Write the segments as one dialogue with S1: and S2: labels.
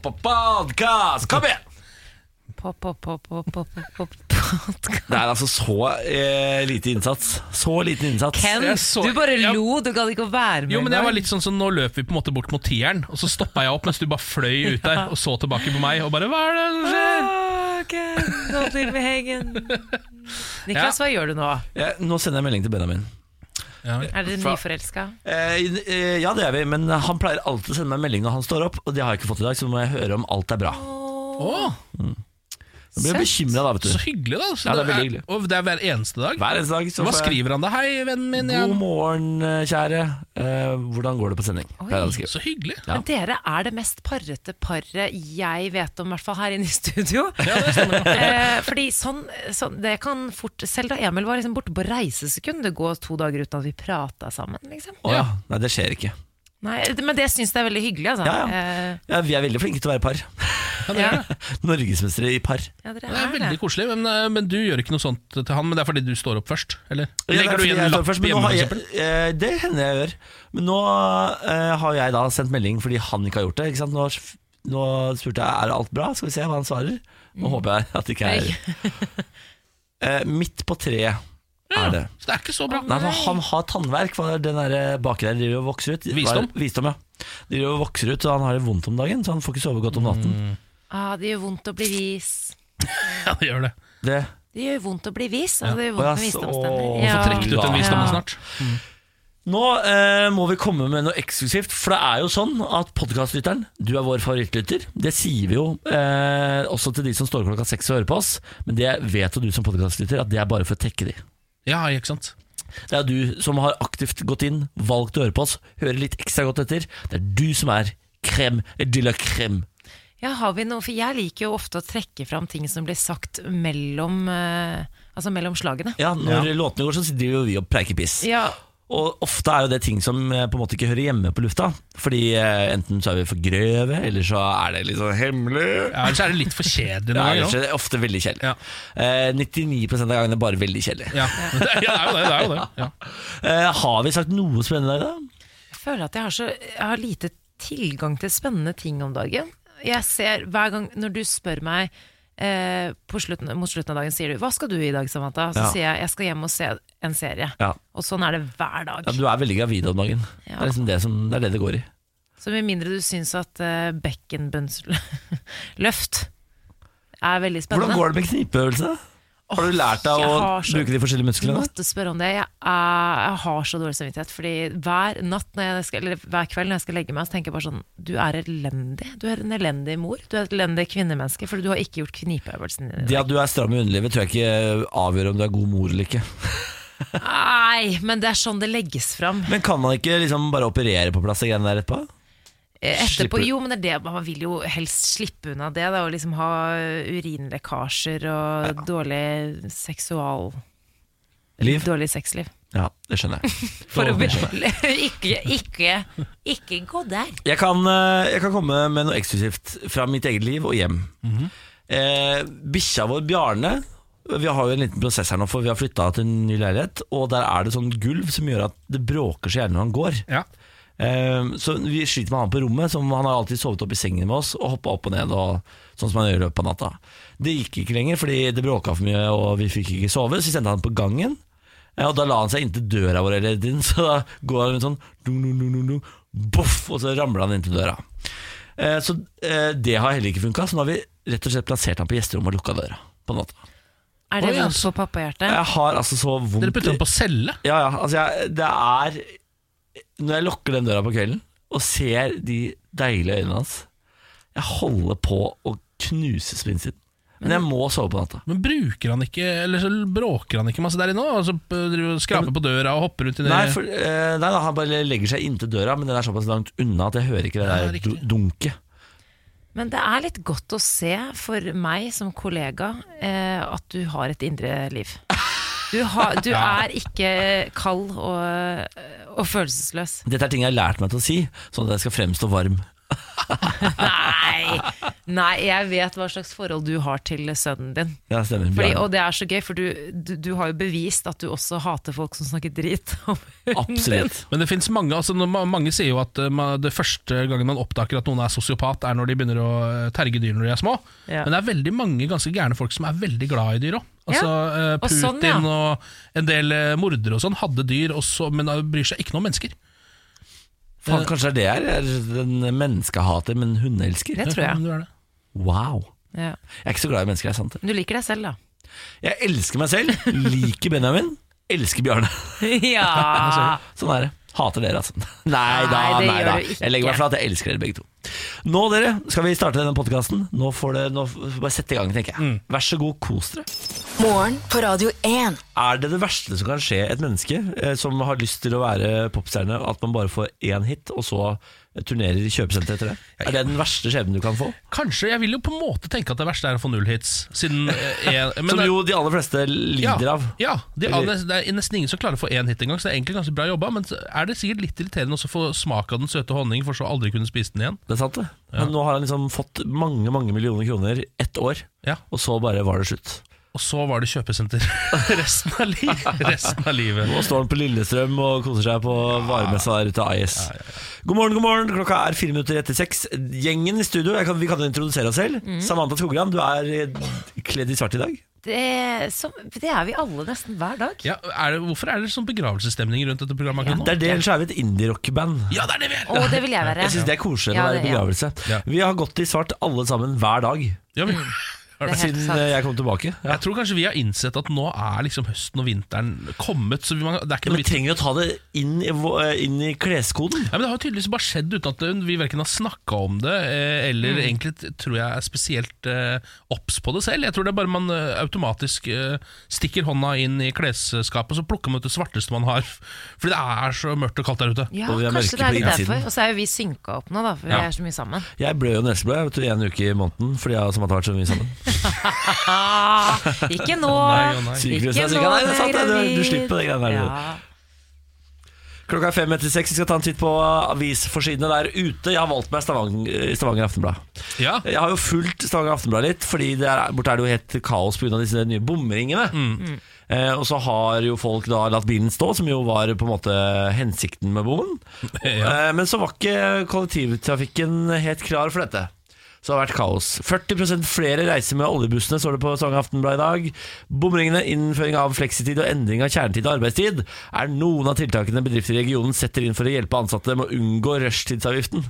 S1: Podkast! Kom igjen!
S2: Pop, pop, pop, pop, pop, pop, pop.
S1: Det er altså så eh, lite innsats. Så liten innsats.
S2: Ken,
S3: Jeg så-
S2: du bare
S3: Ja.
S2: lo, du gadd ikke å være med
S3: Jo, men jeg var
S2: engang.
S3: litt sånn som Nå løp vi på en måte bort mot tieren, og så stoppa jeg opp mens du bare fløy ut der og så tilbake på meg og bare Hva er det som skjer?
S2: Ah, Ken, gå til veggen. Niklas, hva gjør du nå?
S1: Eh, nå sender jeg melding til Benjamin.
S2: Er dere nyforelska?
S1: Eh, eh, ja, det er vi, men han pleier alltid å sende meg melding når han står opp, og det har jeg ikke fått i dag, så nå må jeg høre om alt er bra.
S3: Å,
S1: Da blir jeg bekymra, da, vet
S3: så
S1: du.
S3: hyggelig, da. Så
S1: Ja, det er veldig hyggelig.
S3: Og det er hver eneste dag.
S1: Hver eneste dag. Så
S3: Hva
S1: får jeg-
S3: skriver han da? Hei, vennen min.
S1: God
S3: Jeg...
S1: morgen, eh, kjære. Eh, hvordan går det på sending? Pleier han å skrive.
S3: Så hyggelig.
S1: Ja.
S2: Men dere er det mest parrete paret jeg vet om, i hvert fall her inne i studio.
S3: Ja, det stemmer.
S2: eh, fordi sånn, sånn, det kan fort Selv da Emil var liksom borte på reisesekund, det går to dager uten at vi prata sammen. Liksom.
S1: Å ja. Nei, det skjer ikke.
S2: Nei, det- men det syns jeg er veldig hyggelig. Altså.
S1: Ja, ja.
S2: Eh,
S1: Ja, vi er veldig flinke til å være par.
S3: Ja, det er det.
S1: Norgesmestere i par.
S2: ja, dere
S3: Det er
S2: er
S3: veldig
S2: det.
S3: koselig, men, eh, men du gjør ikke noe sånt til han. Men det er fordi du står opp først? Eller
S1: Ja,
S3: legger du
S1: det er fordi
S3: igjen
S1: jeg
S3: en
S1: tar
S3: lapp
S1: først, men nå
S3: hjemme,
S1: har
S3: for
S1: jeg-
S3: eksempel?
S1: eh, Det hender jeg gjør. Men nå eh, har jeg da sendt melding fordi han ikke har gjort det. Ikke sant? Nå, nå spurte jeg er alt bra, skal vi se hva han svarer. Nå
S3: Mm.
S1: håper jeg at det ikke er Eh, Midt på treet
S3: Ja,
S1: er det.
S3: Så det er ikke så bra.
S1: Nei, for han har tannverk, for den der bakgreia driver og vokser ut. Hva
S3: Visdom.
S1: er- Visdom, ja. Driver og vokser ut, så han har det vondt om dagen. Så han får ikke sove godt om natten.
S3: Mm.
S2: Ah, det gjør vondt å bli vis.
S3: Ja, det gjør det.
S1: Det
S2: Det gjør vondt å bli vis. Altså, det gjør
S1: Ja.
S2: vondt med
S1: Å, ja, så-
S2: visdomstenner.
S1: Å, så
S3: Trekk ut den visdommen snart.
S1: Nå eh, må vi komme med noe eksklusivt, for det er jo sånn at podkastlytteren, du er vår favorittlytter. Det sier vi jo eh, også til de som står klokka seks og hører på oss, men det vet jo du som podkastlytter, at det er bare for å tekke de.
S3: Ja, ikke sant.
S1: Det er du som har aktivt gått inn, valgt å høre på oss, hører litt ekstra godt etter. Det er du som er crème eh, de la crème.
S2: Ja, har vi noe? For jeg liker jo ofte å trekke fram ting som blir sagt mellom, eh, altså mellom slagene.
S1: Ja, når låtene går, så sitter jo vi og preiker piss.
S2: Ja,
S1: Og ofte er jo det ting som eh, på en måte ikke hører hjemme på lufta. Fordi eh, enten så er vi for grøve, eller så er det litt sånn hemmelig.
S3: Ja, Ellers er det litt for kjedelig
S1: Det
S3: noen
S1: er
S3: ganger. også.
S1: kanskje ofte veldig kjedelig.
S3: Ja.
S1: Eh, 99 av gangene bare veldig kjedelig.
S3: Ja. ja, det er jo det. det, er jo det. Ja.
S1: Eh, har vi sagt noe spennende i dag?
S2: jeg føler at jeg har, så, jeg har lite tilgang til spennende ting om dagen. Jeg ser hver gang når du spør meg eh, på slutten, mot slutten av dagen, sier du 'hva skal du i dag, Samantha?' Så
S1: Ja.
S2: sier jeg 'jeg skal hjem og se en serie'.
S1: Ja.
S2: Og sånn er det hver dag.
S1: ja, Du er veldig gravid om dagen.
S2: Ja.
S1: Det, er liksom det, som, det er det det går i.
S2: Så med mindre du syns at eh, bekkenbunnsløft er veldig spennende
S1: Hvordan går det med knipeøvelse? Har du lært deg
S2: jeg
S1: å
S2: har så-
S1: bruke de forskjellige
S2: Du
S1: musklene?
S2: måtte spørre om det. Jeg, er, jeg har så dårlig samvittighet. Fordi hver, natt når jeg skal, eller hver kveld når jeg skal legge meg, så tenker jeg bare sånn Du er elendig. Du er en elendig mor. Du er et elendig kvinnemenneske. Fordi du har ikke gjort knipeøvelsen din.
S1: Det at du er stram i underlivet, tror jeg ikke avgjør om du er god mor eller ikke.
S2: Nei, men det er sånn det legges fram.
S1: Men kan man ikke liksom bare operere på plass de greiene der etterpå?
S2: Eh, Etterpå,
S1: Slipper-
S2: jo, men det er det Man vil jo helst slippe unna det. Da, og liksom ha urinlekkasjer og dårlig seksual...
S1: Liv?
S2: Dårlig sexliv.
S1: Ja, det skjønner jeg.
S2: For å
S1: Åh.
S2: ikke, ikke, ikke gå der.
S1: Jeg kan, eh, jeg kan komme med noe eksklusivt fra mitt eget liv og hjem. eh, Bikkja vår Bjarne Vi har jo en liten prosess her nå, for vi har flytta til en ny leilighet. Og der er det sånn gulv som gjør at det bråker så gjerne når han går.
S3: Ja.
S1: Eh, så vi sliter med han på rommet, som han har alltid sovet opp i sengen med oss og hoppa opp og ned. Og, sånn som han gjør i løpet av natta. Det gikk ikke lenger, fordi det bråka for mye, og vi fikk ikke sove, så vi sendte han på gangen. Ja, og da la han seg inntil døra vår hele tiden, så da går han rundt sånn dun, dun, dun, dun, dun, boff, og så ramler han inntil døra. Eh, så eh, det har heller ikke funka, så nå har vi rett og slett plassert han på gjesterommet og lukka døra. På natta.
S2: Er det
S3: Oi,
S2: vondt
S3: altså.
S2: for pappahjertet?
S1: Jeg har altså så vondt
S3: Dere
S1: i-
S3: putter den på celle?
S1: Ja, ja, altså jeg, det er Når jeg lukker den døra på kvelden og ser de deilige øynene hans Jeg holder på å knuse spinnsiden. Men jeg må sove på natta.
S3: Men bruker han ikke Eller så bråker han ikke masse der inne? Og så eh, driver og skraper på døra og hopper rundt i det
S1: Nei, for, eh, nei da, han bare legger seg inntil døra, men den er såpass langt unna at jeg hører ikke det
S3: Ja,
S1: der
S3: riktig.
S1: du- dunket.
S2: Men det er litt godt å se for meg som kollega eh, at du har et indre liv. Du, har, du er ikke kald og, og følelsesløs.
S1: Dette er ting jeg har lært meg til å si, sånn at jeg skal fremstå varm.
S2: Nei. Nei, jeg vet hva slags forhold du har til sønnen din.
S1: Ja, stemmer.
S2: Fordi,
S1: Bjarne.
S2: og det er så gøy, for du, du, du har jo bevist at du også hater folk som snakker drit om hunden din.
S1: Absolutt.
S3: Men det finnes mange altså, når ma- Mange sier jo at eh, ma- det første gangen man oppdager at noen er sosiopat, er når de begynner å eh, terge dyr når de er små.
S2: Ja.
S3: Men det er veldig mange ganske gærne folk som er veldig glad i dyr òg. Altså, eh,
S2: Og
S3: Putin
S2: sånn,
S3: og,
S2: ja.
S3: en del eh, mordere og sånn hadde dyr, og så, men eh, bryr seg ikke noe om mennesker.
S1: Faen, kanskje det er det jeg er. Den menneskehater, men hundeelsker.
S2: Det tror
S3: Ja,
S2: jeg.
S3: men du er det.
S1: Wow.
S2: Ja.
S1: Jeg er ikke så glad i mennesker, det er sant. det.
S2: Men du liker deg selv, da.
S1: Jeg elsker meg selv, liker Benjamin, elsker Bjørne.
S2: Ja.
S1: Sånn er det. Hater dere, altså. Nei da,
S2: Nei, det
S1: nei
S2: gjør
S1: da.
S2: du ikke.
S1: Jeg legger meg flat, jeg elsker dere begge to. Nå, dere, skal vi starte denne podkasten. Nå får det nå, får vi Bare sette i gang, tenker
S3: Mm.
S1: jeg. Vær så god, kos dere.
S4: Morgen på Radio 1.
S1: Er det det verste som kan skje et menneske eh, som har lyst til å være popstjerne, at man bare får én hit, og så turnerer i kjøpesenteret etter det? Er det den verste skjebnen du kan få?
S3: Kanskje, Jeg vil jo på en måte tenke at det verste er å få null hits. Siden, eh, en, men
S1: Som
S3: det-
S1: jo de aller fleste lider
S3: ja,
S1: av.
S3: Ja, de,
S1: Eller-
S3: aller- det er nesten ingen som klarer å få én hit engang, så det er egentlig ganske bra jobba. Men så er det sikkert litt irriterende også å få smak av den søte honningen, for så aldri kunne spise den igjen.
S1: Det er sant, det. Men nå har han liksom fått mange mange millioner kroner ett år,
S3: Ja,
S1: og så bare var det slutt.
S3: Og så var det kjøpesenter resten av, li resten av livet.
S1: Nå står han på Lillestrøm og koser seg på varemessa der ute av IS. God morgen, god morgen. Klokka er fire minutter etter seks. Gjengen i studio, jeg kan, vi kan introdusere oss selv. Samantha Skogran, du er eh, kledd i svart i dag.
S2: Det, som, det er vi alle nesten hver dag.
S3: Ja, er det, hvorfor er det sånn begravelsesstemning rundt dette programmet akkurat
S1: Det
S3: nå?
S1: er det, ellers er vi et indie-rockband.
S3: Ja, det er det vi
S2: Og
S3: er!
S2: det vil jeg være.
S1: Jeg syns det er koselig
S2: Ja,
S1: når det
S2: det-
S1: er
S2: ja.
S1: begravelse.
S3: Ja.
S1: Vi har gått i svart alle sammen hver dag
S3: Ja, vi,
S2: Det er helt
S1: siden
S2: sant.
S1: eh, jeg kom tilbake. Ja.
S3: jeg tror kanskje vi har innsett at nå er liksom høsten og vinteren kommet. Så vi, må- det er ikke
S1: Men
S3: noe
S1: vi
S3: vits
S1: trenger å ta det inn i, vå- eh, inn i kleskoden.
S3: ja, men Det har jo tydeligvis bare skjedd uten at vi verken har snakka om det, eh, eller
S1: Mm.
S3: egentlig t- tror jeg er spesielt eh, obs på det selv. Jeg tror det er bare man eh, automatisk eh, stikker hånda inn i klesskapet, så plukker man ut det svarteste man har. Fordi det er så mørkt og kaldt der ute.
S2: Ja,
S1: Og vi er mørke
S2: kanskje det
S1: på
S2: er litt
S1: innsiden.
S2: derfor. Og så er jo vi synka opp nå, da, for vi
S3: Ja.
S2: er så mye sammen.
S1: Jeg blør jo neseblod jeg vet du, en uke i måneden fordi jeg og Samantha har vært så mye sammen.
S2: Ah, ikke nå!
S3: Å nei, å nei.
S1: Sykehus,
S2: Ikke
S1: jeg er
S2: nå,
S1: sikker- Nei, det er sant,
S2: jeg er
S1: det, du, du
S2: gravid.
S1: slipper det greiene der. du.
S2: Ja.
S1: Klokka er fem etter seks. Vi skal ta en titt på avisforsidene der ute. Jeg har valgt meg Stavanger, Stavanger Aftenblad.
S3: Ja.
S1: Jeg har jo fulgt Stavanger Aftenblad litt, fordi der borte er det jo helt kaos pga. disse nye bomringene.
S3: Mm.
S1: Eh, og så har jo folk da latt bilen stå, som jo var på en måte hensikten med bommen.
S3: Ja.
S1: Eh, men så var ikke kollektivtrafikken helt klar for dette. Så det har vært kaos. 40 flere reiser med oljebussene, står det på Stavanger Aftenblad i dag. Bomringene, innføring av fleksitid og endring av kjernetid og arbeidstid er noen av tiltakene bedrifter i regionen setter inn for å hjelpe ansatte med å unngå rushtidsavgiften.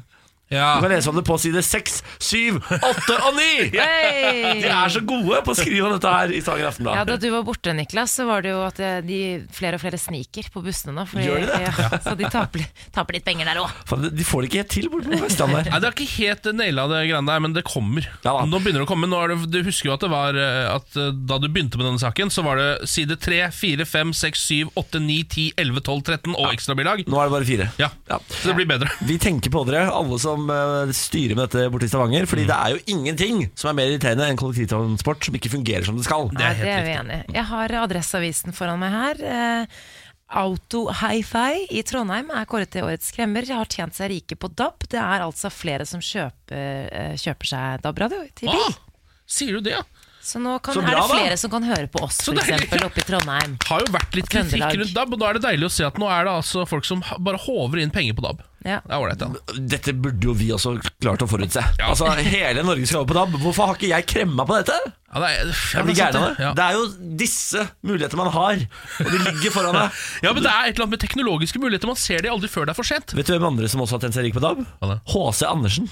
S3: Ja.
S1: Du kan lese om det på side 6, 7, 8 og 9! De
S2: Hey!
S1: er så gode på å skrive om dette her i Stavanger
S2: Ja,
S1: Aftenblad.
S2: da du var borte, Niklas, så var det jo at eh, de flere og flere sniker på bussene nå. fordi-
S1: Gjør de det?
S2: Ja, så de taper, litt- taper litt penger der òg.
S1: Faen, De får det ikke helt til borte på Vestlandet. her.
S3: Nei, Det har ikke helt naila det greiene der, men det kommer.
S1: Ja da.
S3: Nå begynner det å komme. Nå er det, du husker jo at det var eh, At eh, da du begynte med denne saken, så var det side 3, 4, 5, 6, 7, 8, 9, 10, 11, 12, 13 og ekstrabilag.
S1: Nå er det bare fire.
S3: Ja.
S1: Ja.
S3: Så det blir bedre.
S1: Vi tenker på dere, alle som eh, styrer med dette borte i Stavanger.
S3: Mm.
S1: Fordi det er jo ingenting som er mer irriterende enn kollektivtransport som ikke fungerer som det skal.
S3: Det er
S2: Det er
S3: helt
S2: vi
S3: riktig.
S2: enige i. Jeg har Adresseavisen foran meg her. Eh, Auto Hi-Fi i Trondheim er kåret til årets kremmer. Har tjent seg rike på DAB. Det er altså flere som kjøper, eh, kjøper seg DAB-radio til bil.
S3: Ah, sier du det, ja?
S2: Så nå kan,
S1: så
S2: er
S1: bra,
S2: det
S1: da.
S2: flere som kan høre på oss,
S3: Så deilig.
S2: f.eks. oppe i Trondheim.
S3: Har jo vært litt kritikk
S2: Trøndelag.
S3: rundt DAB, og da er det deilig å se at nå er det altså folk som ha- bare håver inn penger på DAB.
S2: Ja.
S3: Det er ålreit, ja.
S1: Dette burde jo vi også klart å forutse.
S3: Ja.
S1: Altså, Hele Norge skal over på DAB. Hvorfor har ikke jeg kremma på dette?
S3: ja det er,
S1: Jeg blir
S3: ja, det er sant,
S1: gæren av
S3: det.
S1: det.
S3: Ja.
S1: Det er jo disse muligheter man har, og de ligger foran deg.
S3: ja, men det er et eller annet med teknologiske muligheter. Man ser de aldri før det er for sent.
S1: Vet du hvem andre som også har tjent seg rik på DAB?
S3: Hva da?
S1: HC Andersen.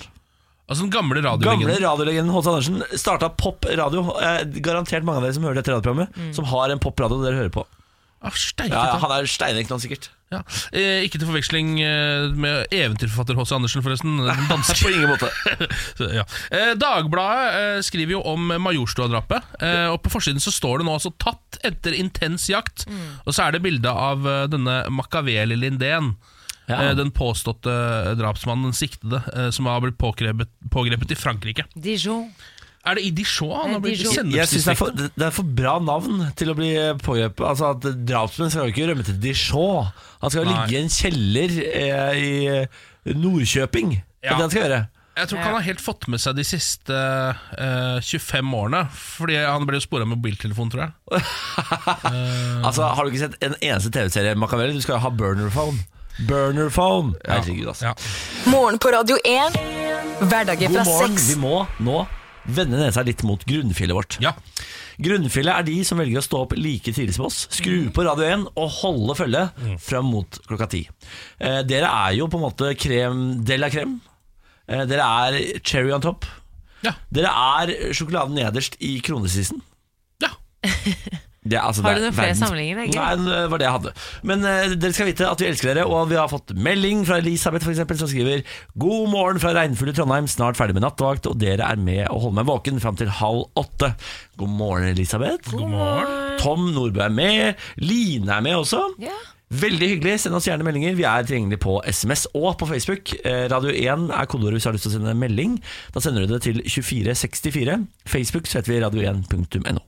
S3: Altså den gamle
S1: Gamle
S3: radioringen.
S1: radiolegenden H.C. Andersen starta pop radio. Eh, garantert mange av dere som hører dette radioprogrammet, som har en pop radio dere hører på.
S3: Ah, steik,
S1: Ja, han er steinrik nå, sikkert.
S3: Ja. Eh, ikke til forveksling eh, med eventyrforfatter H.C. Andersen, forresten. Den danske.
S1: På ingen måte.
S3: Så, ja. eh, Dagbladet eh, skriver jo om Majorstua-drapet. Eh, og På forsiden så står det nå altså 'tatt etter intens jakt'. Og så er det bilde av eh, denne Makaveli Lindén.
S1: Ja.
S3: eh, Den påståtte eh, drapsmannen, den siktede, eh, som har blitt pågrepet, pågrepet i Frankrike.
S2: Dijon.
S3: Er det i Dijon han
S2: Nei,
S3: har blitt
S2: Dijon.
S1: Jeg synes det, er for,
S3: sennepsdistriktet?
S1: det er for bra navn til å bli pågrepet. Altså at Drapsmenn skal jo ikke rømme til Dijon. Han skal jo
S3: Nei.
S1: ligge i en kjeller eh, i Nordkjøping. Det er
S3: Ja.
S1: det han skal gjøre.
S3: Jeg tror ikke han har helt fått med seg de siste eh, 25 årene. Fordi han ble jo spora med mobiltelefon, tror jeg. Mm.
S1: Altså, Har du ikke sett en eneste TV-serie Machiavelli? Du skal jo ha burnerphone. Burnerphone! Herregud, altså.
S3: Ja.
S4: Morgen på Radio 1. Hverdager fra
S1: God morgen.
S4: seks.
S1: Vi må nå vende nesa litt mot grunnfjellet vårt.
S3: Ja.
S1: Grunnfjellet er de som velger å stå opp like tidlig som oss, skru
S4: Mm.
S1: på Radio 1 og holde følge fram mot klokka ti. Eh, dere er jo på en måte krem de la crème. Eh, dere er cherry on top.
S3: Ja.
S1: Dere er sjokoladen nederst i kronesissen.
S3: ja.
S1: Det er, altså,
S2: Har
S1: det
S2: du
S1: er
S2: noen flere
S1: verdens-
S2: sammenligninger, egentlig?
S1: Nei, det var det jeg hadde. Men eh, dere skal vite at vi elsker dere, og vi har fått melding fra Elisabeth for eksempel, som skriver God morgen fra regnfulle Trondheim, snart ferdig med nattevakt, og dere er med og holder meg våken fram til halv åtte. God morgen, Elisabeth.
S3: God morgen.
S1: Tom Nordbø er med. Line er med også.
S2: Ja.
S1: Veldig hyggelig. Send oss gjerne meldinger. Vi er tilgjengelig på SMS og på Facebook. Eh, Radio 1 er kodeordet hvis du har lyst til å sende en melding. Da sender du det til 2464. Facebook så heter vi radio1.no.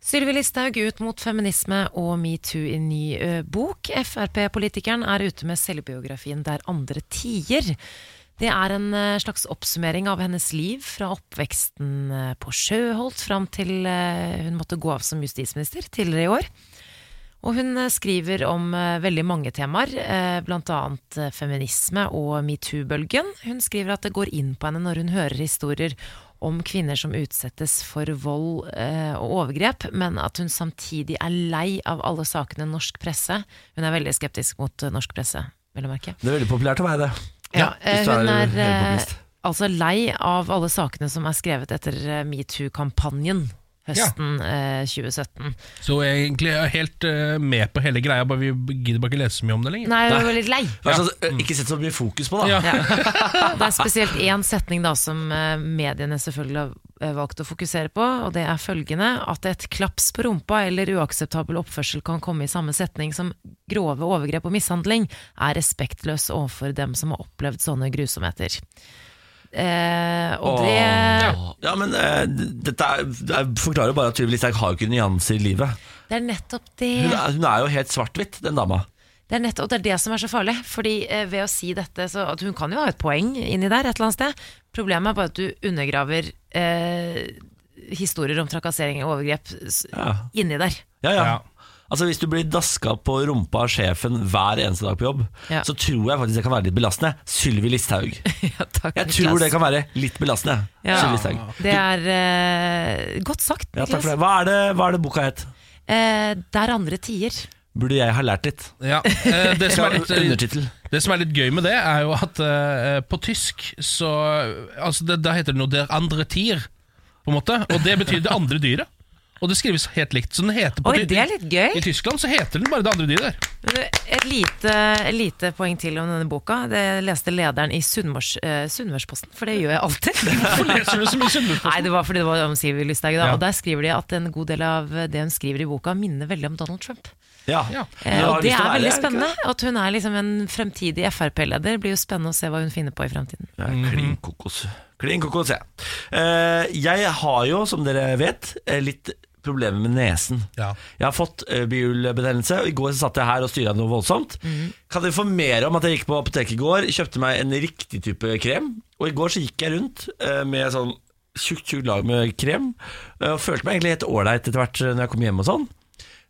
S2: Sylvi Listhaug ut mot feminisme og metoo i ny ø, bok. Frp-politikeren er ute med selvbiografien 'Der andre tier'. Det er en ø, slags oppsummering av hennes liv fra oppveksten ø, på Sjøholt fram til ø, hun måtte gå av som justisminister tidligere i år. Og hun ø, skriver om ø, veldig mange temaer, ø, blant annet ø, feminisme og metoo-bølgen. Hun skriver at det går inn på henne når hun hører historier om kvinner som utsettes for vold ø, og overgrep, men at hun samtidig er lei av alle sakene norsk presse. Hun er veldig skeptisk mot ø, norsk presse, vil jeg merke.
S1: Det er veldig populært å være det.
S2: Ja,
S1: hvis
S2: eh,
S1: du er
S2: hun er eh,
S1: høypopulist.
S2: altså lei av alle sakene som er skrevet etter eh, metoo-kampanjen høsten eh, 2017.
S3: Så jeg egentlig er helt eh, med på hele greia, bare vi gidder bare ikke lese så mye om det lenger.
S2: Nei, hun var litt lei.
S1: Hva slags, Ikke sett så mye fokus på, da.
S3: Ja.
S2: Ja. Det er spesielt én setning da som eh, mediene selvfølgelig har eh, valgt å fokusere på, og det er følgende at et klaps på rumpa eller uakseptabel oppførsel kan komme i samme setning som grove overgrep og mishandling, er respektløs overfor dem som har opplevd sånne grusomheter. Eh, og det
S1: Åh. Ja, men eh, d- dette er, det er- forklarer jo bare at Sylvi Listhaug har jo ikke nyanser i livet.
S2: Det er nettopp det.
S1: Hun er, hun er jo helt svart-hvitt, den dama.
S2: Det er nettopp det, er det som er så farlig. Fordi eh, ved å si dette så, at Hun kan jo ha et poeng inni der et eller annet sted. Problemet er bare at du undergraver eh, historier om trakassering og overgrep s-
S1: Ja.
S2: inni der.
S1: Ja, ja.
S3: Ja.
S1: Altså Hvis du blir daska på rumpa av sjefen hver eneste dag på jobb,
S2: Ja.
S1: så tror jeg faktisk det kan være litt belastende. Sylvi Listhaug.
S2: ja, takk,
S1: Jeg
S2: Niklas.
S1: tror det kan være litt belastende.
S2: Ja.
S1: Sylvi Listhaug.
S2: Det er eh, godt sagt,
S1: Ja, takk
S2: Niklas.
S1: for det. Hva er det, hva er det boka het?
S2: Eh, der andre tier.
S1: Burde jeg ha lært litt?
S3: Ja. eh, Det, som er litt,
S2: eh,
S1: Undertittel.
S3: det som er litt gøy med det, er jo at eh, på tysk så altså det, Da heter det noe 'der andre tier', på en måte. Og det betyr det andre dyret. Og det skrives helt likt. Så den heter på
S2: Oi,
S3: ty-
S2: det er litt
S3: I
S2: gøy.
S3: Tyskland så heter den bare 'det andre dyret'. der.
S2: Men Et lite, et lite poeng til om denne boka. Det leste lederen i Sunnmørs, eh, Sunnmørsposten, for det gjør jeg alltid.
S3: Hvorfor leser du så mye Sunnmørsposten?
S2: Nei, det var fordi det var om Sylvi Listhaug. da,
S3: Ja.
S2: Og der skriver de at en god del av det hun skriver i boka, minner veldig om Donald Trump.
S1: Ja.
S3: Ja.
S2: Eh,
S1: Du har
S2: og
S1: lyst
S2: det
S1: til å
S2: er
S1: være det, er
S2: veldig
S1: det ikke
S2: spennende. At hun er liksom en fremtidig Frp-leder. Blir jo spennende å se hva hun finner på i fremtiden.
S1: Ja, Klin kokos. Klin kokos, ja. Eh, jeg har jo, som dere vet, eh, litt problemer med nesen.
S3: Ja.
S1: Jeg har fått eh, bihulebetennelse, og i går så satt jeg her og styra noe voldsomt. Kan dere informere om at jeg gikk på apoteket i går, kjøpte meg en riktig type krem, og i går så gikk jeg rundt eh, med sånn tjukt tjukt lag med krem, eh, og følte meg egentlig helt ålreit etter hvert eh, når jeg kom hjem og sånn.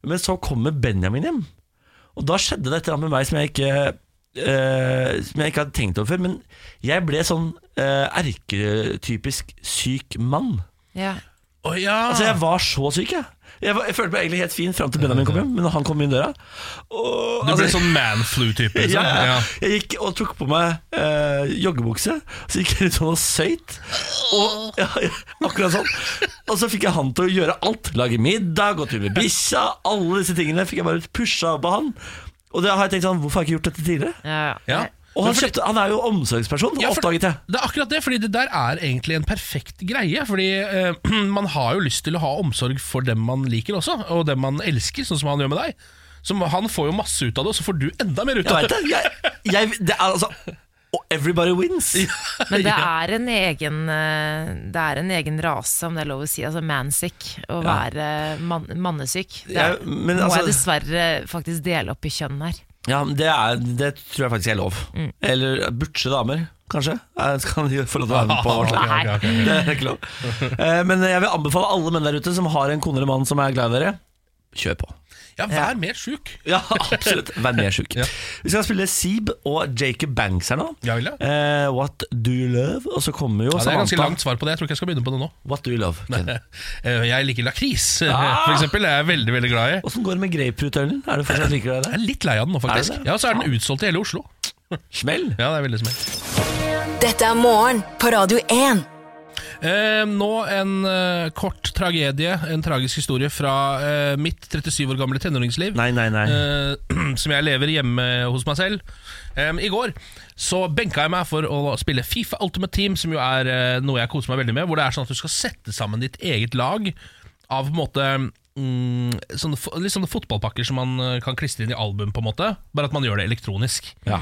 S1: Men så kommer Benjamin hjem, og da skjedde det et eller annet med meg som jeg ikke eh, som jeg ikke hadde tenkt over før, men jeg ble sånn eh, erketypisk syk mann.
S2: Ja.
S3: Å ja.
S1: Altså, jeg var så syk, jeg. Jeg, var, jeg følte meg egentlig helt fin fram til Benjamin kom hjem, men når han kom inn døra og,
S3: Du ble
S1: altså,
S3: sånn manflu-type. Liksom.
S1: ja, ja.
S3: Ja.
S1: Jeg gikk og tok på meg eh, joggebukse, så gikk jeg ut sånn og søyt. Og, ja, ja, akkurat sånn. Og så fikk jeg han til å gjøre alt. Lage middag, gå tur med bikkja. Alle disse tingene fikk jeg bare pusha på han. Og det har jeg tenkt sånn, hvorfor har jeg ikke gjort dette tidligere?
S2: Ja,
S3: Ja.
S1: Og
S3: Men
S1: han,
S3: fordi-
S1: kjøpte, han er jo omsorgsperson,
S3: Ja, for-
S1: oppdaget jeg.
S3: Det er akkurat det, fordi det der er egentlig en perfekt greie. Fordi eh, man har jo lyst til å ha omsorg for dem man liker også, og dem man elsker, sånn som han gjør med deg. Så han får jo masse ut av det, og så får du enda mer ut
S1: Jeg
S3: av
S1: vet
S3: det.
S1: det. Jeg, jeg, det er altså og Everybody wins.
S2: Men det er, en egen, eh, det er en egen rase, om det er lov å si. Altså mansick. Å være man, mannesyk. Det
S1: Ja,
S2: er,
S1: men
S2: må
S1: altså-
S2: jeg dessverre faktisk dele opp i kjønn her.
S1: Ja, men det, er, det tror jeg faktisk er lov.
S3: Mm.
S1: Eller butche damer, kanskje. Eh, Skal de få lov til å være med på vårt lag?
S3: Ok, ok, ok.
S1: Det er ikke lov. Eh, Men jeg vil anbefale alle menn der ute som har en kone eller mann som er glad i dere, kjør på.
S3: Ja, vær mer sjuk.
S1: Ja, absolutt. Vær mer sjuk.
S3: Ja.
S1: Vi skal spille Seeb og Jacob Banks her nå.
S3: Ja, vel, ja.
S1: Eh, What Do You Love? Og så kommer jo
S3: Ja, det er ganske
S1: Samantha.
S3: langt svar på det. Jeg tror ikke jeg skal begynne på det nå.
S1: What Do You Love? Ken?
S3: Eh, Jeg liker lakris,
S1: Ah!
S3: eh, for eksempel. Jeg er veldig, veldig glad i.
S1: Åssen går det med grapefruitølen? Er du fortsatt like glad i
S3: Jeg
S1: det?
S3: er litt lei av den nå,
S1: Er det
S3: faktisk.
S1: det?
S3: Ja, og så er den utsolgt i hele Oslo.
S1: Smell?
S3: Ja, det er veldig smelt.
S4: Dette er morgen på Radio 1.
S3: Eh, nå en eh, kort tragedie, en tragisk historie fra eh, mitt 37 år gamle tenåringsliv.
S1: Nei, nei, nei.
S3: Eh, som jeg lever hjemme hos meg selv. Em, I går så benka jeg meg for å spille Fifa Ultimate Team, som jo er eh, noe jeg koser meg veldig med. Hvor det er sånn at du skal sette sammen ditt eget lag av på en måte mm, sånne, fo- litt sånne fotballpakker som man eh, kan klistre inn i album, på en måte. Bare at man gjør det elektronisk.
S1: Ja.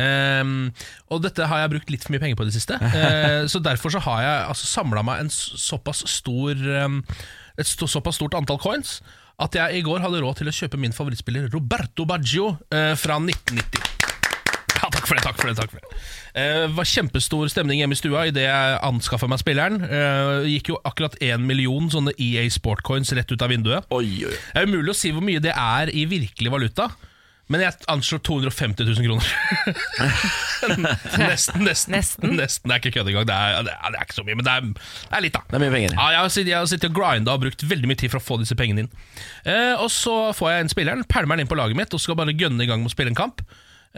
S3: Ehm, og dette har jeg brukt litt for mye penger på i det siste. Eh, så derfor så har jeg altså, samla meg en s- såpass stor ehm, et sto- såpass stort antall coins at jeg i går hadde råd til å kjøpe min favorittspiller Roberto Baggio eh, fra 1990. Ja, takk for det. takk for Det takk for det Eh, var kjempestor stemning hjemme i stua idet jeg anskaffa meg spilleren. Eh, gikk jo akkurat én million sånne EA Sportcoins rett ut av vinduet.
S1: Oi, oi.
S3: Det er umulig å si hvor mye det er i virkelig valuta, men jeg anslår 250 000 kroner. nesten, nesten,
S2: Nesten.
S3: Det er ikke kødd engang. Det, er- det, er- det er ikke så mye, men det er, det er litt, da.
S1: Det er mye penger.
S3: Ja, jeg har sittet, jeg har sittet og grinda og brukt veldig mye tid for å få disse pengene inn. Eh, og så får jeg en spilleren, pælmer den inn på laget mitt og skal bare gønne i gang med å spille en kamp.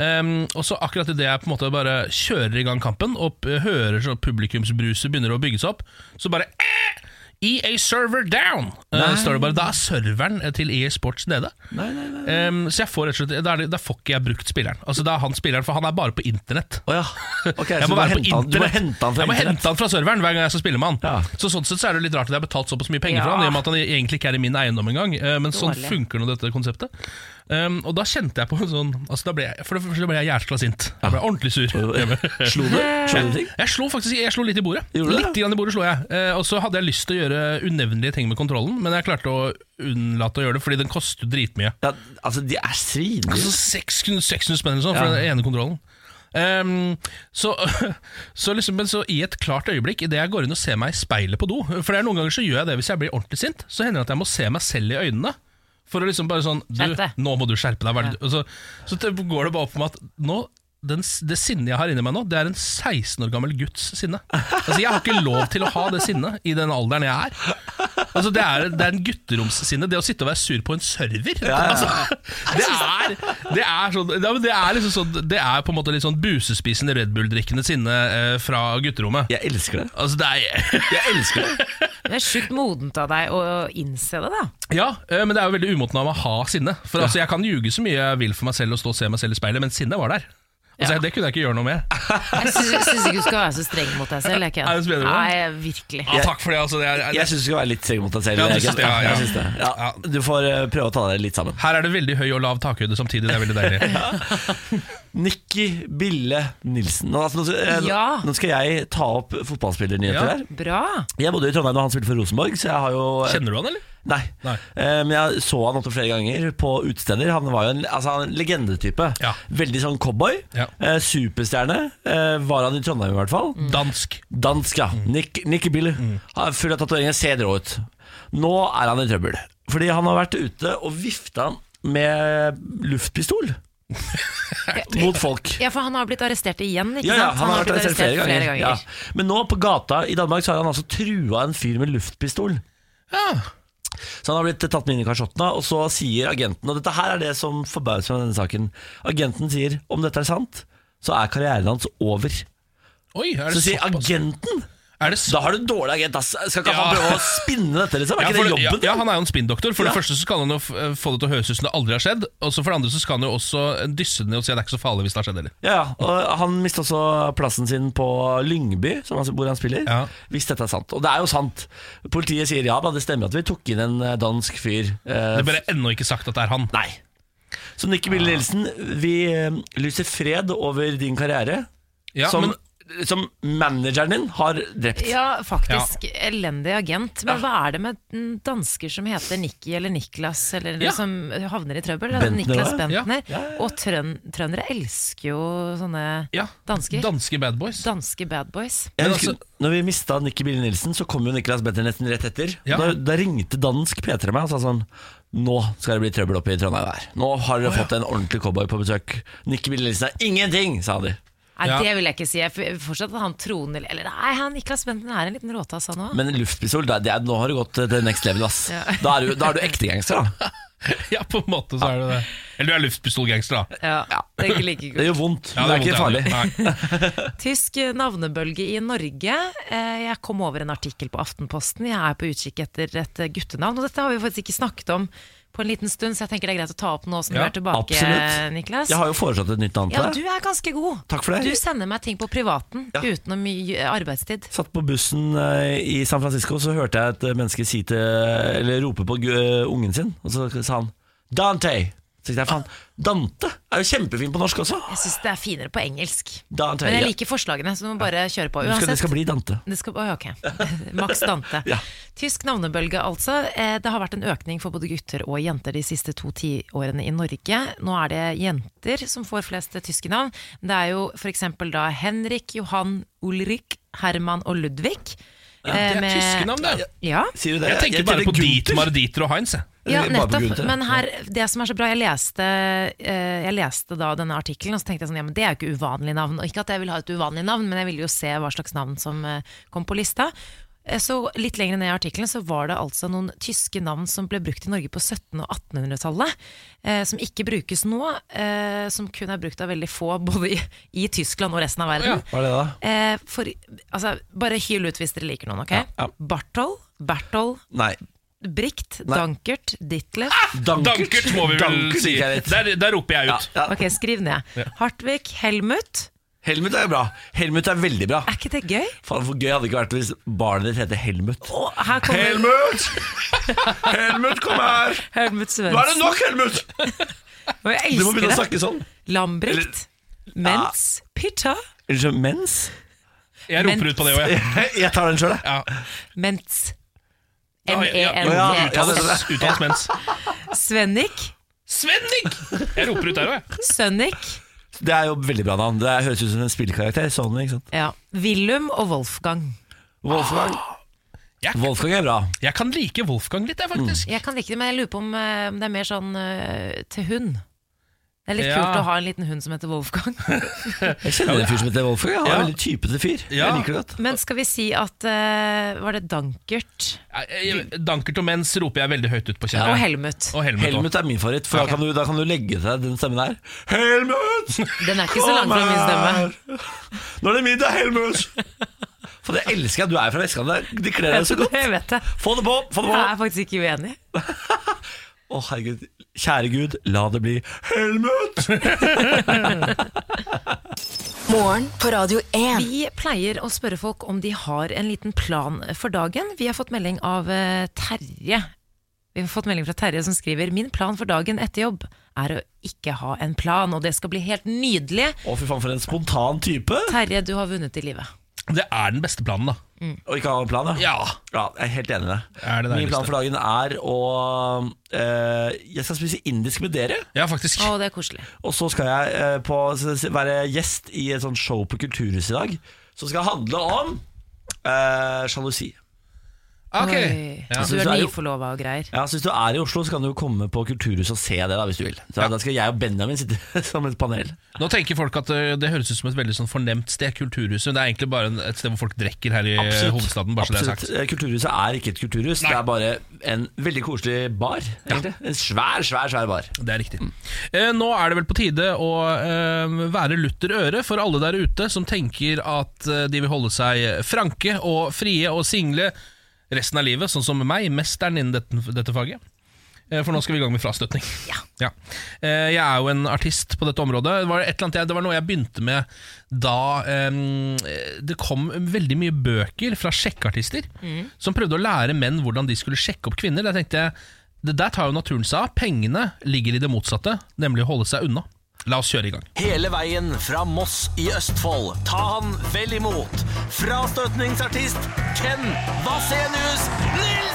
S3: Ehm, og så akkurat idet jeg på en måte bare kjører i gang kampen og p- hører så publikumsbruset begynner å bygge seg opp, så bare eh, EA server down! Eh, står det bare. Da er serveren eh, til EA Sports nede.
S1: Nei, nei, nei.
S3: Ehm, så jeg får rett og slett da, er det, da får ikke jeg brukt spilleren. Altså Da er han spilleren, for han er bare på internett.
S1: Å ja. Ok,
S3: Jeg
S1: så du,
S3: må
S1: må
S3: være på
S1: hente han, du må
S3: internett.
S1: hente han fra
S3: Jeg må
S1: internett.
S3: hente han fra serveren hver gang jeg skal spille med han.
S1: Ja.
S3: Så sånn sett så er det litt rart at jeg har betalt såpass mye penger for
S2: Ja.
S3: han, i og med at han egentlig ikke er i min eiendom engang. Eh, Men sånn
S2: Dårlig.
S3: funker nå dette konseptet. Um, og da kjente jeg på en sånn altså da ble jeg, For det første ble jeg jævla sint. Jeg ble ordentlig sur.
S1: Slo du? Slo du ting?
S3: Jeg slo faktisk jeg slo litt i bordet.
S1: Gjorde du det?
S3: Litt grann i bordet slo jeg eh, Og så hadde jeg lyst til å gjøre unevnelige ting med kontrollen, men jeg klarte å unnlate å gjøre det, fordi den koster jo dritmye.
S1: Ja, altså, de er svindyre.
S3: Altså 600, 600 spenn eller sånn for
S1: Ja.
S3: den ene kontrollen. Ehm, så, så liksom, men så i et klart øyeblikk, idet jeg går inn og ser meg i speilet på do For det er noen ganger så gjør jeg det hvis jeg blir ordentlig sint. Så hender det at jeg må se meg selv i øynene. For å liksom bare sånn Du,
S2: Skjerp deg.
S3: nå må du skjerpe deg. hva er det du- Og så, så t- går det bare opp for meg at nå den, s- det sinnet jeg har inni meg nå, det er en 16 år gammel gutts sinne. Altså Jeg har ikke lov til å ha det sinnet i den alderen jeg er. Altså Det er, det er en gutteromssinne. Det å sitte og være sur på en server Altså, det, er, det, er sånn, ja, men det er liksom sånn Det er på en måte litt sånn busespisende Red Bull-drikkende sinne eh, fra gutterommet.
S1: Jeg elsker det.
S3: Altså det er
S1: Jeg elsker det.
S2: Det er sjukt modent av deg å innse det, da.
S3: Ja, eh, men det er jo veldig umoten av å ha sinne. For altså, Jeg kan ljuge så mye jeg vil for meg selv og stå og se meg selv i speilet, men sinnet var der. Altså,
S2: Ja.
S3: Det kunne jeg ikke gjøre noe med.
S1: Ah,
S2: Jeg syns ikke du skal være så streng mot deg selv. Jeg, Ken.
S3: Er det så bedre, da?
S2: Nei, virkelig.
S3: Ja, takk for det. altså det er,
S1: Jeg syns du skal være litt streng mot deg selv.
S3: Ja, du
S1: Jørgen.
S3: synes det, ja, ja.
S1: Jeg synes det. Ja, du får eh, prøve å ta deg litt sammen.
S3: Her er det veldig høy og lav takhøyde samtidig. Det er veldig deilig.
S1: Nikki Bille Nilsen. Nå, altså, nå, skal- eh,
S2: Ja.
S1: nå skal jeg ta opp fotballspillernyheter
S3: Ja.
S1: her.
S2: Bra.
S1: Jeg bodde jo i Trondheim da han spilte for Rosenborg, så jeg har jo eh,
S3: Kjenner du han, eller?
S1: Nei.
S3: Nei.
S1: Eh, Men jeg så han opptil flere ganger på utesteder. Han var jo en, altså, han er en legendetype.
S3: Ja.
S1: Veldig sånn cowboy.
S3: Ja.
S1: Eh, Superstjerne eh, var han i Trondheim, i hvert fall.
S3: Dansk.
S1: Dansk, ja. Nick, Nicky Bille. Han er Full av tatoveringer, ser rå ut. Nå er han i trøbbel. Fordi han har vært ute og vifta med luftpistol mot folk.
S2: Ja, for han har blitt arrestert igjen, ikke
S1: Ja, ja,
S2: sant?
S1: han har vært arrestert flere ganger. Ja. Men nå på gata i Danmark så har han altså trua en fyr med luftpistol.
S3: Ja.
S1: Så han har blitt tatt med inn i kasjottene, og så sier agenten Og dette her er det som forbauser meg i denne saken. Agenten sier om dette er sant, så er karrieren hans over.
S3: Oi, er det
S1: Så sier
S3: såpass?
S1: agenten
S3: Er det så
S1: da har du en dårlig agent, ass. Skal ikke
S3: Ja.
S1: han prøve å spinne dette, liksom? Er
S3: Ja,
S1: ikke
S3: for
S1: det
S3: det-
S1: jobben?
S3: ja, ja, han er jo en spinndoktor. For
S1: Ja.
S3: det første så skal han jo f- eh, få det til å høres ut som det aldri har skjedd. Og så for det andre så skal han jo også eh, dysse det ned og si at det er ikke så farlig hvis det har skjedd heller.
S1: Ja, ja, og Han mistet også plassen sin på Lyngby, som han, hvor han spiller,
S3: Ja.
S1: hvis dette er sant. Og det er jo sant. Politiet sier ja da, det stemmer at vi tok inn en eh, dansk fyr. Eh,
S3: Det er bare ennå ikke sagt at det er han.
S1: Nei. Så Nikki Bille Nilsen, vi eh, lyser fred over din karriere.
S3: Ja,
S1: som
S3: men
S1: eh, som manageren din har drept.
S2: Ja, faktisk. Elendig agent. Men hva er det med mm, dansker som heter Nikki eller Niklas, eller
S3: Ja.
S2: som havner i trøbbel?
S1: Bentner
S2: Niklas
S1: også, ja.
S2: Bentner.
S1: Ja, ja, ja.
S2: Og trøn, trøndere elsker jo sånne
S3: Ja.
S2: dansker.
S3: Danske bad boys.
S2: Danske bad boys.
S1: Jeg
S3: Men altså-
S1: husker, når vi mista Nikki Bille Nilsen, så kom jo Niklas Bentner nesten rett etter.
S3: Ja.
S1: Da, da ringte dansk P3 meg og sa sånn Nå skal det bli trøbbel oppe i Trondheim her. Nå har dere fått en ordentlig cowboy på besøk. Nikki Bille Nilsen er ingenting, sa de.
S2: Nei,
S3: Ja.
S2: det vil jeg ikke si. Jeg f- fortsatt at han troner Eller nei, han Niklas Bentner er en liten råtass, han òg.
S1: Men luftpistol, det er, det er, nå har du gått eh, til next level, ass.
S2: Ja.
S1: Da, er du, da er du ekte gangster, da.
S3: Ja, på en måte så er det det. Eller du er luftpistolgangster, da.
S2: Ja, det er ikke like
S1: Det
S2: kult.
S1: gjør vondt,
S3: Ja,
S1: men det er ikke farlig.
S3: vondt, ja. Nei.
S2: Tysk navnebølge i Norge. Eh, Jeg kom over en artikkel på Aftenposten. Jeg er på utkikk etter et guttenavn. Og dette har vi faktisk ikke snakket om på en liten stund, så jeg tenker det er greit å ta opp nå som du
S3: Ja,
S2: er tilbake,
S1: absolutt.
S2: Niklas.
S1: Jeg har jo foreslått et nytt navn
S2: eh, Ja,
S1: til
S2: du
S1: deg.
S2: er ganske god.
S1: Takk for det.
S2: Du sender meg ting på privaten
S1: Ja.
S2: uten noe mye arbeidstid.
S1: Satt på bussen eh, i San Francisco, så hørte jeg et eh, menneske si til Eller rope på gu- eh, ungen sin, og så sa han Dante. Så tenkte jeg faen, Dante er jo kjempefin på norsk også.
S2: Jeg syns det er finere på engelsk.
S1: Dante,
S2: Men
S1: ja.
S2: jeg liker forslagene, så du må bare kjøre på.
S1: Du skal, det skal bli Dante.
S2: Det skal, oi, ok. Max Dante.
S1: Ja.
S2: Tysk navnebølge, altså. Eh, Det har vært en økning for både gutter og jenter de siste to tiårene i Norge. Nå er det jenter som får flest tyske navn. Det er jo f.eks. da Henrik, Johan, Ulrik, Herman og Ludvig.
S3: Det
S2: Eh,
S3: er
S2: med-
S3: tyske navn, det.
S2: Ja.
S1: Sier du det?
S3: Jeg tenker bare på
S1: Gunther.
S3: Dietmar, Dieter og Heinz. jeg.
S2: Ja,
S1: Eller bare på
S2: nettopp.
S1: Gunther.
S2: Men her, det som er så bra, jeg leste, eh, jeg leste da denne artikkelen, og så tenkte jeg sånn, ja, men det er jo ikke uvanlig navn. Og ikke at jeg vil ha et uvanlig navn, men jeg ville jo se hva slags navn som eh, kom på lista. Eh, Så litt lenger ned i artikkelen så var det altså noen tyske navn som ble brukt i Norge på 1700- og 1800-tallet, eh, som ikke brukes nå, eh, som kun er brukt av veldig få, både i, i Tyskland og resten av verden.
S1: Hva er det da?
S2: Eh, for, altså, bare hyl ut hvis dere liker noen, ok?
S1: ja.
S2: Bartol, Bertol,
S1: Nei.
S2: Brikt,
S1: Nei. Ah!
S2: Dankert, Ditlev
S3: Dankert, må vi vel
S1: Dankert
S3: si.
S1: liker jeg litt.
S3: Der, der roper jeg
S1: Ja,
S3: ut.
S1: ja.
S2: Ok, skriv ned. Hartvig, Helmut.
S1: Helmut er jo bra. Helmut er veldig bra.
S2: Er ikke det gøy?
S1: Faen, Hvor gøy hadde det ikke vært hvis barnet ditt heter Helmut.
S2: Og her kommer Helmut,
S1: Helmut! Helmut, kom her! Nå er det
S2: Svendsen.
S1: nok, Helmut!
S2: Og jeg
S1: Du må begynne
S2: elsker
S1: å
S2: det.
S1: snakke sånn.
S2: Lambrikt, Mens, Pitta,
S1: Unnskyld, mens?
S3: Jeg roper
S2: Men-
S3: ut på det òg, jeg.
S1: Jeg tar den sjøl, jeg.
S3: Ja.
S2: Mens.
S3: Ja, ja,
S2: E
S3: ja.
S1: Ja, ja,
S2: M-E-N-E-S.
S1: det-
S3: Uttales uttales mens.
S2: Svennik,
S3: Svennik! Jeg roper ut der òg, jeg.
S2: Sønnik,
S1: Det er jo veldig bra navn. Det høres ut som en spillkarakter. Sånn, ikke sant?
S2: ja. Willum og Wolfgang.
S1: Wolfgang.
S2: Ah.
S1: Wolfgang er bra.
S3: Jeg kan like Wolfgang litt, jeg, faktisk.
S2: Jeg kan like det, men jeg lurer på om eh, om det er mer sånn eh, til hund. Det er litt
S3: Ja.
S2: kult å ha en liten hund som heter Wolfgang.
S1: Jeg kjenner en fyr som heter Wolfgang. Han er
S3: Ja.
S1: veldig typete fyr.
S3: Ja.
S1: Jeg liker det godt.
S2: Men skal vi si at eh, Var det Dankert
S3: Jeg- jeg- Dankert og mens roper jeg veldig høyt ut på
S2: og
S3: kjenneren.
S2: Helmut?
S3: Og Helmut, også.
S1: Helmut er min favoritt, for da, kan du, da kan du legge til deg den stemmen der. Helmut!
S2: Den er ikke så lang fra min stemme.
S1: Nå er det middag, Helmut! For det elsker jeg. Du er fra Vestkanten. Det- Det kler deg så godt.
S2: Jeg vet det.
S1: Få det på! Få det på!
S2: Jeg er faktisk ikke uenig.
S1: Å, herregud. Kjære Gud, la det bli Helmut!
S4: Morgen på Radio 1.
S2: Vi pleier å spørre folk om de har en liten plan for dagen. Vi har fått melding av eh, Terje. Vi har fått melding fra Terje som skriver Min plan for dagen etter jobb er å ikke ha en plan, og det skal bli helt nydelig.
S1: Å, fy faen, for en spontan type.
S2: Terje, du har vunnet i livet.
S3: Det er den beste planen, da.
S1: Å ikke ha en plan, ja.
S3: Ja.
S1: Ja, jeg er helt enig i det.
S3: Er det
S1: Min plan
S3: deiligste.
S1: for dagen er å eh, Jeg skal spise indisk med dere.
S3: Ja, faktisk.
S2: Å, det er koselig.
S1: Og så skal jeg eh, på, s- s- være gjest i et sånt show på Kulturhuset i dag. Som skal handle om eh, sjalusi.
S3: Ok.
S2: Oi.
S3: Ja.
S2: Så
S1: Så
S2: du er
S1: er jo-
S2: nyforlova og greier.
S1: Ja, så Hvis du er i Oslo, så kan du jo komme på Kulturhuset og se det da, hvis du vil. Så Da skal jeg og Benjamin sitte som et panel.
S3: Nå tenker folk at ø, det høres ut som et veldig sånn fornemt sted, Kulturhuset. men Det er egentlig bare en- et sted hvor folk drikker her i ø, Eh, hovedstaden. bare så det er
S1: Absolutt.
S3: sagt.
S1: Eh, Kulturhuset er ikke et kulturhus. Det er bare en veldig koselig bar. egentlig. En svær, svær, svær bar.
S3: Det er riktig. Eh, nå er det vel på tide å eh, være lutter øre for alle der ute som tenker at eh, de vil holde seg franke og frie og single resten av livet, sånn som meg, mesteren innen dette, dette faget. Eh, For nå skal vi i gang med frastøtning. Ja. Eh, Jeg er jo en artist på dette området. Det var, et eller annet, jeg- det var noe jeg begynte med da em, eh, det kom veldig mye bøker fra sjekkeartister som prøvde å lære menn hvordan de skulle sjekke opp kvinner. Der tenkte jeg, det der tar jo naturen seg av. Pengene ligger i det motsatte, nemlig å holde seg unna. La oss kjøre i gang.
S5: Hele veien fra Moss i Østfold. Ta han vel imot. Frastøtningsartist Ken Vasenius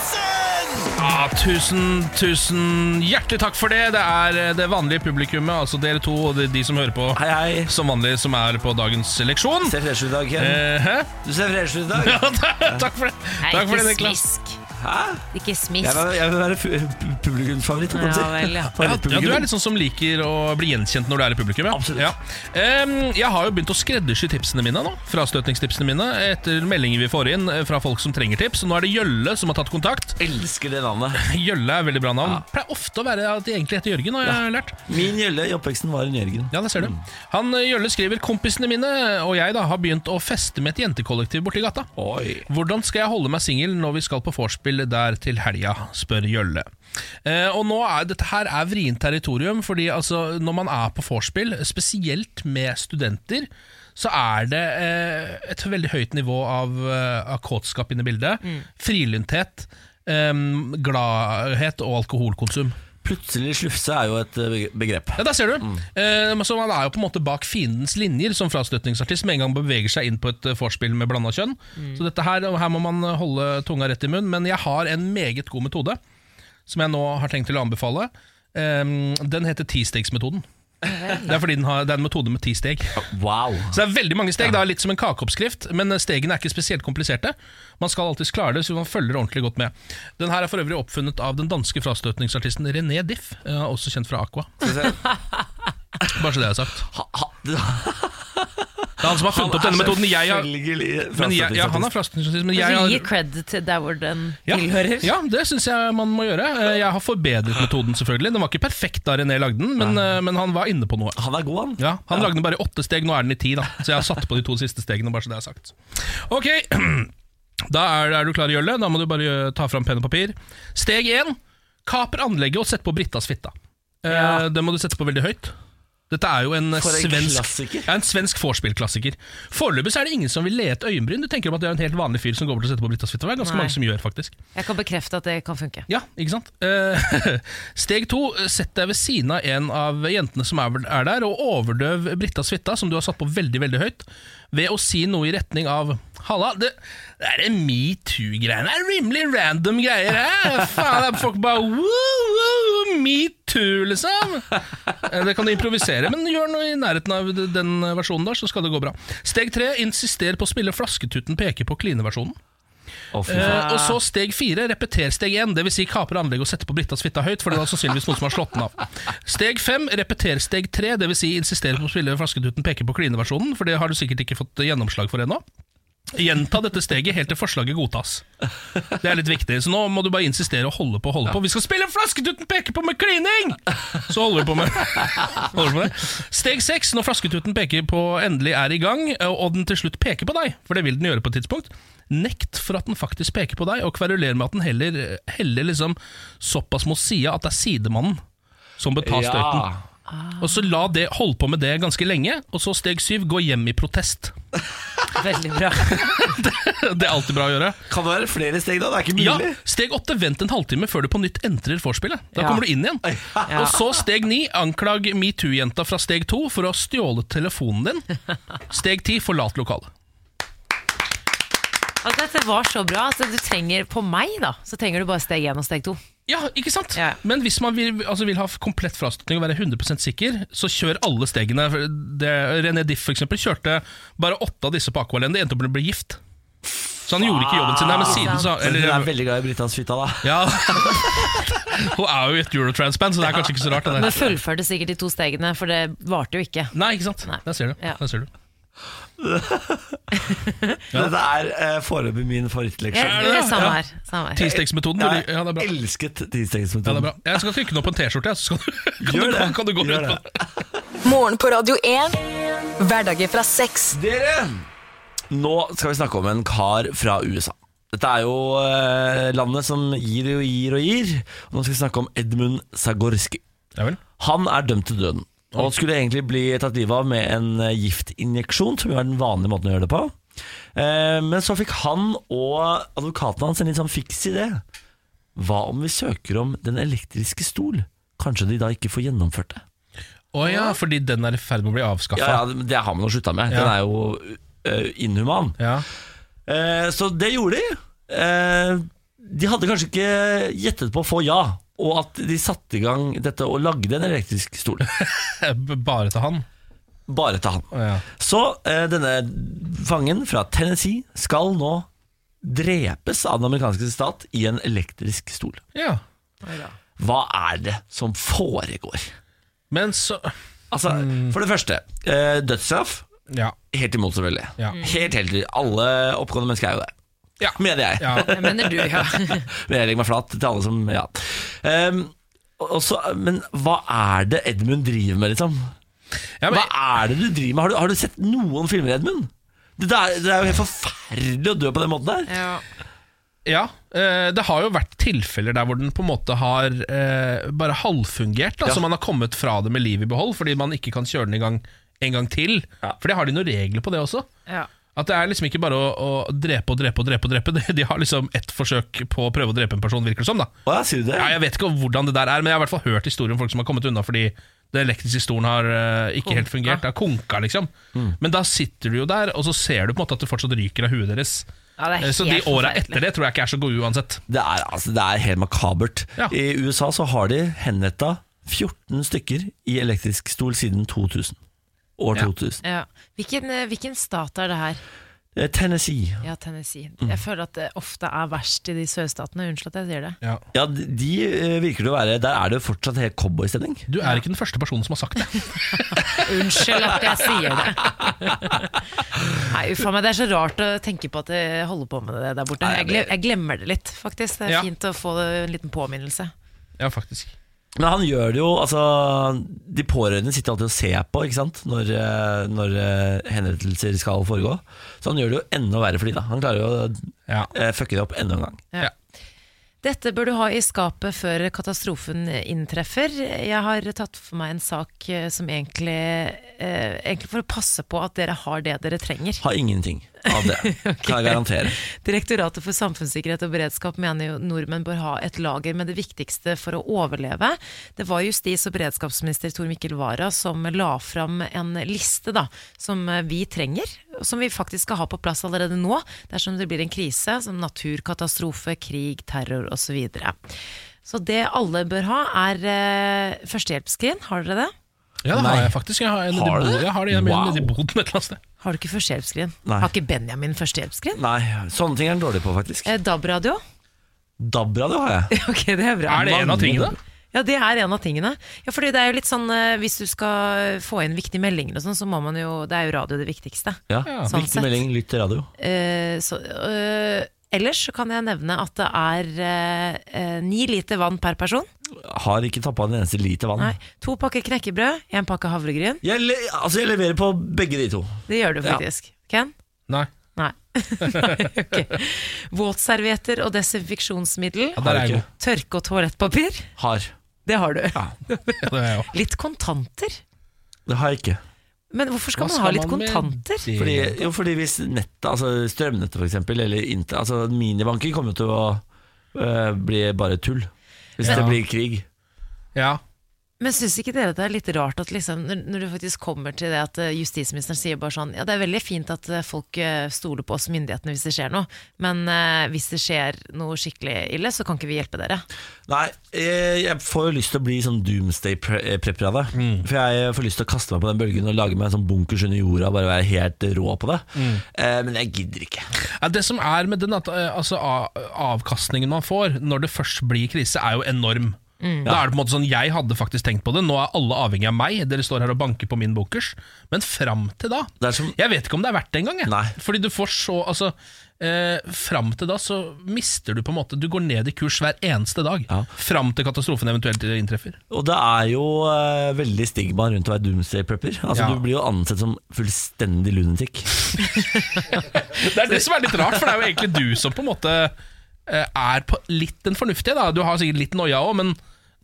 S5: Nilsen!
S3: Ja, tusen, tusen hjertelig takk for det. Det er eh, det vanlige publikummet, altså dere to og de, de som hører på
S1: Hei, hei.
S3: som vanlig, som er på dagens leksjon.
S1: Ser fresh ut i dag, Ken.
S3: Eh, hæ?
S1: Du ser fresh ut i dag.
S3: Ja, takk for det.
S2: Nei,
S3: Takk for det,
S2: ikke
S3: Niklas.
S2: smisk.
S1: Hæ?
S2: Ikke
S1: Jeg
S2: smisk.
S1: vil, jeg vil være fu- publikumsfavoritt. holdt jeg på å
S2: Ja
S1: si.
S2: vel, ja.
S3: Ja, ja,
S1: Favorittpublikum.
S3: du er litt sånn som liker å bli gjenkjent når du er i publikum. Ja.
S1: Absolutt.
S3: Ja. Em, jeg har jo begynt å skreddersy tipsene mine nå. Frastøtningstipsene mine etter meldinger vi får inn eh, fra folk som trenger tips. Og Nå er det Gjølle som har tatt kontakt.
S1: Elsker det navnet.
S3: Gjølle er veldig bra navn. Pleier ofte å være at de egentlig heter Jørgen, har jeg lært.
S1: Min gjølle i oppveksten var en Jørgen.
S3: Ja, det ser du. Han eh, Gjølle skriver 'Kompisene mine og jeg da har begynt å feste med et jentekollektiv borti gata'.
S1: Oi.
S3: Hvordan skal jeg holde meg singel når vi skal på vorspiel der til helga, spør Gjølle. Eh, og nå er dette her er vrient territorium, fordi altså, når man er på vorspiel, spesielt med studenter, så er det eh, et veldig høyt nivå av, eh, av kåtskap inne i bildet. Frilynthet, eh, gladhet og alkoholkonsum.
S1: Plutselig slufse er jo et eh, begrep.
S3: Ja, Der ser du. Eh, men så man er jo på en måte bak fiendens linjer som frastøtningsartist med en gang beveger seg inn på et eh, vorspiel med blanda kjønn. Så dette her, her må man eh, holde tunga rett i munnen. Men jeg har en meget god metode som jeg nå har tenkt til å anbefale. Eh, den heter tistegsmetoden. Det er fordi den har, det er en metode med ti steg.
S1: Wow.
S3: Så det er veldig mange steg, da, litt som en kakeoppskrift, men stegene er ikke spesielt kompliserte. Man skal alltids klare det, så man følger ordentlig godt med. Den her er for øvrig oppfunnet av den danske frastøtningsartisten René Diff, eh, også kjent fra Aqua. Bare så det er sagt.
S1: Ha, ha,
S3: Det er han som har funnet opp denne metoden. Jeg har, men jeg, ja, han er frastøtningsartist, men jeg
S2: Altså, gi
S3: har
S2: cred til der hvor den
S3: ja,
S2: tilhører.
S3: ja, det syns jeg man må gjøre. Eh, Jeg har forbedret metoden, selvfølgelig. Den var ikke perfekt da René lagde den, men, eh, men han var inne på noe.
S1: Han er god, han.
S3: Ja, Han lagde den bare i åtte steg, nå er den i ti, da. Så jeg har satt på de to siste stegene, bare så det er sagt. Ok, da er, er du klar, Jølle. Da må du bare gjø- ta fram penn og papir. Steg én. Kaper anlegget og sett på Brittas fitta. Eh,
S2: Ja.
S3: Den må du sette på veldig høyt. Dette er jo en eh,
S1: For en
S3: svensk
S1: klassiker.
S3: ja, en svensk vorspiel-klassiker. Foreløpig så er det ingen som vil le et øyenbryn. Du tenker jo at det er en helt vanlig fyr som går bort og setter på Brittas fitta. Det er ganske
S2: Nei.
S3: mange som gjør, faktisk.
S2: Jeg kan bekrefte at det kan funke.
S3: Ja, ikke sant? Eh, Steg to, sett deg ved siden av en av jentene som er, er der, og overdøv Britta Svitta, som du har satt på veldig, veldig høyt, ved å si noe i retning av Halla, det, det er en metoo-greiene. Det er rimelig random greier her. Faen, det er folk bare woo, woo, metoo, liksom. Eh, Det kan du improvisere, men gjør noe i nærheten av den versjonen der, så skal det gå bra. Steg tre, insister på å spille flasketutten peker på klineversjonen.
S1: Å, fy faen.
S3: Eh, og så steg fire, repeter steg én, dvs. Si kaper anlegget og setter på Brittas fitta høyt, for det var sannsynligvis noen som har slått den av. Steg fem, repeter steg tre, dvs. Si insistere på å spille flasketuten peker på klineversjonen, for det har du sikkert ikke fått gjennomslag for ennå. Gjenta dette steget helt til forslaget godtas. Det er litt viktig, så nå må du bare insistere og holde på. holde på Vi skal spille Flasketuten peker på med klining! Så holder du på med, holder du på med det. Steg seks, når Flasketuten peker på endelig er i gang, og den til slutt peker på deg, for det vil den gjøre på et tidspunkt, nekt for at den faktisk peker på deg, og kveruler med at den heller heller liksom såpass mot sida at det er sidemannen som bør Eh, ta støyten.
S1: Ja.
S3: Og så la det holde på med det ganske lenge, og så steg syv, gå hjem i protest.
S2: Veldig bra.
S3: Det er alltid bra å gjøre.
S1: Kan det være flere steg da? Det er ikke
S3: Ja,
S1: mulig.
S3: Steg åtte, vent en halvtime før du på nytt entrer vorspielet. Da
S2: Ja.
S3: kommer du inn igjen. Og så steg ni, anklag metoo-jenta fra steg to for å ha stjålet telefonen din. Steg ti, forlat lokalet.
S2: Altså, dette var så bra. Altså, du trenger, på meg, da, så trenger du bare steg én og steg to.
S3: Ja, ikke sant?
S2: Ja.
S3: Men hvis man vil, altså vil ha komplett frastøtning og være 100 sikker, så kjør alle stegene. Det, René Diff for eksempel, kjørte bare åtte av disse på Aqualend. Det endte opp med å bli gift. Så han gjorde ikke jobben sin. Nei, men siden så,
S1: Eller, Hun er
S3: eller,
S1: veldig glad i Brittas fitta, da.
S3: ja. Hun er jo i et Eurotrans-band, så det er kanskje ikke så rart. Det der.
S2: Men fullførte sikkert de to stegene, for det varte jo ikke.
S3: Nei, ikke sant?
S2: Nei.
S3: Der ser du.
S2: Ja.
S3: Der ser du.
S1: Dette er eh, foreløpig min favorittleksjon.
S2: Jeg,
S3: det det?
S2: jeg, samme
S3: Ja.
S2: her. Samme her.
S3: Tistegsmetoden.
S1: Jeg
S3: Ja, det er bra.
S1: elsket
S3: Ja, det er
S1: tistegsmetoden.
S3: bra. Jeg skal trykke den opp på en T-skjorte, jeg, så skal du, kan,
S1: Gjør
S3: du,
S1: det.
S3: gå- kan du gå
S1: Gjør
S3: rundt med
S1: det.
S3: den.
S4: Morgen på Radio 1. Hverdager fra seks.
S1: Dere! Nå skal vi snakke om en kar fra USA. Dette er jo eh, landet som gir og gir og gir. Og nå skal vi snakke om Edmund Zagorski.
S3: Ja vel.
S1: Han er dømt til døden. Og skulle egentlig bli tatt livet av med en eh, giftinjeksjon, som jo er den vanlige måten å gjøre det på. Eh, Men så fikk han og advokaten hans en litt sånn fiks idé. Hva om vi søker om Den elektriske stol? Kanskje de da ikke får gjennomført det?
S3: Å ja, fordi den er i ferd med å bli avskaffa.
S1: Ja, ja, det har man jo slutta med. Den
S3: Ja.
S1: er jo eh, inhuman.
S3: Ja.
S1: Eh, så det gjorde de. Eh, de hadde kanskje ikke gjettet på å få ja, og at de satte i gang dette og lagde en elektrisk stol.
S3: Bare til han.
S1: Bare til han.
S3: Å, ja.
S1: Så eh, denne fangen fra Tennessee skal nå drepes av den amerikanske stat i en elektrisk stol.
S3: ja.
S1: Hva er det som foregår?
S3: Men så
S1: Altså, For det første, eh, dødsstraff.
S3: Ja.
S1: Helt imot, selvfølgelig.
S3: Ja.
S1: Helt, helt Alle oppgående mennesker er jo det.
S3: Ja.
S1: Mener jeg.
S3: ja.
S2: Det mener du, ja.
S1: Men jeg legger meg flat til alle som Ja. Ehm, og så- men hva er det Edmund driver med, liksom?
S3: ja men,
S1: Hva er det du driver med? Har du, har du sett noen filmer, Edmund? Det, der, det er jo helt forferdelig å dø på den måten der.
S2: ja.
S3: ja. eh, Det har jo vært tilfeller der hvor den på en måte har eh, bare halvfungert. Da,
S1: Ja.
S3: Så man har kommet fra det med livet i behold, fordi man ikke kan kjøre den i gang en gang til.
S1: Ja.
S3: For det har de noen regler på det også.
S2: ja.
S3: At det er liksom ikke bare å, å drepe og drepe og drepe. og drepe De- De har liksom ett forsøk på å prøve å drepe en person, virker det som. da
S1: Å ja, sier du det?
S3: ja, Jeg vet ikke hvordan det der er, men jeg har i hvert fall hørt historier om folk som har kommet unna fordi den elektriske stolen har eh, ikke helt fungert. Det har konka, liksom. Men da sitter du jo der, og så ser du på en måte at det fortsatt ryker av huet deres.
S2: Ja, det er
S3: Eh, så de
S2: helt
S3: åra
S2: forferdelig.
S3: etter det tror jeg ikke er så gode uansett.
S1: Det er, altså, det er helt makabert.
S3: Ja.
S1: I USA så har de henretta 14 stykker i elektrisk stol siden 2000. År
S3: Ja.
S1: 2000.
S2: ja. Hvilken, eh, hvilken stat er det her?
S1: Eh, Tennessee.
S2: Ja, Tennessee.
S3: Mm.
S2: Jeg føler at det ofte er verst i de sørstatene. Unnskyld at jeg sier det.
S3: Ja.
S1: Ja, de- de eh, virker det å være Der er det jo fortsatt helt cowboystemning.
S3: Du er ikke den første personen som har sagt det.
S2: Unnskyld at jeg sier det. Nei, uffa meg. Det er så rart å tenke på at jeg holder på med det der borte.
S1: Nei,
S2: Jeg, gle- jeg glemmer det litt, faktisk. Det
S3: Ja.
S2: er fint å få en liten påminnelse.
S3: Ja, faktisk.
S1: Men han gjør det jo altså, De pårørende sitter alltid og ser på ikke sant? Når, eh, når eh, henrettelser skal foregå. Så han gjør det jo enda verre for de da. Han klarer jo å
S3: Ja.
S1: eh, fucke det opp enda en gang.
S3: Ja.
S2: Dette bør du ha i skapet før katastrofen inntreffer. Jeg har tatt for meg en sak eh, som egentlig eh, Egentlig for å passe på at dere har det dere trenger.
S1: Har ingenting av det, kan jeg garantere.
S2: Direktoratet for samfunnssikkerhet og beredskap mener jo nordmenn bør ha et lager med det viktigste for å overleve. Det var justis- og beredskapsminister Tor Mikkel Wara som la fram en liste da, som vi trenger, og som vi faktisk skal ha på plass allerede nå, dersom det blir en krise som naturkatastrofe, krig, terror osv. Så det alle bør ha, er eh, førstehjelpsskrin. Har dere det?
S3: ja, det har
S1: Nei.
S3: jeg faktisk. Jeg har, en nedi
S1: Har du
S3: boden.
S1: det?
S3: Jeg har det hjemme
S1: Wow.
S3: nedi boden et eller annet sted.
S2: Har du ikke førstehjelpsskrin?
S1: Nei.
S2: Har ikke Benjamin førstehjelpsskrin?
S1: Nei, sånne ting er han dårlig på, faktisk.
S2: Eh, DAB-radio?
S1: DAB-radio har jeg.
S2: ok, det er bra.
S3: Er det en av tingene?
S2: Ja, det er en av tingene. Ja, fordi det er jo litt sånn eh, Hvis du skal få inn viktige meldinger og sånn, så må man jo Det er jo radio det viktigste.
S1: Ja,
S2: sånn
S1: Viktig
S2: sett.
S1: melding, lytt til radio.
S2: Eh, så, eh, ellers så kan jeg nevne at det er eh, eh, ni liter vann per person.
S1: Har ikke tappa en eneste liter vann.
S2: Nei, to pakker knekkebrød, én pakke havregryn.
S1: Jeg, le altså, jeg leverer på begge de to.
S2: Det gjør du
S1: Ja.
S2: faktisk. Ken?
S3: Nei.
S2: Nei. Nei, ok. Våtservietter og desinfeksjonsmiddel.
S3: Ja, der
S1: Har
S3: er
S1: du
S3: jeg
S1: ikke?
S3: god.
S2: Tørke og toalettpapir.
S1: Har.
S2: Det har du.
S3: Ja, det er jeg også.
S2: Litt kontanter.
S1: Det har jeg ikke.
S2: Men hvorfor skal
S3: Hva
S2: man ha litt
S3: man med
S2: kontanter?
S3: det?
S1: Fordi, jo, fordi hvis nettet, altså strømnettet for eksempel, eller inter, altså minibanker kommer jo til å øh, bli bare tull. Hvis
S3: Ja.
S1: det blir krig.
S3: Ja.
S2: Men syns ikke dere det er litt rart at liksom, når når du faktisk kommer til det at eh, justisministeren sier bare sånn Ja, det er veldig fint at eh, folk eh, stoler på oss myndighetene hvis det skjer noe, men eh, hvis det skjer noe skikkelig ille, så kan ikke vi hjelpe dere.
S1: Nei, jeg, jeg får jo lyst til å bli sånn doomsday-prepper av det.
S3: Mm.
S1: For jeg får lyst til å kaste meg på den bølgen og lage meg en sånn bunkers under jorda og bare være helt rå på det.
S3: Mm.
S1: Eh, men jeg gidder ikke.
S3: Ja, det som er med den at, eh, altså, a- Avkastningen man får når det først blir krise, er jo enorm. Da er det på en måte sånn, Jeg hadde faktisk tenkt på det. Nå er alle avhengig av meg. Dere står her og banker på min bunkers. Men fram til da
S1: Det er som-
S3: Jeg vet ikke om det er verdt det engang. jeg.
S1: Nei.
S3: Fordi du får så altså, eh, Fram til da så mister du på en måte Du går ned i kurs hver eneste dag.
S1: Ja.
S3: Fram til katastrofen eventuelt inntreffer.
S1: Og det er jo eh, veldig stigma rundt å være doomsday-prepper. Altså,
S3: Ja.
S1: Du blir jo ansett som fullstendig lunatikk.
S3: Det er det som er litt rart, for det er jo egentlig du som på en måte eh, er på litt den fornuftige. Da. Du har sikkert litt noia òg, men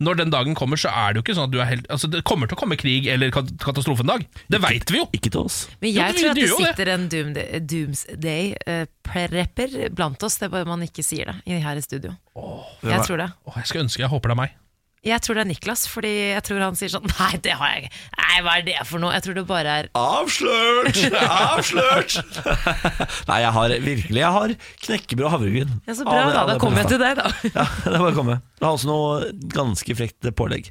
S3: når den dagen kommer, så er det jo ikke sånn at du er helt Altså, det kommer til å komme krig eller kat katastrofen en dag. Det veit vi jo!
S1: Ikke til oss.
S2: Men
S3: Jo,
S2: jeg
S3: men
S2: tror at
S3: du
S2: det
S3: gjør jo det.
S2: sitter en eh, doomde- doomsday-prepper blant oss, det er bare man ikke sier det i- her i studio. Jeg tror det.
S3: Åh, jeg skal ønske jeg håper det er meg.
S2: Jeg tror det er Niklas, fordi jeg tror han sier sånn Nei, det har jeg ikke. Nei, hva er det for noe? Jeg tror det bare er
S1: Avslørt! Avslørt! Nei, jeg har virkelig Jeg har knekkebrød og havregryn.
S2: ja, Så bra, da. Da kommer jeg til det, da.
S1: Ja, det er bare å komme. Det har også noe ganske frekt pålegg.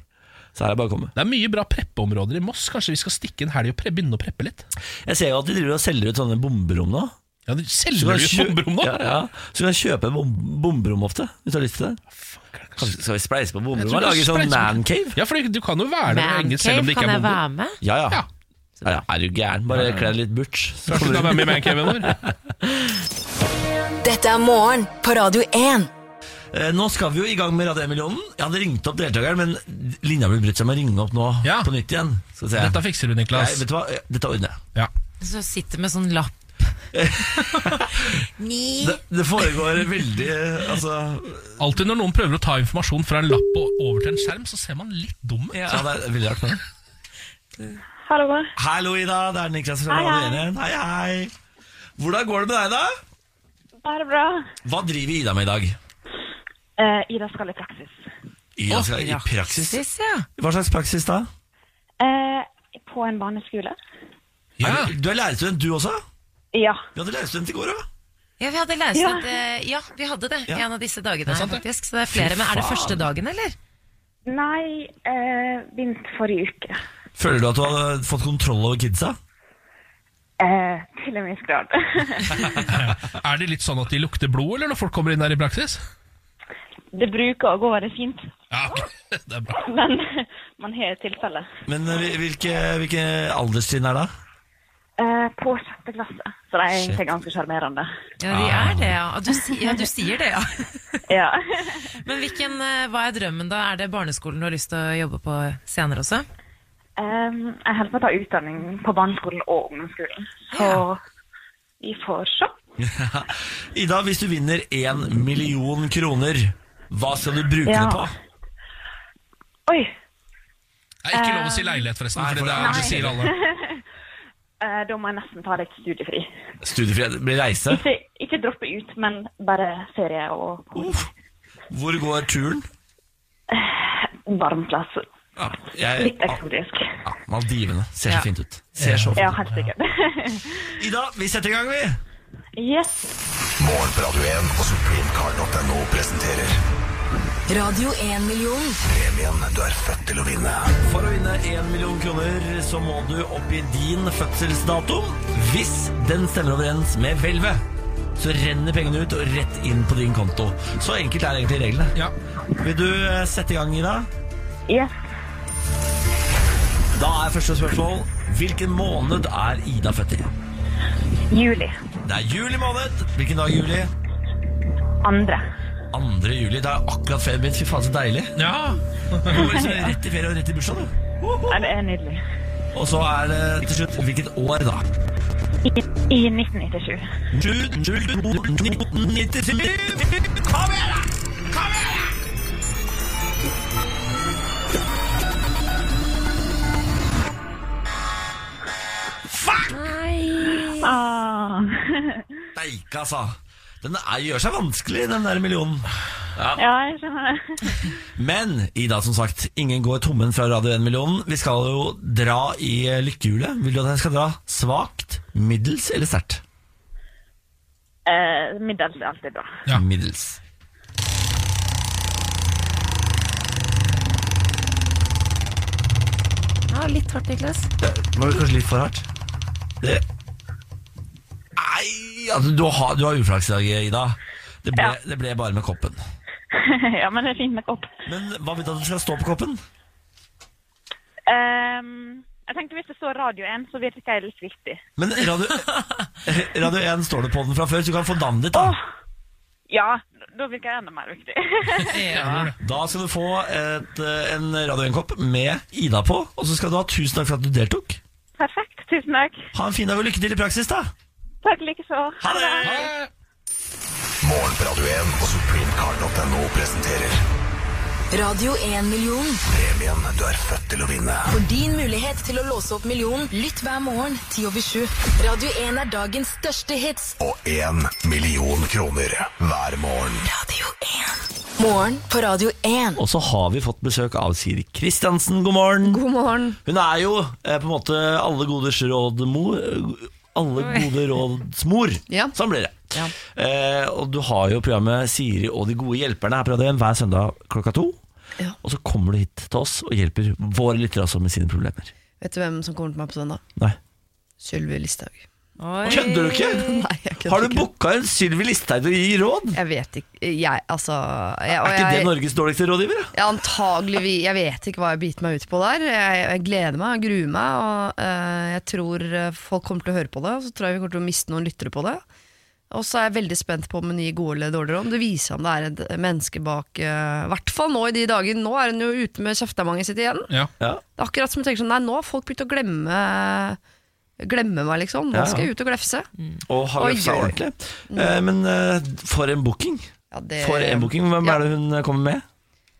S1: Så er det bare å komme.
S3: Det er mye bra preppeområder i Moss. Kanskje vi skal stikke en helg og pre begynne å preppe litt?
S1: Jeg ser jo at de driver og selger ut sånne bomberom nå.
S3: Ja, de
S1: Så
S3: Selger
S1: kan
S3: du
S1: kjø-
S3: bomberom nå?
S1: Ja, ja. Så du kan kjøpe bom bomberom ofte, hvis du har lyst til det. Kanskje skal vi spleise på
S3: Jeg
S1: bomberom
S3: tror
S1: og lage
S3: det
S1: sånn
S3: spreis-
S1: mancave?
S3: Ja, for du kan jo være der
S2: Man
S3: lenge selv om
S2: cave,
S3: det ikke
S2: kan
S3: er
S2: jeg
S3: bomberom.
S2: være med?
S1: Ja, ja.
S3: Ja.
S1: ja, ja. Er du gæren? Bare kle deg litt butch. Så
S3: Kanskje
S1: kommer
S3: du kan
S1: du.
S3: være med i mancaven vår?
S4: Dette er morgen på Radio 1.
S1: Eh, Nå skal vi jo i gang med Radio 1-millionen. Jeg hadde ringt opp deltakeren, men linja ble brutt, så jeg må ringe opp nå
S3: Ja.
S1: på nytt igjen. Skal vi se.
S3: Dette fikser du,
S1: Nei,
S3: Niklas.
S1: vet du hva? Dette ordner jeg.
S3: Ja.
S2: Så sitter med sånn lapp. Ni.
S1: Det, det foregår veldig eh, Altså
S3: Alltid når noen prøver å ta informasjon fra en lapp og over til en skjerm, så ser man litt dum ut.
S1: ja, det er veldig rart. men-
S6: Hallo.
S1: Hallo, Ida. Det er Niklas fra
S6: Hei,
S1: Radio 1 igjen. Hei, hei. Hvordan går det med deg, da?
S6: Bare bra.
S1: Hva driver Ida med i dag?
S6: Eh, Ida skal i praksis.
S1: Ida skal i praksis.
S2: ja.
S1: Hva slags praksis da?
S6: Eh, på en barneskole.
S3: Ja.
S1: Er du, du er lærerstudent, du også?
S6: Ja.
S1: Vi hadde lærerstudent i går òg.
S2: Ja, vi hadde lest
S6: Ja.
S2: at, eh, ja, vi hadde det
S1: Ja.
S2: en av disse dagene her,
S3: sant det.
S2: faktisk. Så det er flere, men er det
S1: faen.
S2: første dagen, eller?
S6: Nei, eh, begynte forrige uke.
S1: Føler du at du har fått kontroll over kidsa?
S6: Eh, til en viss grad.
S3: Er det litt sånn at de lukter blod, eller når folk kommer inn der i praksis?
S6: det bruker å gå veldig fint,
S3: Ja, ok. det er bra.
S6: men man har tilfeller.
S1: Men eh, hvil- hvilke, hvilke alderstrinn er det?
S6: Eh, på sjette klasse, så de er egentlig ganske sjarmerende.
S2: Ja, de
S1: Ah.
S2: er det, ja. Du, si- ja, du sier det, ja.
S6: Ja.
S2: Men hvilken, eh, hva er drømmen da? Er det barneskolen du har lyst til å jobbe på senere også?
S6: Eh, jeg holder på å ta utdanning på barneskolen og ungdomsskolen, så vi får se.
S1: Ida, hvis du vinner én million kroner, hva skal du bruke
S6: Ja.
S1: det på?
S6: Oi,
S3: Det er ikke lov å
S7: Eh,
S3: si leilighet, forresten.
S1: Nei,
S3: Fordi
S1: for
S3: det,
S1: det-
S3: er, det sier alle.
S6: eh, da må jeg nesten ta litt studiefri.
S1: Studiefrihet blir reise.
S6: Ikke, ikke droppe ut, men bare ferie og
S1: Uff. Hvor går turen?
S6: varm plass.
S1: Ja, jeg,
S6: Litt eksotisk.
S1: ja, Maldivene ser så
S2: Ja.
S1: fint ut. Ser så
S6: Ja,
S1: fint.
S6: helt sikkert.
S1: ut. Ida, vi setter i gang, vi.
S6: Yes.
S8: Morgen på Radio 1 og supremecard.no presenterer
S4: Radio 1-million.
S8: premien du er født til å vinne.
S1: For å vinne én million kroner så må du oppgi din fødselsdato. Hvis den stemmer overens med hvelvet, så renner pengene ut og rett inn på din konto. Så enkelt er egentlig reglene.
S3: Ja.
S1: Vil du eh, sette i gang, Ida?
S6: Yes.
S1: Da er første spørsmål Hvilken måned er Ida født i?
S6: Juli.
S1: Det er juli måned. Hvilken dag i juli?
S6: Andre.
S1: 2. juli. Det er akkurat ferien min. Fy faen, så deilig.
S3: ja.
S1: Du går liksom rett i ferie og rett i bursdag, du.
S6: Ja, det er nydelig.
S1: Og så er det til slutt hvilket år, da?
S6: I, i 1997.
S1: 1997. Kom igjen, da! Kom igjen! da! Fuck!
S6: Ah.
S1: Deike, altså. Den er, gjør seg vanskelig, den der millionen.
S6: Ja, jeg skjønner det.
S1: Men Ida, som sagt, ingen går tommen fra Radio 1-millionen. Vi skal jo dra i eh, lykkehjulet. Vil du at jeg skal dra svakt, middels eller sterkt?
S6: Eh, middels er alltid bra.
S3: Ja.
S1: Middels.
S2: Ja, litt hardt, Niklas.
S1: Var det kanskje litt for hardt? Det Nei, altså, du, har, du har uflaks i dag, Ida. Det ble,
S6: Ja.
S1: det ble bare med koppen.
S6: ja, men det er fint med kopp.
S1: Men hva vil du at du skal stå på koppen?
S6: Ehm, jeg tenkte hvis det står Radio 1, så virker jeg litt viktig.
S1: Men Radio, Radio 1 står det på den fra før, så du kan få navnet ditt.
S6: Åh!
S1: Da
S6: Ja, da virker jeg enda mer viktig.
S2: Ja.
S1: Da skal du få et, eh, en Radio 1-kopp med Ida på, og så skal du ha tusen takk for at du deltok.
S6: Perfekt. Tusen takk.
S1: Ha en fin dag og lykke til i praksis, da.
S6: Takk likeså.
S1: Ha det!
S3: Ja.
S8: Morgen på Radio 1 og supremecard.no presenterer
S4: Radio 1-million.
S8: premien du er født til å vinne.
S4: For din mulighet til å låse opp millionen, lytt hver morgen 10 over 7. Radio 1 er dagens største hits.
S8: Og én million kroner hver morgen.
S4: Radio 1. Morgen på Radio 1.
S1: Og så har vi fått besøk av Siri Kristiansen. God morgen.
S7: God morgen.
S1: Hun er jo eh, på en måte alle goders rådmor alle gode råds mor.
S7: Ja.
S1: Sånn blir det. Eh, og du har jo programmet Siri og de gode hjelperne her på Radio 1 hver søndag klokka to.
S7: Ja.
S1: Og så kommer du hit til oss og hjelper våre lyttere også med sine problemer.
S7: Vet du hvem som kommer til meg på søndag?
S1: Nei.
S7: Sylvi Listhaug.
S2: Oi.
S1: Kødder du ikke?
S7: Nei, jeg kødder
S1: Har du
S7: ikke.
S1: booka en Sylvi Listhaug til å gi råd?
S7: Jeg vet ikke jeg, altså, jeg, og
S1: Er ikke det
S7: jeg,
S1: Norges dårligste rådgiver? da?
S7: ja, antagelig, jeg vet ikke hva jeg biter meg ut på der. Jeg, jeg gleder meg, jeg gruer meg, og eh, jeg tror eh, folk kommer til å høre på det. Og så tror jeg vi kommer til å miste noen lyttere på det. Og så er jeg veldig spent på om hun gir gode eller dårligere råd. Om det viser seg om det er et menneske bak eh, I hvert fall nå i de dager. Nå er hun jo ute med kjeftemanget sitt igjen.
S3: Ja.
S1: Ja.
S7: Det er akkurat som jeg tenker sånn, nei, nå har folk begynt å glemme Glemme meg, liksom. Nå
S1: Ja.
S7: skal jeg ut og glefse.
S1: Og har
S7: Oi,
S1: løpt seg
S7: oi, oi.
S1: ordentlig. Eh, men eh, for en booking.
S7: Ja, det-
S1: For en booking. Hvem
S7: eh, Ja.
S1: er det hun kommer med?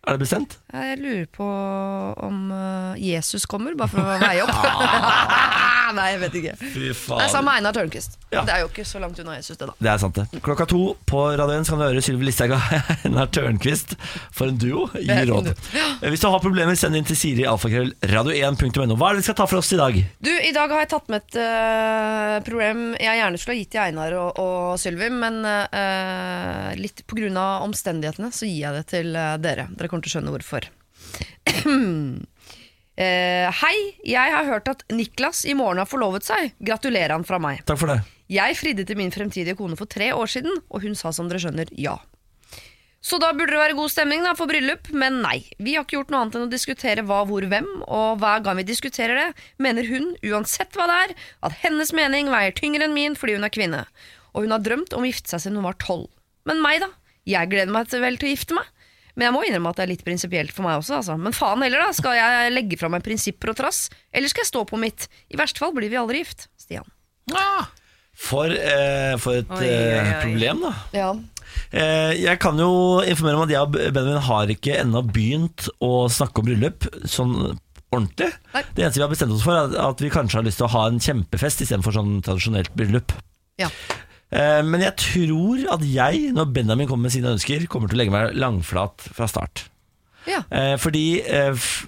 S1: Er det bestemt?
S7: Jeg lurer på om eh, Jesus kommer, bare for å veie opp. Nei, jeg vet ikke.
S1: Fy
S7: Det er
S1: faen.
S7: sammen med Einar Tørnquist.
S1: Ja.
S7: Det er jo ikke så langt unna Jesus, det, da.
S1: Det er sant, det. Klokka to på Radio 1 så kan du høre Sylvi Listhaug og Einar Tørnquist for en duo. Gi
S7: er en
S1: råd. Eh, Hvis du har problemer, send inn til Siri alfakrøll radio1.no. Hva er det vi skal ta for oss i dag?
S7: Du, I dag har jeg tatt med et eh, problem jeg gjerne skulle ha gitt til Einar og, og Sylvi, men eh, litt pga. omstendighetene så gir jeg det til eh, dere. Dere kommer til å skjønne hvorfor. Eh, hei, jeg har hørt at Niklas i morgen har forlovet seg. Gratulerer han fra meg.
S1: Takk for det.
S7: Jeg fridde til min fremtidige kone for tre år siden, og hun sa som dere skjønner ja. Så da burde det være god stemning da, for bryllup, men nei. Vi har ikke gjort noe annet enn å diskutere hva, hvor, hvem, og hver gang vi diskuterer det, mener hun, uansett hva det er, at hennes mening veier tyngre enn min fordi hun er kvinne. Og hun har drømt om å gifte seg siden hun var tolv. Men meg, da? Jeg gleder meg til vel til å gifte meg. Men jeg må innrømme at det er litt prinsipielt for meg også, altså. Men faen heller, da. Skal jeg legge fra meg prinsipper og trass? Eller skal jeg stå på mitt? I verste fall blir vi aldri gift. Stian.
S1: For, eh, for et
S2: Oi, oi,
S1: eh,
S2: oi.
S1: problem, da.
S7: Ja,
S1: Eh, jeg kan jo informere om at jeg og Benjamin har ikke ennå begynt å snakke om bryllup sånn ordentlig.
S7: Nei.
S1: Det eneste vi har bestemt oss for, er at vi kanskje har lyst til å ha en kjempefest istedenfor sånn tradisjonelt bryllup.
S7: Ja.
S1: Eh, Men jeg tror at jeg, når Benjamin kommer med sine ønsker, kommer til å legge meg langflat fra start.
S7: Ja.
S1: Eh, Fordi eh, f-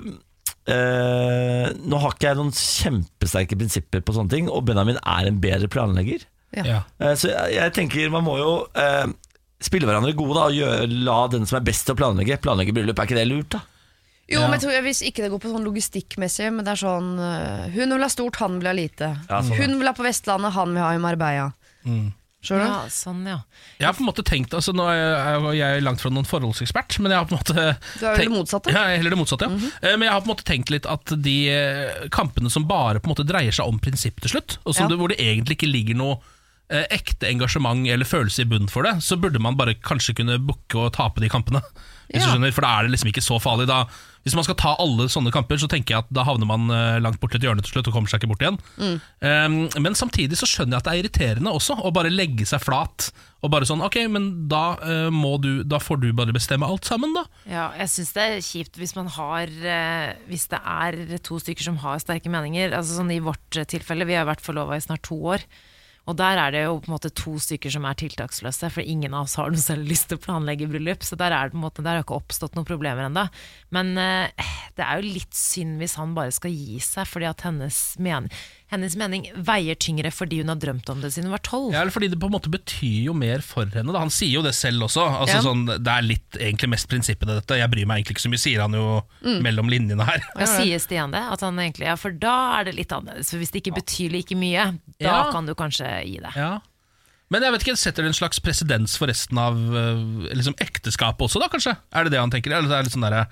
S1: eh, Nå har ikke jeg noen kjempesterke prinsipper på sånne ting, og Benjamin er en bedre planlegger.
S3: Ja.
S1: Eh, Så jeg, jeg tenker man må jo eh, spille hverandre gode da, og gjøre, la den som er best til å planlegge, planlegge bryllup. Er ikke det lurt, da?
S7: Jo,
S3: Ja.
S7: men jeg tror jeg, Hvis ikke det går på sånn logistikkmessig, men det er sånn øh, Hun vil ha stort, han vil ha lite.
S1: Ja, sånn, ja. Mm.
S7: hun vil ha på Vestlandet, han vil ha i Marbella. Skjønner du?
S2: Ja, sånn, ja.
S3: Jeg har på en måte tenkt altså Nå er jeg, jeg er langt fra noen forholdsekspert, men jeg har på en måte
S7: Du er vel det motsatte?
S3: Ja, jeg er heller det motsatte, ja.
S7: Mhm.
S3: Eh, Men jeg har på en måte tenkt litt at de eh, kampene som bare på en måte dreier seg om prinsipp til slutt, og som
S7: Ja.
S3: det, hvor det egentlig ikke ligger noe eh, ekte engasjement eller følelse i bunnen for det, så burde man bare kanskje kunne booke og tape de kampene. Hvis
S7: Ja.
S3: du skjønner, For da er det liksom ikke så farlig. Da, hvis man skal ta alle sånne kamper, så tenker jeg at da havner man eh, langt borti et hjørne til slutt og kommer seg ikke bort igjen.
S7: Mm.
S3: Eh, men samtidig så skjønner jeg at det er irriterende også å bare legge seg flat. Og bare sånn, ok, men da, eh, må du, da får du bare bestemme alt sammen, da.
S2: Ja, jeg syns det er kjipt hvis man har eh, Hvis det er to stykker som har sterke meninger. Altså sånn I vårt eh, tilfelle, vi har vært forlova i snart to år. Og der er det jo på en måte to stykker som er tiltaksløse, for ingen av oss har noe særlig lyst til å planlegge bryllup. Så der, er det på en måte, der har ikke oppstått noen problemer ennå. Men eh, det er jo litt synd hvis han bare skal gi seg, fordi at hennes, men hennes mening veier tyngre fordi hun har drømt om det siden hun var tolv.
S3: Ja, eller fordi det på en måte betyr jo mer for henne. Da. Han sier jo det selv også. Altså,
S7: Ja.
S3: sånn, det er litt egentlig mest prinsippet i dette. Jeg bryr meg egentlig ikke så mye, sier han jo
S7: Mm.
S3: mellom linjene her.
S2: Ja, sier Stian det? At han egentlig, ja, for da er det litt annerledes. For hvis det ikke betyr like mye, da
S3: Ja.
S2: kan du kanskje gi det.
S3: Ja. Men jeg vet ikke, setter det en slags presedens for resten av øh, liksom, ekteskapet også, da kanskje? Er det det han tenker? Eller så er det litt sånn der,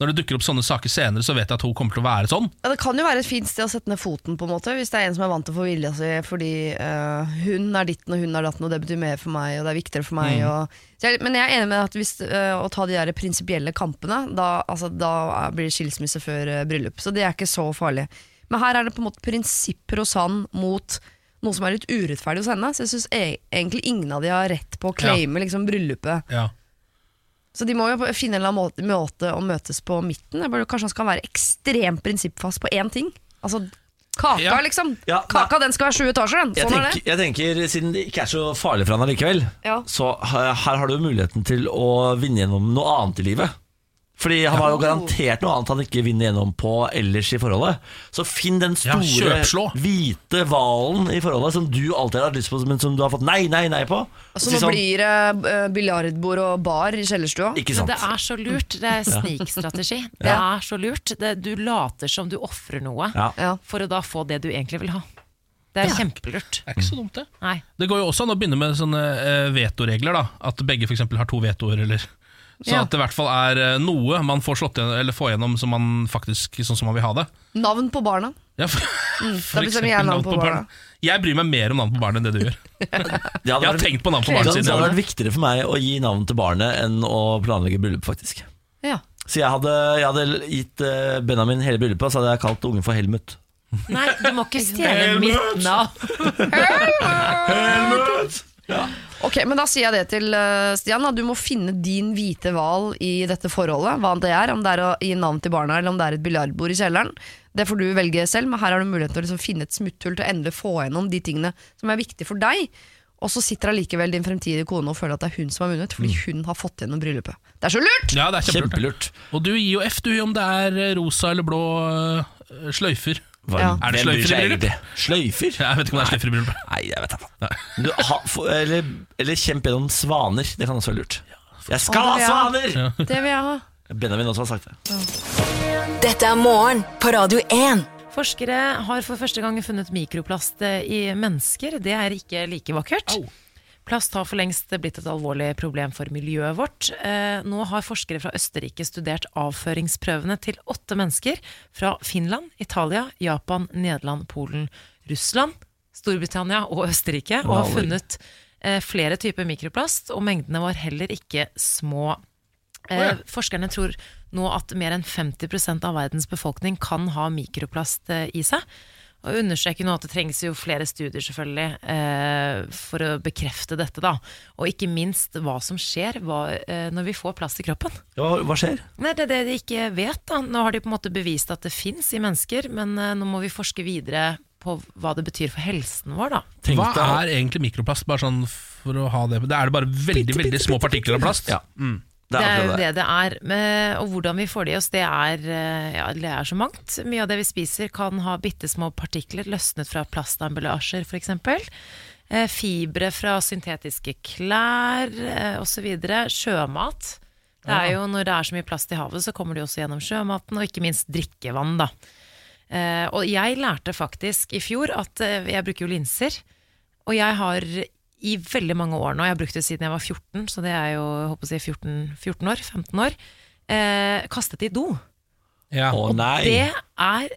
S3: når det dukker opp sånne saker senere, så vet jeg at hun kommer til å være sånn.
S7: Ja, det kan jo være et fint sted å sette ned foten, på en måte hvis det er en som er vant til å få vilja si fordi øh, hun er ditten og hun er datten, og det betyr mer for meg, og det er viktigere for meg. Og, så jeg, men jeg er enig med at hvis, øh, å ta de der prinsipielle kampene, da, altså, da er- blir det skilsmisse før øh, bryllup. Så det er ikke så farlig. Men her er det på en måte prinsipper hos han mot noe som er litt urettferdig hos henne. Så jeg syns egentlig ingen av de har rett på å claime liksom, bryllupet.
S3: Ja.
S7: Så de må jo finne en eller annen måte, måte å møtes på midten. Jeg burde, kanskje han skal være ekstremt prinsippfast på én ting. Altså Kaka,
S3: Ja.
S7: liksom.
S1: Ja,
S7: Kaka den skal være sju etasjer, den.
S1: Jeg
S7: Sånn er
S1: tenker,
S7: det.
S1: jeg tenker, Siden det ikke er så farlig for han allikevel,
S7: Ja.
S1: så her her har du muligheten til å vinne gjennom noe annet i livet. Fordi han har jo garantert noe annet han ikke vinner gjennom på ellers i forholdet. Så finn den
S3: Ja,
S1: store,
S3: kjøpslå.
S1: hvite hvalen i forholdet som du alltid har hatt lyst på, men som du har fått nei, nei, nei på. Og
S7: Så
S1: si
S7: nå
S1: sånn,
S7: Altså, blir det eh, biljardbord og bar i kjellerstua.
S1: Ikke
S2: Men
S1: sant?
S2: det er så lurt. Det er snikstrategi. Det er så lurt. Det, du later som du ofrer noe
S1: Ja.
S7: Ja.
S2: for å da få det du egentlig vil ha. Det er kjempelurt.
S3: Det er ikke så dumt, det.
S2: Nei.
S3: Det går jo også an å begynne med sånne eh, vetoregler, da. At begge f.eks. har to vetoer, eller Sånn
S7: Ja.
S3: at det i hvert fall er eh, noe man får slått igjen, eller får gjennom som man faktisk, sånn som man vil ha det.
S7: Navn på barna.
S3: Ja, for, for
S7: da bestemmer
S3: eksempel
S7: jeg navn på barna.
S3: Jeg bryr meg mer om navn på barnet enn det du gjør.
S1: Det hadde
S3: Jeg har
S1: vært-
S3: tenkt på navn på
S1: det
S3: barnet
S1: hadde-
S3: siden
S1: det
S3: jeg
S1: hadde
S3: var
S1: vært viktigere for meg å gi navn til barnet enn å planlegge bryllup, faktisk.
S7: Ja.
S1: Så jeg hadde, jeg hadde gitt eh, Benjamin hele bryllupet, og så hadde jeg kalt ungen for Helmut.
S2: Nei, du må ikke stjele
S3: Helmut!
S2: mitt navn.
S7: Ok, men Da sier jeg det til eh, Stian. Da. Du må finne din hvite hval i dette forholdet. Hva det er, Om det er å gi navn til barna eller om det er et biljardbord i kjelleren. Det får du velge selv, men her har du muligheten til å liksom finne et smutthull til å endelig få gjennom de tingene som er viktige for deg. Og så sitter allikevel din fremtidige kone og føler at det er hun som har vunnet, fordi hun har fått gjennom bryllupet. Det er så lurt!
S3: Ja, det er
S1: Kjempelurt.
S3: kjempelurt. Og du gir jo F, du, om det er eh, rosa eller blå eh, sløyfer.
S7: Ja.
S3: Er det
S1: Hvem bryr
S3: sløyfer i
S1: seg
S3: bryllup?
S1: egentlig? Sløyfer?
S3: Jeg vet ikke om det er sløyfer i bryllupet.
S1: Nei, jeg vet da faen. Du, ha, få- eller, eller kjemp gjennom svaner. Det kan også være lurt. Jeg skal ha
S7: Å, ja.
S1: svaner!
S7: Det vil jeg ha.
S1: Benjamin også har sagt det.
S4: Dette er morgen på Radio 1.
S2: Forskere har for første gang funnet mikroplast eh, i mennesker. Det er ikke like vakkert. Plast har for lengst blitt et alvorlig problem for miljøet vårt. Eh, Nå har forskere fra Østerrike studert avføringsprøvene til åtte mennesker fra Finland, Italia, Japan, Nederland, Polen, Russland, Storbritannia og Østerrike, og har
S1: Wow.
S2: funnet eh, flere typer mikroplast, og mengdene var heller ikke små. Eh, forskerne tror nå at mer enn 50 av verdens befolkning kan ha mikroplast eh, i seg. Og understreker nå at det trengs jo flere studier selvfølgelig eh, for å bekrefte dette. da. Og ikke minst hva som skjer hva, eh, når vi får plast i kroppen.
S1: Ja, hva skjer?
S2: Nei, Det er det de ikke vet. da. Nå har de på en måte bevist at det fins i mennesker, men eh, nå må vi forske videre på hva det betyr for helsen vår. da.
S1: Tenk
S3: Hva
S1: deg-
S3: er egentlig mikroplast? Bare sånn for å ha det Det er det bare veldig veldig små partikler av plast.
S1: Ja. Det
S2: Det
S1: er
S2: er jo
S1: akkurat det.
S2: det det er. Men- Og hvordan vi får det i oss, det er, eh, ja, det er så mangt. Mye av det vi spiser kan ha bitte små partikler løsnet fra plastemballasjer f.eks. Eh, Fibre fra syntetiske klær eh, osv. Sjømat. Det er jo, når det er så mye plast i havet, så kommer det jo også gjennom sjømaten, og ikke minst drikkevann. da. Eh, og jeg lærte faktisk i fjor at eh, jeg bruker jo linser. Og jeg har i veldig mange år nå, jeg har brukt det siden jeg var 14, så det er jo jeg håper å si 14, 14 år, 15 år, eh, kastet i do.
S3: Ja.
S1: Å nei.
S2: Det er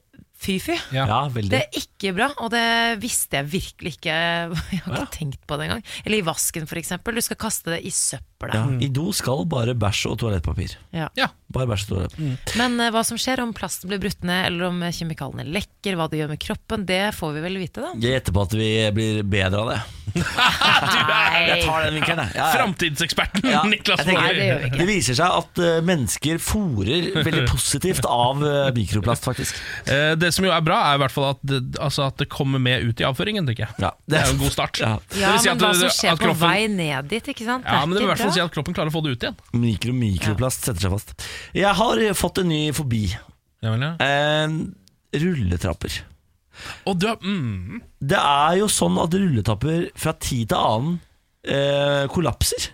S2: fy-fy.
S3: Ja.
S1: Ja,
S2: Det
S1: veldig.
S2: er ikke bra, og det visste jeg virkelig ikke. Jeg har ikke tenkt på det engang. Eller i vasken, for eksempel. Du skal kaste det i søpla.
S1: Ja. I do skal bare bæsj og toalettpapir.
S2: Ja.
S3: Ja.
S1: Bare bæsj og toalettpapir.
S2: Men eh, hva som skjer om plasten blir brutt ned, eller om eh, kjemikaliene lekker, hva det gjør med kroppen, det får vi vel vite, da.
S1: Jeg gjetter på at vi blir bedre av det. Jeg tar den vinkelen, jeg. Ja, ja.
S3: Framtidseksperten
S1: Ja,
S3: Niklas
S1: jeg tenker-
S2: Nei, det gjør vi ikke.
S1: Det viser seg at eh, mennesker fôrer veldig positivt av eh, mikroplast, faktisk.
S3: Eh, Det som jo er bra, er i hvert fall at det, altså at det kommer med ut i avføringen, tenker jeg.
S1: Ja.
S3: Det er jo en god start.
S1: Ja.
S2: Ja,
S3: Det vil si
S2: men
S3: at
S2: hva
S3: det-
S2: som skjer
S3: at
S2: på
S3: kroppen-
S2: vei ned dit, ikke sant?
S3: Ja, men det vil i
S2: ikke
S3: hvert fall
S2: bra.
S3: si at kroppen klarer å få det ut igjen.
S1: Mikro, mikroplast setter seg fast. Jeg har fått en ny fobi.
S3: Ja, vel, ja.
S1: Eh, rulletrapper.
S3: Og du har mm,
S1: Det er jo sånn at rulletrapper fra tid til annen eh, kollapser.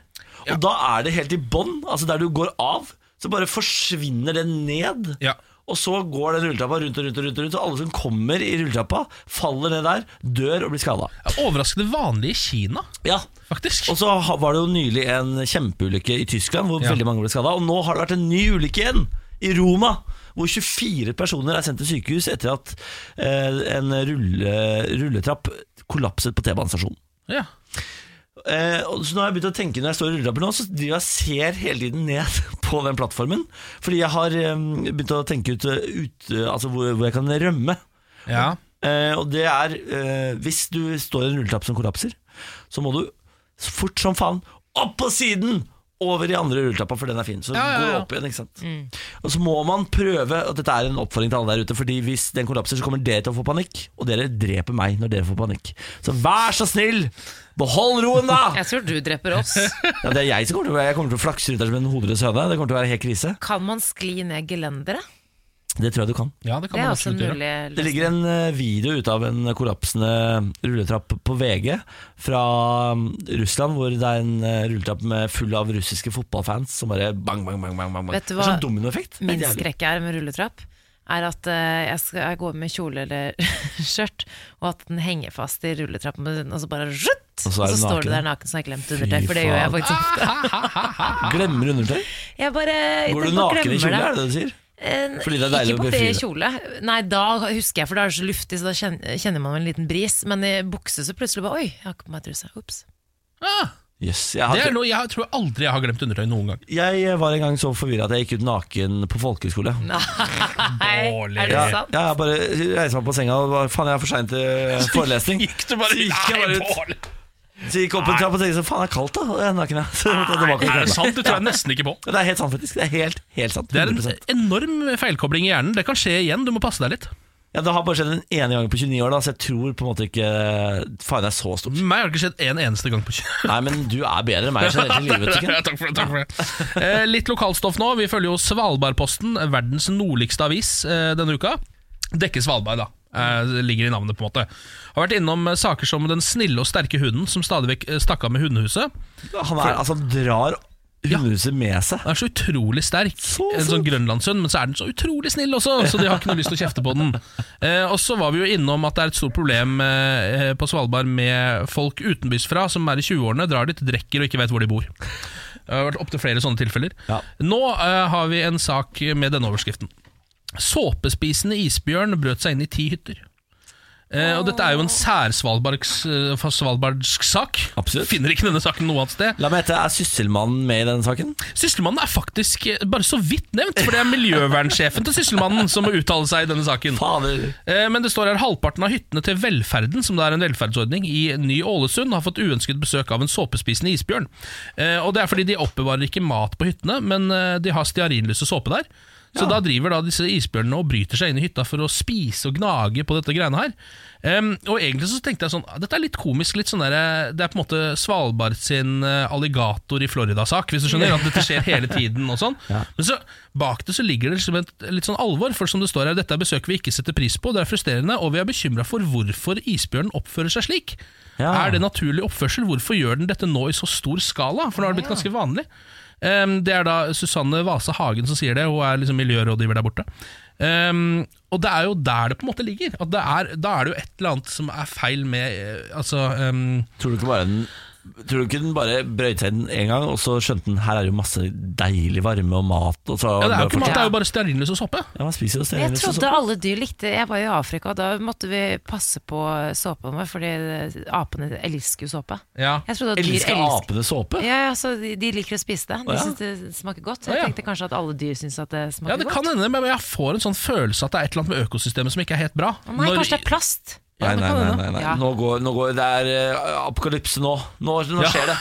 S3: Ja.
S1: Og da er det helt i bånn, altså der du går av, så bare forsvinner den ned.
S3: Ja.
S1: Og så går den rulletrappa rundt og rundt, og rundt, og rundt, og alle som kommer i rulletrappa, faller ned der, dør og blir skada.
S3: er Overraskende vanlig i Kina,
S1: Ja.
S3: faktisk.
S1: Og så ha- var det jo nylig en kjempeulykke i Tyskland hvor
S3: Ja.
S1: veldig mange ble skada. Og nå har det vært en ny ulykke igjen, i Roma. Hvor 24 personer er sendt til sykehus etter at eh, en rulle, rulletrapp kollapset på T-banestasjonen.
S3: Ja.
S1: Eh, og så nå har jeg begynt å tenke Når jeg står i rulletrappen nå, så driver jeg og ser hele tiden ned på den plattformen. Fordi jeg har eh, begynt å tenke ut, eh, ut eh, altså hvor, hvor jeg kan rømme.
S3: Ja.
S1: Eh, og det er eh, Hvis du står i en rulletrapp som kollapser, så må du så fort som faen opp på siden! Over i andre rulletrappa, for den er fin. Så
S3: Ja, ja,
S1: går du
S3: ja. Mm.
S1: opp igjen, ikke sant. Og så må man prøve at Dette er en oppfordring til alle der ute, Fordi hvis den kollapser, så kommer dere til å få panikk. Og dere dreper meg når dere får panikk. Så vær så snill, behold roen, da!
S2: Jeg tror du dreper oss.
S1: Ja, det er jeg som kommer til å, jeg kommer til å flakse rundt der som en hodeløs høne. Det kommer til å være helt krise.
S2: Kan man skli ned gelenderet?
S1: Det tror jeg du kan.
S3: Ja, det kan
S2: Det er
S3: man
S2: også en
S3: absolutt gjøre.
S2: mulig
S1: Det ligger en eh, video ute av en kollapsende rulletrapp på VG fra mm, Russland, hvor det er en eh, rulletrapp med full av russiske fotballfans som bare bang, bang, bang. bang, bang. bang.
S2: Vet du
S1: Det er
S2: hva
S1: sånn dominoeffekt.
S2: Min
S1: Det er jævlig.
S2: skrekk er med rulletrapp, er at eh, jeg, skal, jeg går med kjole eller skjørt, og at den henger fast i rulletrappen, og så bare zhutt,
S1: Og
S2: og
S1: så er
S2: så,
S1: du
S2: står du
S1: naken.
S2: der naken, så har jeg glemt
S1: Fy
S2: undertøy, for det gjør jeg
S1: faen.
S2: faktisk ofte.
S1: Glemmer undertøy?
S2: Jeg bare,
S1: Går du
S2: bare
S1: naken i
S2: glemmer
S1: kjole,
S2: det.
S1: er det det du sier?
S2: Eh,
S1: Fordi det er deilig
S2: ikke
S1: å
S2: på det
S1: befri det.
S2: kjole. Nei, da husker jeg, for da er det så luftig, så da kjen- kjenner man en liten bris. Men i bukse så plutselig bare Oi, jeg har ikke på meg truse. Ops.
S3: Ah,
S1: Yes, jeg,
S3: det er
S1: har,
S3: noe jeg tror aldri jeg har glemt undertøy noen gang.
S1: jeg eh, var en gang så forvirra at jeg gikk ut naken på folkehøyskole.
S2: Nei,
S3: Dårlig.
S2: er det
S1: Ja,
S2: sant?
S1: jeg bare reiste meg på senga og bare, faen, jeg er for sein til eh, forelesning.
S3: Gikk du bare,
S1: Så gikk jeg
S3: Nei,
S1: bare ut.
S3: Pål.
S1: Så gikk jeg opp en trapp og tenkte sånn, faen, det er kaldt, da. og Jeg er naken, jeg. Så måtte jeg tilbake og kle
S3: Er
S1: meg.
S3: det sant? Det tror jeg nesten ikke på.
S1: Ja, Det er helt sant, faktisk. Det er helt, helt sant.
S3: Det er
S1: 100%.
S3: en enorm feilkobling i hjernen. Det kan skje igjen, du må passe deg litt.
S1: Ja, Det har bare skjedd den ene gangen på 29 år, da, så jeg tror på en måte ikke Faen, det er så stort.
S3: Meg har det ikke skjedd en eneste gang på kjø-
S1: Nei, men du er bedre enn meg generelt i livet.
S3: Ja,
S1: Tykken.
S3: takk for det, takk for det. Eh, litt lokalstoff nå. Vi følger jo Svalbardposten, verdens nordligste avis eh, denne uka. Dekker Svalbard, da. Eh, det ligger i navnet, på en måte. Har vært innom eh, saker som den snille og sterke hunden som stadig vekk eh, stakk av med hundehuset.
S1: Han er, altså, han drar hundehuset med seg.
S3: Den er så utrolig sterk,
S1: Så
S3: en sånn grønlandshund, men så er den så utrolig snill også, så de har ikke noe lyst til å kjefte på den. Eh, og så var vi jo innom at det er et stort problem eh, på Svalbard med folk utenbys fra som er i 20-årene, drar dit, drikker og ikke vet hvor de bor. Det har vært opptil flere sånne tilfeller.
S1: Ja.
S3: Nå eh, har vi en sak med denne overskriften. Såpespisende isbjørn brøt seg inn i ti hytter. Eh, og Dette er jo en særsvalbardsk eh, svalbardsk sak.
S1: Ah. Absolutt.
S3: Finner ikke denne saken noe annet sted.
S1: La meg hete, er sysselmannen med i denne saken?
S3: Sysselmannen er faktisk eh, bare så vidt nevnt, for det er miljøvernsjefen til Sysselmannen som må uttale seg i denne saken.
S1: Fader.
S3: Eh, Men det står her halvparten av hyttene til velferden, som det er en velferdsordning i Ny-Ålesund, har fått uønsket besøk av en såpespisende isbjørn. Eh, Og det er fordi de oppbevarer ikke mat på hyttene, men eh, de har stearinløse såpe der. Så da driver da disse isbjørnene og bryter seg inn i hytta for å spise og gnage på dette greiene her. Eh, Em, og egentlig så tenkte jeg sånn Dette er litt komisk. Litt sånn der, det er på en måte Svalbard sin eh, alligator i Florida-sak, hvis du skjønner. At dette skjer hele tiden og sånn. Men så bak det så ligger det liksom et litt sånn alvor. For som det står her, dette er besøk vi ikke setter pris på, det er frustrerende, og vi er bekymra for hvorfor isbjørnen oppfører seg slik.
S1: Ja.
S3: Er det naturlig oppførsel? Hvorfor gjør den dette nå i så stor skala? For nå har det blitt ganske vanlig. Em, det er da Susanne Vase Hagen som sier det, hun er liksom miljørådgiver der borte. Em, Ehm, og det er jo der det på en måte ligger. At det er, da er det jo et eller annet som er feil med eh, Altså em,
S1: Tror du ikke bare den Tror du ikke den bare brøyt seg inn én gang, og så skjønte den her er det jo masse deilig varme og mat? Og så,
S3: ja, Det er jo ikke mat, det er jo bare stearinløs og såpe.
S1: Ja, man spiser jo
S2: Jeg
S1: stearinløs og
S2: trodde alle dyr likte Jeg var i Afrika, og da måtte vi passe på såpen vår, fordi eh, apene elsker jo såpe.
S3: Ja.
S2: Jeg trodde at dyr
S1: Elsker
S2: elsker
S1: apene såpe?
S2: ja, ja, så de, de liker å spise det. De
S1: ja.
S2: syns det smaker godt. Så
S3: Å,
S2: jeg
S3: ja.
S2: tenkte kanskje at alle dyr syns at det
S3: Ja,
S2: smaker
S3: det kan
S2: godt.
S3: hende, men jeg får en sånn følelse at det er et eller annet med økosystemet som ikke er helt bra.
S2: Å nei,
S3: Når-
S2: kanskje det er plast!
S1: Nei, nei, nei. nei, nei.
S2: Ja.
S1: Nå, går, nå går Det er eh, apokalypse nå. Nå, nå
S3: Ja.
S1: skjer det.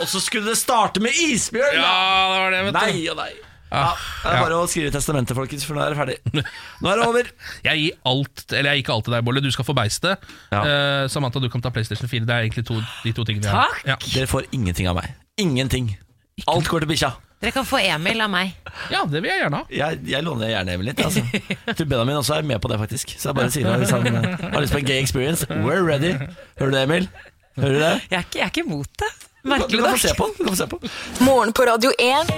S1: Og så skulle det starte med isbjørn!
S3: Ja,
S1: da!
S3: det var det, vet du.
S1: Nei og nei. Ja, det er bare å skrive testamentet, folkens, for nå er det ferdig. Nå er det over.
S3: Jeg gir alt, eller jeg gir ikke alt til deg, Bolle. Du skal få beistet.
S1: Ja.
S3: Eh, Samantha, du kan ta PlayStation 4. Det er egentlig to, de to tingene vi har.
S2: Takk.
S3: Ja.
S1: Dere får ingenting av meg. Ingenting. Alt går til bikkja.
S2: Dere kan få Emil av meg.
S3: ja, det vil jeg gjerne ha.
S1: Jeg, jeg låner gjerne Emil litt. Altså. Jeg tror Benjamin også er med på det, faktisk. Så jeg bare sier det hvis han eh, har lyst på en gay experience. We're ready. Hører du det, Emil? Hører du det?
S2: Jeg er ikke, jeg er ikke imot det.
S1: Du
S2: Merkelig
S1: kan få
S2: nok.
S1: se på. Du kan få se på.
S4: Morgen på Radio 1.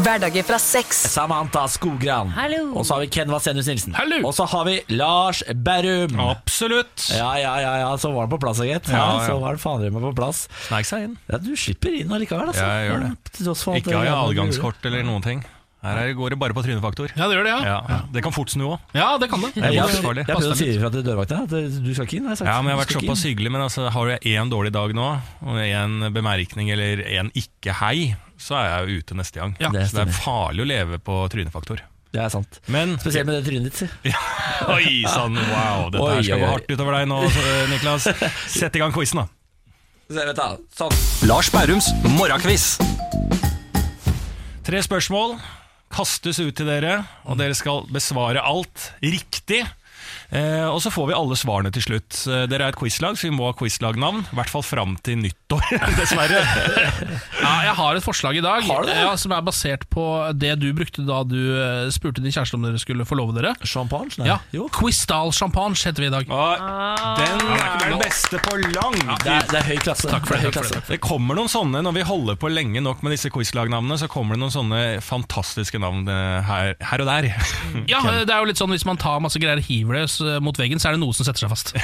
S4: Hverdager fra seks.
S1: Samantha Skogran.
S2: Hallo.
S1: Og så har vi Ken Vasenius Nilsen.
S3: Hallo.
S1: Og så har vi Lars Berrum.
S9: Absolutt.
S1: Ja, ja, ja, ja, så var han på plass, gitt. Ja,
S9: Ja, ja.
S1: Så var han fader meg på plass.
S9: Snek seg inn.
S1: Ja, du slipper inn allikevel, altså.
S9: Ja, jeg gjør det.
S1: Til tross for alt
S9: Ikke
S1: det-
S9: har jeg adgangskort eller noen ting. Her er- går det bare på trynefaktor.
S3: Ja, det gjør det, ja.
S9: Ja, det kan fort snu òg.
S3: Ja, det kan det.
S1: Jeg, jeg, jeg,
S9: livsfarlig.
S1: prøvde å
S3: Pass
S1: si ifra til dørvakta at eh, du skal ikke inn. har Jeg sagt.
S9: Ja, men jeg har vært
S1: Du skal ikke
S9: såpass hyggelig, men altså, har jeg én dårlig dag nå, og én bemerkning eller én ikke-hei, så er jeg jo ute neste gang.
S1: det
S9: så det
S1: stemmer.
S9: er farlig å leve på trynefaktor.
S1: inn. Det er sant.
S9: Men
S1: Spesielt med det trynet ditt. si.
S9: Oi sann, wow! Dette
S1: Oi,
S9: her
S1: oi,
S9: skal gå
S1: oi.
S9: hardt utover deg nå, så, Niklas. Sett i gang quizen, da.
S1: Så jeg vet da, sånn.
S5: Lars Bærums morgenquiz.
S9: Tre spørsmål kastes ut til dere, og dere skal besvare alt riktig. Eh, og så får vi alle svarene til slutt. Eh, dere er et quizlag, så vi må ha quizlagnavn. I hvert fall fram til nyttår, dessverre.
S3: Ja, jeg har et forslag i dag
S1: Har du det?
S3: Ja, som er basert på det du brukte da du eh, spurte din kjæreste om dere skulle forlove dere.
S1: Champagne? Nei.
S3: Ja,
S1: sånn Jo.
S3: Quistal Champagne heter vi i dag.
S9: Og den er den beste på lang
S1: Det er, det er høy klasse.
S3: Takk for det,
S1: er høy
S3: takk for det.
S1: klasse.
S9: Det kommer noen sånne når vi holder på lenge nok med disse quizlagnavnene. Så kommer det noen sånne fantastiske navn eh, her, her og der.
S3: Ja, eh, det er jo litt sånn Hvis man tar masse greier og hiver det s- mot veggen, så er det noe som setter seg fast.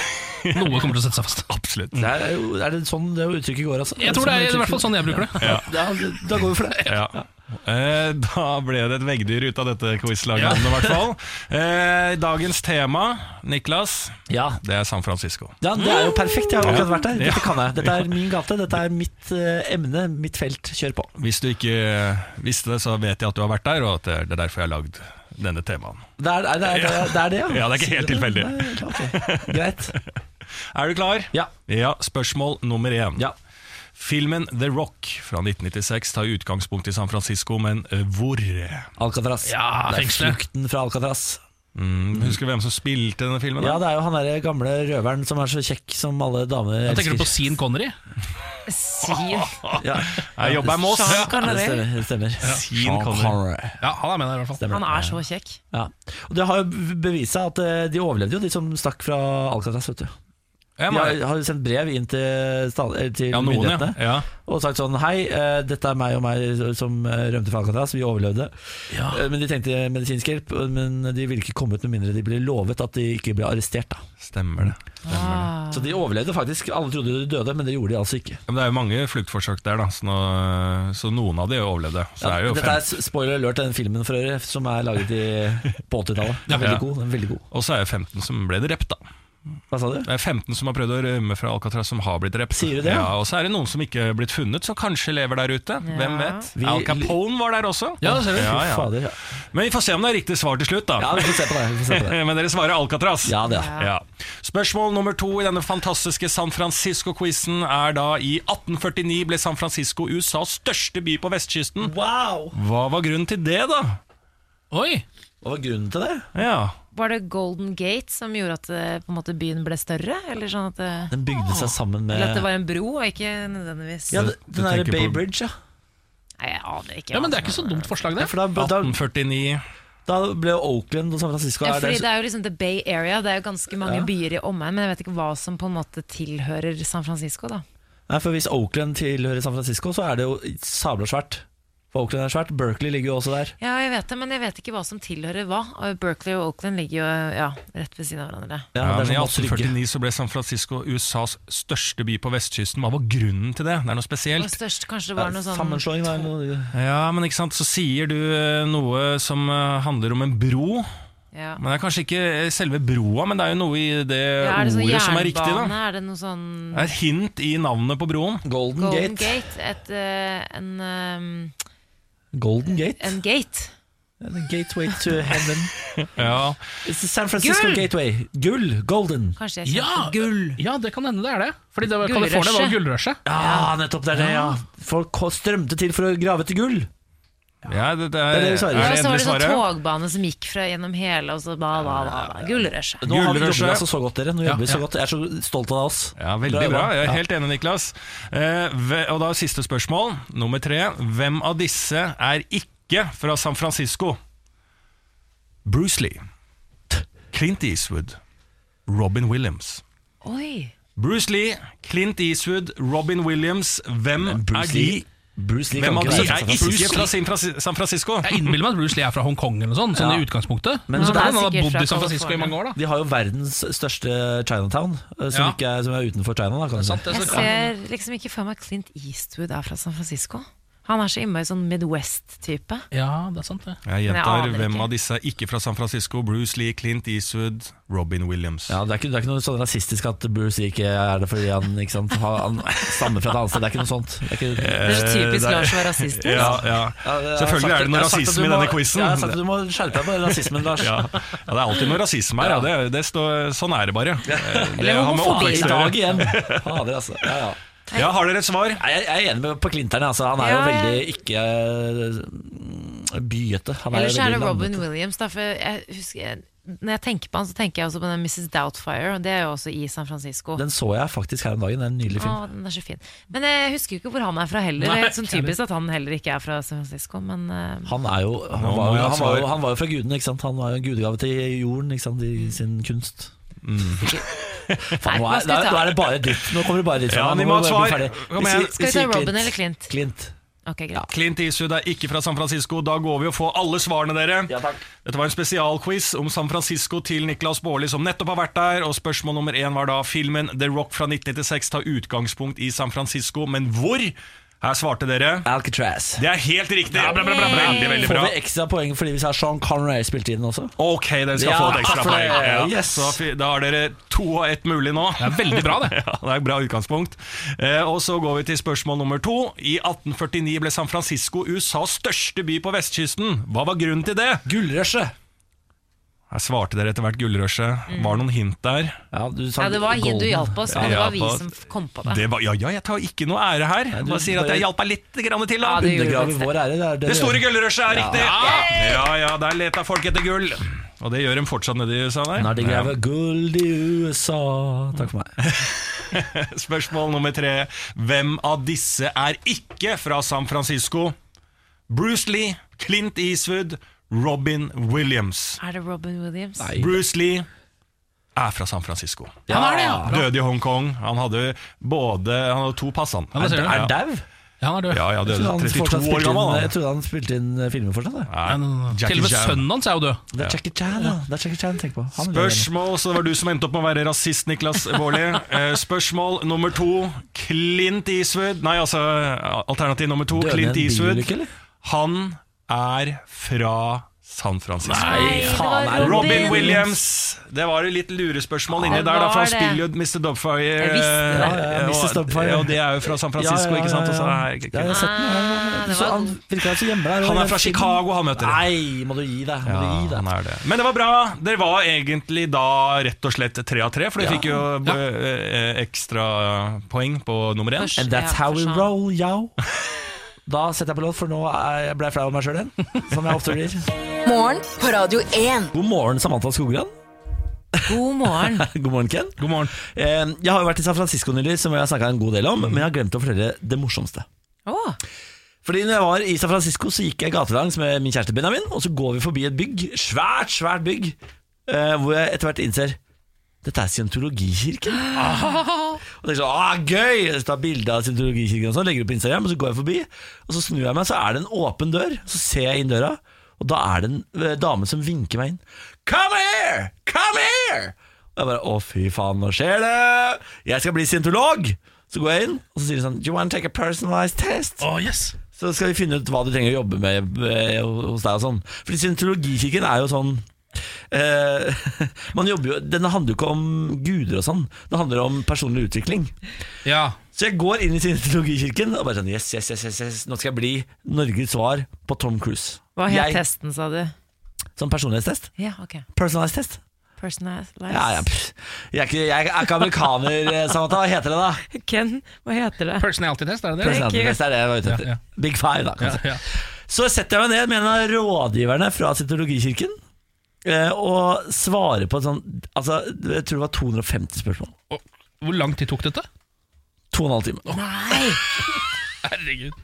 S3: Noe kommer til å sette seg fast.
S9: Absolutt.
S1: Det er, jo, er det sånn det uttrykket går, altså?
S3: Jeg tror det er i hvert fall sånn jeg bruker det.
S1: Ja, da- da går vi for det.
S9: Ja. Eh, Da ble det et veggdyr ut av dette quizlaget, i hvert fall. Eh, Dagens tema, Niklas,
S1: Ja,
S9: det er San Francisco.
S1: ja Det er jo perfekt. Jeg har akkurat vært der. Dette kan jeg. Dette er min gate. Dette er mitt eh, emne, mitt felt. Kjør på.
S9: Hvis du ikke eh, visste det, så vet jeg at du har vært der, og at det er derfor jeg har lagd denne temaen.
S1: Det er det, er, det, er, det, er det ja.
S9: Ja, det er ikke helt tilfeldig.
S1: Nei, ok. Greit.
S9: Er du klar?
S1: Ja.
S9: Ja, Spørsmål nummer én.
S1: Ja.
S9: Filmen The Rock fra 1996 tar utgangspunkt i San Francisco, men eh, hvor?
S1: Alcatraz.
S3: Ja,
S1: det er
S3: fengselet.
S1: flukten fra Alcatraz.
S9: Mm, husker du hvem som spilte denne filmen? da?
S1: Ja, det er jo han der gamle røveren som er så kjekk som alle damer
S3: Jeg tenker du på
S1: elsker.
S3: Sean Connery?
S2: Si
S1: Ja,
S9: Jeg jobber med oss.
S2: Sean
S1: Ja, det
S2: Connery.
S1: stemmer. Det stemmer.
S9: Sean Connery.
S3: Ja, han er med der i hvert fall.
S1: Stemmer.
S2: Han er så kjekk.
S1: Ja. Og det har jo bevist seg at eh, de overlevde jo, de som stakk fra Alcatraz. vet du
S9: Ja,
S1: De
S9: men-
S1: har, har jo sendt brev inn til, sta- eh, til
S9: ja, noen, ja.
S1: myndighetene
S9: ja.
S1: og sagt sånn Hei, eh, dette er meg og meg som eh, rømte fra Alcatraz, vi overlevde. Eh, Men de tenkte medisinsk hjelp, men de ville ikke komme ut med mindre de ble lovet at de ikke ble arrestert. da
S9: Stemmer det.
S2: Ah.
S1: Så de overlevde faktisk. Alle trodde de døde, men det gjorde de altså ikke.
S9: Ja, men det er jo mange fluktforsøk der, da, så, nå, så noen av de overlevde. Så det er jo
S1: Dette
S9: fem,
S1: er s- spoiler alert til den filmen for øvrig, som er laget i, på 80-tallet. Den er
S9: Ja.
S1: Veldig god. den er veldig god
S9: og så er det 15 som ble drept, da.
S1: Hva sa du?
S9: Det er 15 som har prøvd å rømme fra Alcatraz som har blitt drept.
S1: Sier du det, ja?
S9: Ja, Og så er det noen som ikke er blitt funnet, som kanskje lever der ute. Hvem vet?
S1: Vi-
S9: Al Capone var der også.
S3: Ja, det ser du.
S9: Ja,
S1: Fy
S9: ja.
S1: Fader. ja.
S9: Men vi får se om det er riktig svar til slutt, da.
S1: Ja, vi får se på det. Vi får se på det.
S9: Men dere svarer Alcatraz.
S1: Ja, det.
S9: Ja. Spørsmål nummer to i denne fantastiske San Francisco-quizen er da i 1849 ble San Francisco USAs største by på
S1: Mm.
S9: vestkysten.
S1: Wow!
S9: Hva var grunnen til det, da?
S3: Oi!
S1: Hva var grunnen til det?
S9: Ja,
S2: Var det Golden Gate som gjorde at eh, på en måte, byen ble større? Eller sånn at det,
S1: Den bygde seg sammen med
S2: eller at det var en bro, og ikke nødvendigvis
S1: Ja, det-
S9: Du
S1: den der
S9: tenker
S1: Bay
S9: på-
S1: Bridge, ja.
S2: Nei, jeg aner ikke.
S3: Ja, men Det er ikke så dumt forslag, det.
S1: For da, da,
S9: 1849
S1: da ble jo Oakland og San Francisco
S2: Ja,
S1: er
S2: fordi
S1: der,
S2: det er jo liksom The Bay Area, det er jo ganske mange
S1: Ja.
S2: byer i omegn, men jeg vet ikke hva som på en måte tilhører San Francisco, da.
S1: Nei, for Hvis Oakland tilhører San Francisco, så er det jo sabla svært. For Oakland er svært. Berkeley ligger jo også der.
S2: Ja, jeg vet det, men jeg vet ikke hva som tilhører hva. Og Berkeley og Oakland ligger jo ja, rett ved siden av hverandre.
S1: Ja,
S9: Ja,
S1: det er
S9: men I
S1: sånn matrygge.
S9: 1849 så ble San Francisco USAs største by på vestkysten. Hva var grunnen til det? Det er
S2: Og
S9: noe spesielt.
S2: størst kanskje det
S1: Ja,
S2: var noe sånn
S1: Sammenslåing var noe
S9: Ja, men ikke sant, Så sier du eh, noe som eh, handler om en bro.
S2: ja.
S9: Men det er kanskje ikke eh, selve broa, men det er jo noe i det
S2: ja, Er det sånn
S9: ordet
S2: jernbane?
S9: som er riktig. da
S2: Er det noe sånn
S9: Det er et hint i navnet på broen.
S1: Golden,
S2: Golden
S1: Gate.
S2: Gate? Et, eh, en, eh,
S1: Golden Gate.
S2: en gate?
S1: The gateway to heaven.
S9: Ja,
S1: It's the San Francisco
S2: Gull!
S1: Gateway. Gull. Golden.
S2: Kanskje jeg kjente
S3: Ja,
S2: gull?
S3: ja, det kan hende det er det. Fordi det var,
S2: Gullrushet.
S3: California var jo gullrushet.
S1: Ja, nettopp. Det er det, ja. Folk ko- strømte til for å grave etter gull.
S9: ja det, det
S1: Det
S9: er,
S1: er det vi
S9: er
S1: svarer.
S9: det
S2: Ja, så var
S9: endelig
S2: det sånn
S9: svaret.
S2: togbane som gikk fra gjennom hele, og så ba, ba, ba, ba. Gullrushet.
S1: Nå har vi
S9: Gullrushet.
S1: jobber altså så godt, dere. Nå jobber vi
S9: Ja,
S1: så
S9: ja.
S1: godt. Jeg er så stolt av oss.
S9: Ja, Veldig bra. Jeg er helt enig, Niklas. Eh, ve- og da siste spørsmål, nummer tre. Hvem av disse er ikke fra San Francisco? Bruce Lee, Clint Eastwood, Robin Williams.
S2: Oi!
S9: Bruce Lee, Clint Eastwood, Robin Williams. Hvem er
S1: Bruce
S9: de?
S1: Lee- Bruce Lee
S9: Hvem
S1: kan
S9: av de
S1: ikke
S9: er
S1: være fra San
S9: ikke
S1: Francisco.
S9: fra Sin Frasi- San Francisco?
S3: Jeg innbiller meg at Bruce Lee er fra Hongkong, eller noe sånt, sånn
S1: Ja.
S3: i utgangspunktet. Men,
S1: Men
S3: så
S1: det
S3: kan
S2: er
S3: han ha
S2: sikkert
S3: bodd i
S2: fra
S3: San Francisco i
S2: California.
S3: mange år, da.
S1: De har jo verdens største Chinatown, eh, som,
S3: Ja.
S1: ikke er, som er utenfor China. Da, kan du si.
S3: Sant, det,
S2: Jeg
S3: så kan-
S2: ser liksom ikke for meg Clint Eastwood er fra San Francisco. Han er så innmari sånn Midwest-type.
S3: Ja, det er sant, det.
S9: Jeg
S2: Men jeg aner
S9: gjentar
S2: ikke.
S9: hvem av disse er ikke fra San Francisco. Bruce Lee, Clint Eastwood, Robin Williams.
S1: Ja, det, er ikke, det er ikke noe sånn rasistisk at Bruce Lee ikke er det fordi han, ikke sant, har- han stammer fra et annet sted. Det er ikke noe sånt. Det er ikke,
S2: Det er så
S9: Eh,
S2: typisk
S9: der-
S2: Lars å være rasist. liksom.
S9: Ja, ja. Selvfølgelig er det noe rasisme i denne quizen.
S1: Jeg har sagt at du må skjerpe deg på rasismen, Lars.
S9: Ja. ja, det er alltid noe rasisme her. Ja. Det, det står, sånn er det bare. Eh, Det
S2: Eller
S9: har med
S2: homofobi.
S1: I
S9: oppvekst å
S1: dag
S9: gjøre.
S1: igjen. Fader, altså. Ja, ja.
S9: Ja, har dere et svar?
S1: Nei, Jeg, jeg er enig med på Klinteren. Altså. Han er jo
S2: Ja,
S1: veldig
S2: ja.
S1: ikke eh, byete. Han
S2: Ellers
S1: jo
S2: er det
S1: veldig
S2: Robin
S1: landete.
S2: Williams. Da, for jeg husker, når jeg tenker på han, så tenker jeg også på den Mrs. Doubtfire. og Det er jo også i San Francisco.
S1: Den så jeg faktisk her om dagen. Det er en nydelig film.
S2: Å, den er så fin. Men jeg husker jo ikke hvor han er fra heller.
S3: Nei,
S2: det er sånn
S3: ikke
S2: typisk at han heller ikke er fra San Francisco, men eh,
S1: Han, er jo, han,
S9: Nå
S1: var,
S9: må
S1: jo, han, var,
S9: jeg
S1: jo,
S9: svare.
S1: han var jo fra gudene. ikke sant? Han var jo en gudegave til jorden ikke sant? i sin kunst.
S2: Mm. nei,
S1: Nå
S2: hva
S1: er,
S2: skal vi
S1: nå
S2: ta?
S1: er det bare dritt. Nå kommer det bare dritt fra
S9: Ja,
S1: meg. Nå
S9: vi må ha
S1: jeg
S9: et
S1: bli
S9: svar.
S1: ferdig.
S9: Kom
S1: Vi
S9: igjen.
S1: sier-
S2: Skal vi ta
S1: sier
S2: Robin eller Clint?
S1: Clint.
S2: Ok, greit.
S9: Clint Eastwood er ikke fra San Francisco. Da går vi og får alle svarene, dere. Dette var en spesialquiz om San Francisco til Niklas Baarli, som nettopp har vært der. Og spørsmål nummer én var da filmen The Rock fra 1996 tar utgangspunkt i San Francisco, men hvor? Her svarte dere.
S1: Alcatraz.
S9: Det er helt riktig! Veldig, veldig
S1: Får
S9: bra.
S1: vi ekstra poeng fordi vi sa Sean Connery spilte i den også?
S9: Ok, den skal
S1: Ja,
S9: få et ekstra
S1: takk for det.
S9: poeng. Ja.
S1: Yes.
S9: Så fi- Da har dere to og ett mulig nå.
S3: Det er veldig bra, det.
S9: Ja, det er et bra utgangspunkt. Eh, og så går vi til spørsmål nummer to. I 1849 ble San Francisco USAs største by på vestkysten. Hva var grunnen til det?
S1: Gullrushet!
S9: Her svarte dere etter hvert gullrushet. Var det noen hint der?
S1: Ja, du sa
S2: Ja, det var hint du
S1: Golden.
S2: hjalp oss, men det
S9: Ja,
S2: var vi
S9: hva-
S2: som kom på det.
S9: Det var, ja, ja, jeg tar ikke noe ære her.
S1: du
S9: Bare sier at
S1: bare-
S9: jeg hjalp meg litt grann til.
S2: Ja,
S9: Da.
S2: det gjorde
S1: Undergraver
S2: faktisk det.
S1: vår ære. Det, er det,
S9: Det
S1: du
S9: store
S1: gjør.
S9: gullrushet er riktig! Ja, ja, der leta folk etter gull. Og det gjør de fortsatt nede i USA der.
S1: Når de graver gull i USA Takk for meg.
S9: Spørsmål nummer tre. Hvem av disse er ikke fra San Francisco? Bruce Lee, Clint Eastwood, Robin Williams.
S2: Er det Robin Williams?
S1: Nei.
S9: Bruce Lee er fra San Francisco.
S1: Ja,
S3: Han er det, ja.
S9: Døde i Hongkong. Han hadde både Han hadde to pass, han.
S3: hva sier du?
S1: Er
S9: Ja,
S1: dau?
S3: Ja, han er død.
S9: ja, ja
S1: Jeg
S9: døde
S1: trodde han
S9: 32
S1: fortsatt
S9: år
S1: spilte
S9: gammel.
S1: inn-
S9: han.
S1: jeg uh, trodde han spilte inn filmer fortsatt. jeg.
S3: Nei,
S9: Nei,
S3: nei, nei.
S9: Jackie
S3: Til og med
S9: Chan.
S3: uh, sønnen hans er jo død.
S1: Det er Jackie Chan, ja. Det er Jackie Chan, tenk på. Han vil jeg gjerne.
S9: Spørsmål, så det var du som endte opp med å være rasist, Niklas Baarli. Eh, Spørsmål nummer to. Clint Eastwood Nei, altså alternativ nummer to.
S1: Døde i en
S9: Clint Eastwood.
S1: bilulykke, eller?
S9: Han er fra San Francisco.
S2: Nei, det var
S1: faen, er det
S9: Robin Williams! Det var jo litt lurespørsmål inni
S2: det
S9: der, da, for han
S2: var det.
S9: spiller jo Mr. Dubfire.
S2: Jeg visste det.
S1: Ja, ja, Mr. Doubtfire.
S9: Og det er jo fra San Francisco, ikke sant? Og så er
S1: Ja, jeg har sett den.
S2: Ah,
S1: Han,
S2: det
S1: så
S2: var
S1: han virker altså hjemme der.
S9: Han er fra Chicago, han møter dere.
S1: Nei, må du gi deg. Må du gi
S9: Ja,
S1: deg.
S9: han er det. Men det var bra. Dere var egentlig da rett og slett tre av tre, for dere fikk jo eh, ekstra poeng på nummer én.
S2: Først-
S1: And that's
S2: Ja,
S1: how we
S2: forstå.
S1: roll, yo. Da setter jeg på låt, for nå er jeg ble jeg flau av meg sjøl igjen. Som jeg ofte blir.
S4: Morgen på Radio 1.
S1: God morgen, Samantha Skogran.
S2: God morgen.
S1: God morgen, Ken.
S3: God morgen.
S1: Eh, Jeg har jo vært i San Francisco nylig, som jeg har snakka en god del om,
S9: Mm.
S1: men jeg har glemt å fortelle det morsomste.
S2: Åh,
S1: Fordi når jeg var i San Francisco, så gikk jeg gatelangs med min kjæreste Benjamin, og så går vi forbi et bygg, svært, svært bygg, eh, hvor jeg etter hvert innser dette er scientologikirken. Og tenker sånn, ah, gøy! Så tar jeg bilde av scientologikirken og sånn, legger det på Instagram, og så går jeg forbi, og så snur jeg meg, så er det en åpen dør, så ser jeg inn døra, og da er det en eh, dame som vinker meg inn. Come here! Come here! Og jeg bare, å fy faen, nå skjer det! Jeg skal bli scientolog! Så går jeg inn, og så sier hun sånn, do you want to take a personalized test?
S3: Å, yes.
S1: Så skal vi finne ut hva du trenger å jobbe med eh, hos deg og sånn. Fordi syntologikirken er jo sånn eh, man jobber jo, Den handler jo ikke om guder og sånn. Det handler om personlig utvikling.
S3: Ja.
S1: Så jeg går inn i syntologikirken og bare sånn yes, yes, yes, yes, yes, nå skal jeg bli Norges svar på Tom Cruise.
S2: hva het
S1: Jeg-
S2: testen, sa du?
S1: Sånn personlighetstest.
S2: Ja, ok.
S1: Personalized test.
S2: Personalized.
S1: Ja, ja, pff. jeg, er ikke, jeg er ikke amerikaner, eh, Samantha. Hva heter det, da?
S2: Ken, hva heter det?
S3: Personality test, er det det?
S1: Personality test er det jeg var ute etter.
S3: Ja, ja.
S1: Big five, da.
S3: Ja,
S1: kanskje.
S3: ja.
S1: Så setter jeg meg ned med en av rådgiverne fra Scientologikirken eh, og svarer på et sånt altså, Jeg tror det var 250 spørsmål.
S3: Og Hvor lang tid tok dette?
S1: To og en halv time.
S2: Nei!
S3: Herregud.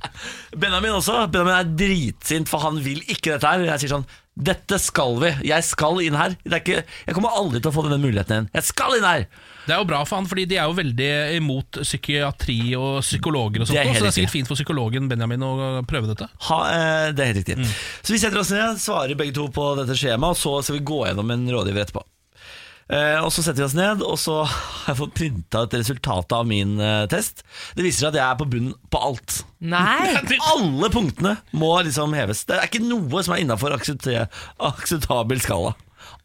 S1: Benjamin også. Benjamin er dritsint, for han vil ikke dette her. Jeg sier sånn Dette skal vi. Jeg skal inn her. Det er ikke, jeg kommer aldri til å få denne muligheten igjen. Jeg skal inn her!
S3: Det er jo bra for han, fordi de er jo veldig imot psykiatri og psykologer og sånt.
S1: Det er helt
S3: så det er
S1: riktig.
S3: sikkert fint for psykologen Benjamin å prøve dette.
S1: Ha, eh, det er helt riktig. Så vi setter oss ned, svarer begge to på dette skjemaet, og så skal vi gå gjennom en rådgiver etterpå. Eh, og Så setter vi oss ned, og så har jeg fått printa et resultat av min eh, test. Det viser seg at jeg er på bunnen på alt.
S2: Nei!
S1: Alle punktene må liksom heves. Det er ikke noe som er innafor akseptabel skala.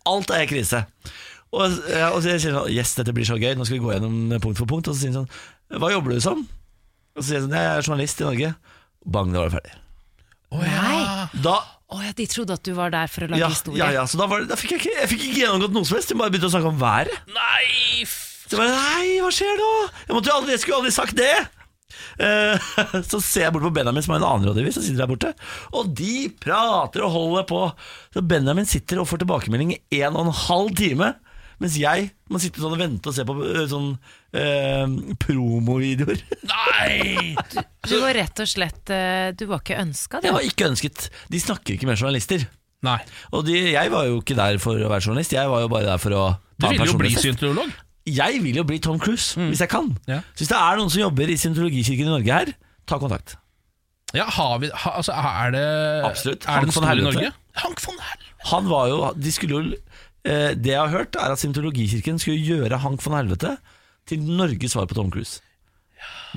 S1: Alt er krise. Og, eh, og så jeg sier sånn Yes, dette blir så gøy. Nå skal vi gå gjennom eh, punkt for punkt. Og så sier han sånn Hva jobber du som? Og så sier jeg sånn Jeg er journalist i Norge. Bang, da var det ferdig.
S3: Oh,
S2: Ah.
S3: ja.
S1: Da
S2: Å ja, de trodde at du var der for å lage
S1: ja,
S2: historie.
S1: ja, ja, så da, var det, da fikk jeg, ikke, jeg fikk ikke gjennomgått noe som helst. Jeg bare begynte å snakke om været.
S3: Nei, f...
S1: Så jeg bare, Nei, hva skjer nå? Jeg, måtte jo aldri, jeg skulle jo aldri sagt det! Eh, Så ser jeg bort på Benjamin, som er en annen rådgiver, som sitter der borte. Og de prater og holder på. Så Benjamin sitter og får tilbakemelding i en og en halv time. Mens jeg må sitte sånn og vente og se på eh, sånn eh, promovideoer.
S3: Nei!
S2: Du var rett og slett eh, Du var ikke ønska, du.
S1: Jeg var ikke ønsket. De snakker ikke med journalister.
S3: Nei.
S1: Og de, jeg var jo ikke der for å være journalist, jeg var jo bare der for å
S3: Du
S1: ta en
S3: ville jo bli
S1: personlighetstest.
S3: syntolog.
S1: Jeg vil jo bli Tom Cruise, hvis jeg kan.
S3: Mm. Ja.
S1: Så hvis det er noen som jobber i Scientologikirken i Norge her, ta kontakt.
S3: Ja, har vi, ha, altså, er det
S1: Absolutt.
S3: Er
S1: Hank
S3: den
S1: von
S3: stor i
S1: Helvete.
S3: Norge? Hank von Helvete.
S1: Han var jo de skulle jo, eh, Det jeg har hørt, er at Scientologikirken skulle gjøre Hank von Helvete til Norges svar på Tom Cruise.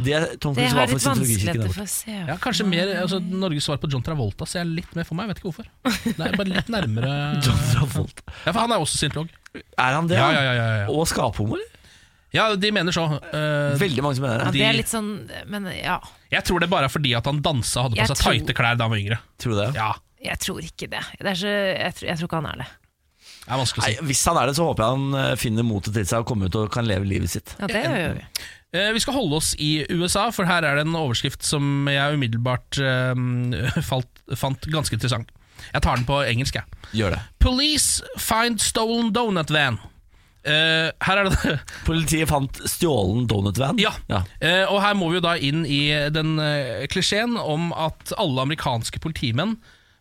S1: Det Tom
S2: Det
S1: Cruise
S2: har
S1: var for
S2: litt
S1: Scientologikirken.
S2: vanskeligheter
S1: der borte.
S2: for å se.
S3: Ja, kanskje mer altså, Norges svar på John Travolta ser jeg litt mer for meg. Jeg vet ikke hvorfor. Det er bare litt nærmere
S1: John Travolta.
S3: Ja, for han er også syntolog.
S1: Er han det?
S3: Ja,
S1: han?
S3: ja, ja, ja, ja.
S1: Og skaphomo, eller?
S3: Ja, de mener så. eh,
S1: Veldig mange som mener
S2: Ja,
S1: det.
S2: det er
S3: de-
S2: litt sånn Men ja,
S3: jeg tror det bare er fordi at han dansa og hadde
S2: Jeg
S3: på seg
S2: tror-
S3: tighte klær da han var yngre.
S1: Tror du det?
S3: Ja,
S2: jeg tror ikke det. det er så, jeg, tror, jeg tror ikke han er det.
S3: det er vanskelig å
S1: Nei,
S3: si.
S1: hvis han er det, så håper jeg han eh, finner motet til seg og kommer ut og kan leve livet sitt.
S2: Ja, det gjør vi.
S3: Eh, Vi skal holde oss i USA, for her er det en overskrift som jeg umiddelbart eh, falt, fant ganske interessant. Jeg tar den på engelsk, jeg.
S1: Gjør det.
S3: Police find stolen donut van. Eh, her er det
S1: Politiet fant stjålen donutvan.
S3: Ja. Eh, og her må vi jo da inn i den eh, klisjeen om at alle amerikanske politimenn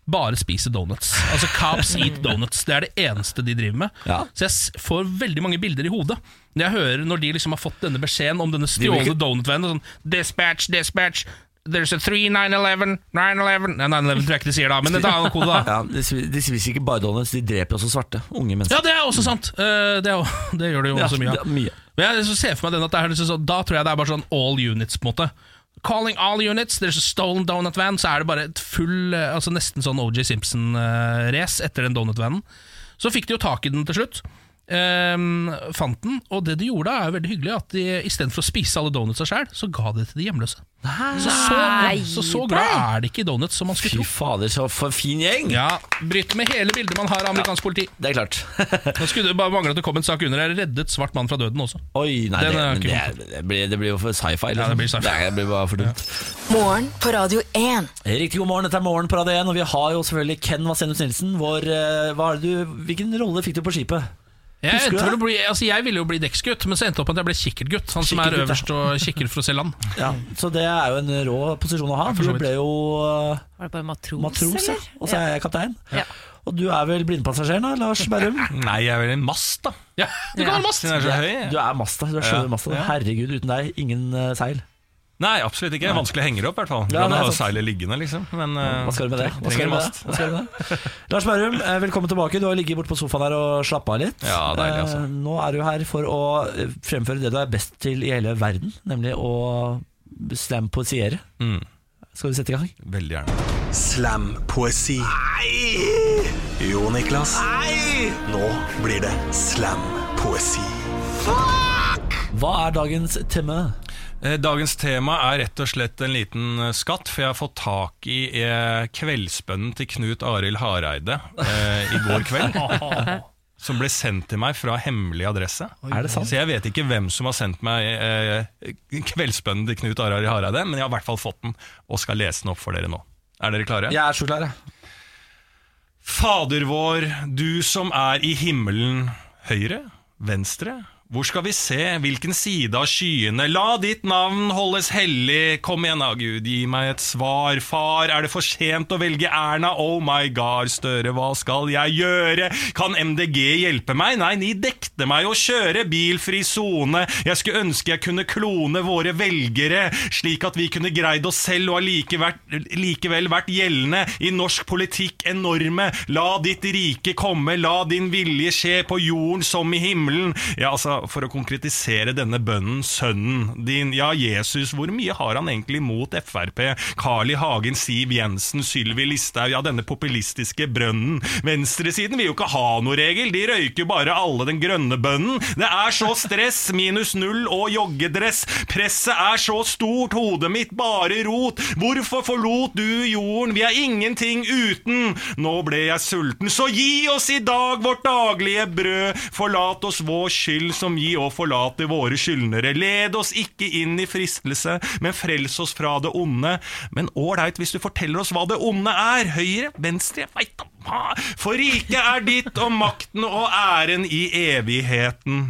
S3: bare spiser donuts. Altså Cops eat donuts. Det er det eneste de driver med.
S1: Ja.
S3: Så jeg s- får veldig mange bilder i hodet når jeg hører når de liksom har fått denne beskjeden om denne
S1: vil
S3: stjålne
S1: ikke-
S3: donutvennen. Sånn, dispatch, dispatch, there's a 3911, 911 Nei, 911 tror jeg ikke de sier da, men det er en annen kode, da.
S1: Ja, de, spi- de spiser ikke bare donuts, de dreper også svarte. Unge mennesker.
S3: Ja, det er også sant! Eh, det, er, jo- det gjør det jo
S1: Ja,
S3: også mye av.
S1: det er mye.
S3: Men jeg så ser for meg den at det er liksom sånn, Da tror jeg det er bare sånn all units, på en måte. Calling all units, there's a stolen donut van. Så er det bare et full eh, Altså nesten sånn OJ Simpson-race eh, etter den donutvanen. Så fikk de jo tak i den til slutt. Ehm, fant den, og det de gjorde, er jo veldig hyggelig. At de istedenfor å spise alle donutsa sjøl, så ga de til de hjemløse. Så så, så så glad er det ikke i donuts som man
S1: Fy
S3: skulle tro.
S1: fader, så for fin gjeng!
S3: Ja, Bryt med hele bildet man har av amerikansk politi.
S1: Det er klart.
S3: Nå skulle det bare mangle at det kom en sak under her. Reddet svart mann fra døden også.
S1: Oi, nei,
S3: Den
S1: det,
S3: har jeg
S1: men
S3: ikke
S1: det, er, det, blir, det blir jo for sci-fi.
S3: Ja, det blir sci-fi.
S1: Nei, det blir bare for dumt.
S4: Morgen på Radio 1.
S1: Riktig god morgen, dette er Morgen på Radio 1, og vi har jo selvfølgelig Ken Vasenus Nilsen. Vår, eh, hva er det du, hvilken rolle fikk du på skipet?
S3: Jeg,
S1: Husker du
S3: endte vel
S1: det?
S3: å bli, altså jeg ville jo bli dekksgutt, men så endte det opp med at jeg ble kikkertgutt. Han som er
S1: Kikkertgutt, ja.
S3: øverst og kikker for å se land.
S1: Ja, så det er jo en rå posisjon å ha.
S3: for
S1: for
S3: så
S1: Du
S3: vidt.
S1: ble jo eh,
S2: Var det bare matros,
S1: matros, ja.
S2: eller?
S1: og så er jeg kaptein.
S2: Ja.
S1: Og du er vel blindpassasjeren da, Lars Berrum?
S9: Nei, jeg er vel en mast, da.
S3: Ja, du kan ha en mast!
S9: Siden jeg er så høy. jeg.
S1: Du er masta. du er sjøl masta.
S9: Ja.
S1: Herregud, uten deg ingen eh, seil.
S9: Nei, absolutt ikke. Vanskelig å henge det opp, i hvert fall. Du
S1: Ja,
S9: kan
S1: det er
S9: ha
S1: sant.
S9: seilet liggende, liksom. Men eh,
S1: Hva skal du med det? Hva skal
S9: trenger
S1: du med det?
S9: mast.
S1: Hva skal du med det? Lars Berrum, eh, velkommen tilbake. Du har ligget borte på sofaen her og slappa av litt.
S9: Ja, deilig, altså.
S1: Eh, Nå er du her for å eh, fremføre det du er best til i hele verden, nemlig å slampoesiere.
S9: Mm.
S1: Skal vi sette i gang?
S9: Veldig gjerne.
S8: Slampoesi. Jo, Niklas. Nå blir det slampoesi.
S1: Hva er dagens tema?
S9: Eh, Dagens tema er rett og slett en liten eh, skatt, for jeg har fått tak i eh, kveldsbønnen til Knut Arild Hareide eh, i går kveld. Som ble sendt til meg fra hemmelig adresse.
S1: Er det sant?
S9: Så jeg vet ikke hvem som har sendt meg eh, kveldsbønnen til Knut Arild Hareide, men jeg har i hvert fall fått den, og skal lese den opp for dere nå. Er dere klare?
S1: Jeg er så klar, jeg.
S9: Fader vår, du som er i himmelen Høyre? Venstre? Hvor skal vi se? Hvilken side av skyene? La ditt navn holdes hellig. Kom igjen, da, Gud, gi meg et svar. Far, er det for sent å velge Erna? Oh my god, Støre, hva skal jeg gjøre? Kan MDG hjelpe meg? Nei, ni dekte meg å kjøre bilfri sone. Jeg skulle ønske jeg kunne klone våre velgere, slik at vi kunne greid oss selv og allikevel likevel vært gjeldende i norsk politikk enorme. La ditt rike komme, la din vilje skje på jorden som i himmelen. Ja, altså, for å konkretisere denne bønnen, sønnen din, ja, Jesus, hvor mye har han egentlig mot Frp? Carl I. Hagen, Siv Jensen, Sylvi Listhaug, ja, denne populistiske brønnen. Venstresiden vil jo ikke ha noe regel, de røyker jo bare alle den grønne bønnen. Det er så stress, minus null og joggedress. Presset er så stort, hodet mitt bare rot. Hvorfor forlot du jorden, vi er ingenting uten. Nå ble jeg sulten, så gi oss i dag vårt daglige brød. Forlat oss vår skyld som som gi og forlate våre skyldnere. Led oss ikke inn i fristelse, men frels oss fra det onde. Men ålreit hvis du forteller oss hva det onde er. Høyre, venstre, jeg veit da hva. For riket er ditt, og makten og æren i evigheten.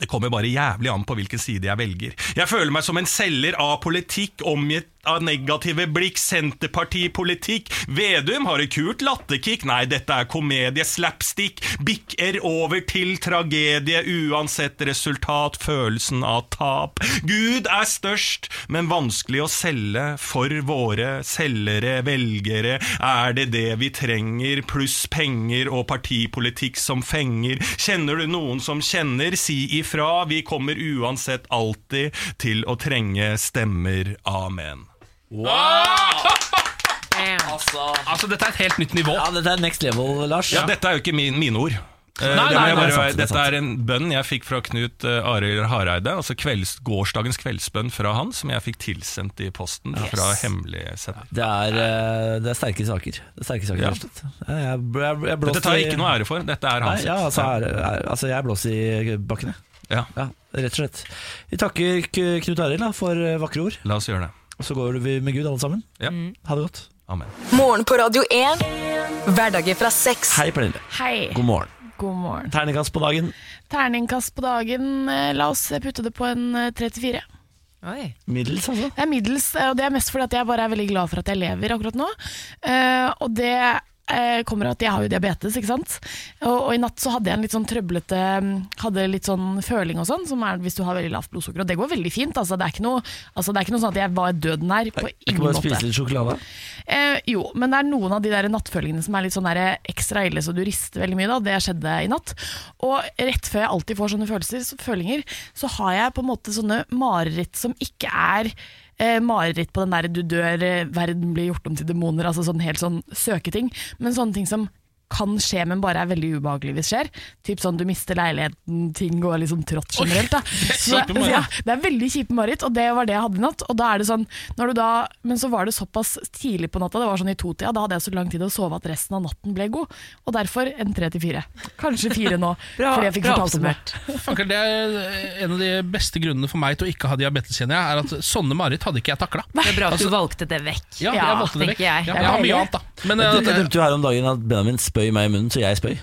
S9: Det kommer bare jævlig an på hvilken side jeg velger. Jeg føler meg som en selger av politikk, omgitt av negative blikk, Senterpartipolitikk. Vedum har et kult latterkick, nei, dette er komedie, slapstick. Bikker over til tragedie, uansett resultat, følelsen av tap. Gud er størst, men vanskelig å selge for våre selgere, velgere. Er det det vi trenger, pluss penger og partipolitikk som fenger? Kjenner du noen som kjenner, si ifra, vi kommer uansett alltid til å trenge stemmer. Amen.
S1: Altså,
S3: Altså, dette er et helt nytt nivå.
S1: ja, Dette er next level, Lars.
S9: Ja, dette er jo ikke min, mine ord.
S3: Nei,
S9: Eh, det
S3: nei,
S9: må jeg
S3: nei,
S9: bare
S1: det er sant,
S9: være-
S1: det er
S9: dette er en bønn jeg fikk fra Knut eh, Arild Hareide. Altså kvelds, gårsdagens kveldsbønn fra han, som jeg fikk tilsendt i posten fra hemmelig sender.
S1: Det er, eh, det er sterke saker. Det er sterke saker,
S9: Ja.
S1: rett og slett. Jeg, jeg, jeg, jeg blåser
S9: Dette tar jeg ikke noe ære for. Dette er
S1: Nei,
S9: hans.
S1: ja, altså, er, er, altså, jeg blåser i bakken, jeg.
S9: Ja,
S1: Ja, rett og slett. Vi takker K- Knut Arild da, for eh, vakre ord.
S9: La oss gjøre det.
S1: Og så går vi med Gud, alle sammen.
S9: Ja.
S6: Mm.
S1: Ha det godt.
S9: Amen.
S4: Morgen på Radio 1. Hverdager fra seks.
S1: Hei, Pernille.
S6: Hei,
S1: God morgen.
S6: god morgen.
S1: Terningkast på dagen.
S6: Terningkast på dagen. eh, La oss putte det på en eh, 34.
S2: Oi.
S1: Middels, altså.
S6: Det er middels, eh, og det er mest fordi at jeg bare er veldig glad for at jeg lever akkurat nå. Eh, og det eh, kommer av at jeg har jo diabetes, ikke sant. Og, og i natt så hadde jeg en litt sånn trøblete mm, Hadde litt sånn føling og sånn, som er hvis du har veldig lavt blodsukker. Og det går veldig fint, altså. Det er ikke noe, altså, det er ikke noe sånn at jeg var døden her. På
S1: Ikke
S6: ingen
S1: bare
S6: måte.
S1: spise litt sjokolade.
S6: Eh, jo, men det er noen av de der nattfølgene som er litt sånn der ekstra ille, så du rister veldig mye. da, Det skjedde i natt. Og rett før jeg alltid får sånne følelser, så, følinger, så har jeg på en måte sånne mareritt som ikke er eh, mareritt på den der du dør, eh, verden blir gjort om til demoner, altså sånn helt sånn søketing, men sånne ting som kan skje, men bare er veldig ubehagelig hvis skjer. Typ sånn du mister leiligheten, ting går liksom trått generelt. da. Så,
S3: kjipe mareritt.
S6: ja, det er veldig kjipe mareritt, og det var det jeg hadde i natt. Og da er det sånn, når du da, men så var det såpass tidlig på natta, det var sånn i totida, da hadde jeg så lang tid å sove at resten av natten ble god. Og derfor en tre til fire. Kanskje fire nå, fordi jeg fikk sånn
S2: bra
S6: fortalt om det.
S3: Fanker, det er eh, En av de beste grunnene for meg til å ikke ha diabetes, kjenner jeg, er at sånne mareritt hadde ikke jeg takla.
S2: Det er bra
S1: Altså-
S2: at du valgte det vekk.
S3: Ja, jeg
S6: Ja,
S3: valgte det vekk.
S2: tenker jeg.
S3: Ja,
S6: Det er
S3: jeg har
S6: deilig.
S3: mye annet, da. Men,
S1: Jeg
S3: eh, det,
S1: nevnte jo her om dagen at Benjamin spøy meg i munnen, så jeg spøy.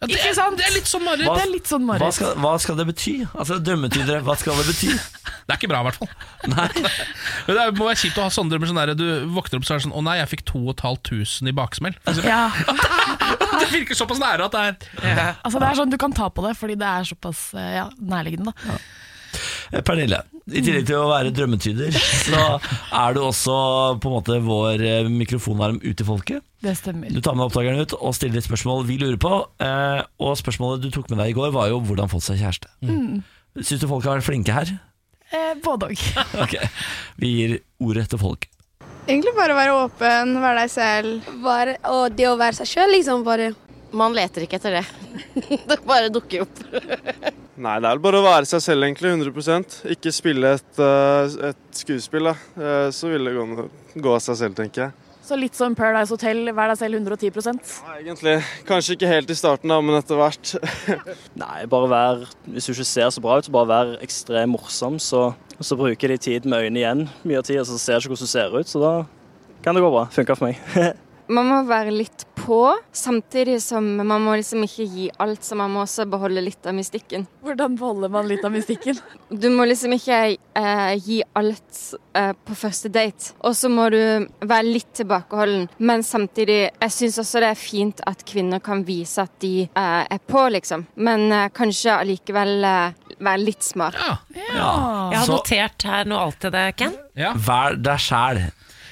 S3: ja, det,
S6: Ikke sant?
S3: det er litt sånn mareritt.
S6: Det er litt sånn
S1: Hva
S6: mareritt.
S1: skal, hva skal det bety? Altså, Drømmetydere, hva skal det bety?
S3: Det er ikke bra, i hvert fall. Men det er- må være kjipt å ha sånne drømmer. Sånn der, du våkner opp så er det sånn Å nei, jeg fikk 2500 i baksmell. For eksempel.
S6: Ja,
S3: Det virker såpass nære at det er
S6: altså det er sånn du kan ta på det, fordi det er såpass eh, ja, nærliggende. da.
S1: Eh, Pernille, i tillegg til å være drømmetyder, så er du også på en måte vår eh, mikrofonarm ut til folket.
S6: Det stemmer.
S1: Du tar med oppdageren ut og stiller et spørsmål vi lurer på. eh, Og spørsmålet du tok med deg i går, var jo hvordan få seg kjæreste. Syns du folk har vært flinke her?
S6: Mm. Eh, både òg.
S1: Ok, Vi gir ordet til folk.
S6: Egentlig bare være åpen, være deg selv.
S10: og det å være seg sjøl, liksom, bare.
S6: Man leter ikke etter det. det bare dukker opp.
S10: Nei, det er vel bare å være seg selv, egentlig. 100 Ikke spille et, eh, et skuespill, da. Eh, Så vil det gå, gå av seg selv, tenker jeg.
S6: Så litt som Paradise Hotel, vær deg selv 110
S10: Ja, egentlig. Kanskje ikke helt i starten, da, men etter hvert.
S5: Nei, bare vær Hvis du ikke ser så bra ut, så bare vær ekstremt morsom. Så, så bruker de tid med øynene igjen mye av tida, så ser ikke hvordan du ser ut. Så da kan det gå bra. Funka for meg.
S10: Man må være litt på, samtidig som man må liksom ikke gi alt, så man må også beholde litt av mystikken.
S6: Hvordan beholder man litt av mystikken?
S10: Du må liksom ikke eh, gi alt eh, på første date, og så må du være litt tilbakeholden. Men samtidig, jeg syns også det er fint at kvinner kan vise at de eh, er på, liksom. Men eh, kanskje allikevel eh, være litt smart.
S3: Ja.
S1: Ja,
S2: Jeg har
S1: Så
S2: notert her noe alt til deg, Ken.
S3: Ja.
S1: vær deg sjæl.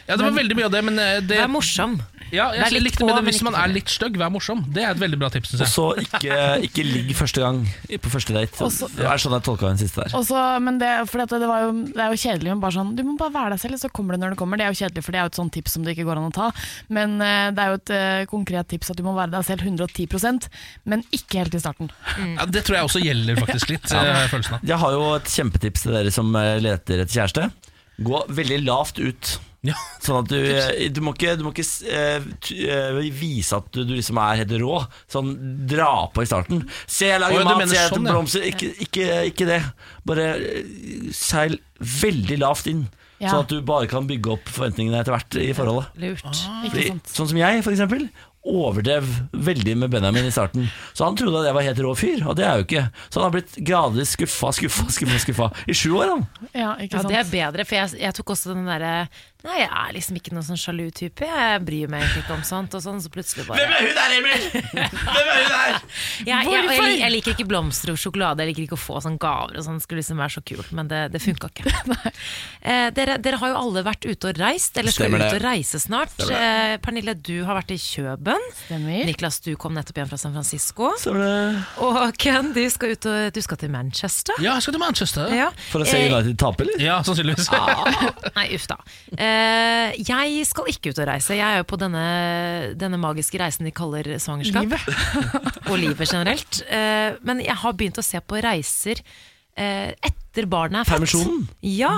S3: ja, det var veldig mye av det, men eh, det,
S2: Vær morsom.
S3: ja,
S2: vær
S3: jeg
S2: litt
S3: likte
S2: på,
S3: med det
S2: men
S3: hvis
S2: ikke
S3: man
S2: for
S3: er
S2: mye.
S3: litt stygg. Vær morsom. Det er et veldig bra tips,
S1: Og
S3: syns jeg.
S1: så ikke, ikke ligg første gang på første date.
S6: Også-
S1: Det er sånn jeg tolka den siste der.
S6: Og så- men det, fordi at det, var jo, det er jo kjedelig, men bare sånn, du må bare være deg selv, så kommer det når det kommer. Det er jo kjedelig, for det er jo et sånt tips som det ikke går an å ta. Men eh, det er jo et eh, konkret tips at du må være deg selv 110 men ikke helt i starten.
S3: Ja, det tror jeg også gjelder faktisk litt. eh, har jeg følelsen av
S1: Jeg har jo et kjempetips til dere som eh, leter etter kjæreste. Gå veldig lavt ut. Sånn at du, eh, du må ikke, du må ikke eh, t- eh, vise at du, du liksom er helt rå. Sånn dra på i starten. Se, jeg
S3: Å, ja,
S1: lager
S3: du
S1: mat,
S3: mener
S1: se, jeg
S3: sånn,
S1: heter
S3: ja.
S1: blomster. Ikke, ikke, ikke det. Bare eh, seil veldig lavt inn.
S2: Ja.
S1: Sånn at du bare kan bygge opp forventningene etter hvert i forholdet.
S2: Lurt.
S1: Fordi, sånn som jeg, for eksempel, overdrev veldig med Benjamin i starten. Så han trodde at jeg var helt rå fyr, og det er jeg jo ikke. Så han har blitt gradvis skuffa, skuffa, skuffa, skuffa i sju år, han.
S6: Ja,
S2: Ja,
S6: ikke sant?
S2: det er bedre, for jeg, jeg tok også den derre Nei, jeg er liksom ikke noen sånn sjalu type. Jeg bryr meg egentlig ikke om sånt. Og sånn, så plutselig bare
S1: er hun der, Emil? Hvem er hun der?
S2: jeg, jeg, og jeg,
S6: Hvorfor?
S2: lik- jeg liker ikke blomster og sjokolade, jeg liker ikke å få sånne gaver og sånn, det skulle liksom være så kult, men det, det funka ikke. eh, dere, dere har jo alle vært ute og reist, eller skal
S1: Stemmer
S2: ut
S1: det.
S2: og reise snart. Eh, Pernille, du har vært i Kjøben.
S6: Stemmer.
S2: Niklas, du kom nettopp hjem fra San Francisco.
S1: Så var det
S2: Og Ken, du skal, ut og, du skal til Manchester.
S3: Ja, jeg skal til Manchester.
S2: Ja.
S1: For å se
S2: Eh,
S1: United tape, eller?
S3: Ja, sannsynligvis.
S2: Nei, uff da. Eh, jeg skal ikke ut og reise. Jeg er jo på denne, denne magiske reisen de kaller svangerskap. og livet generelt. Eh, men jeg har begynt å se på reiser eh, etter barnet er født.
S1: Permisjonen?
S2: Ja.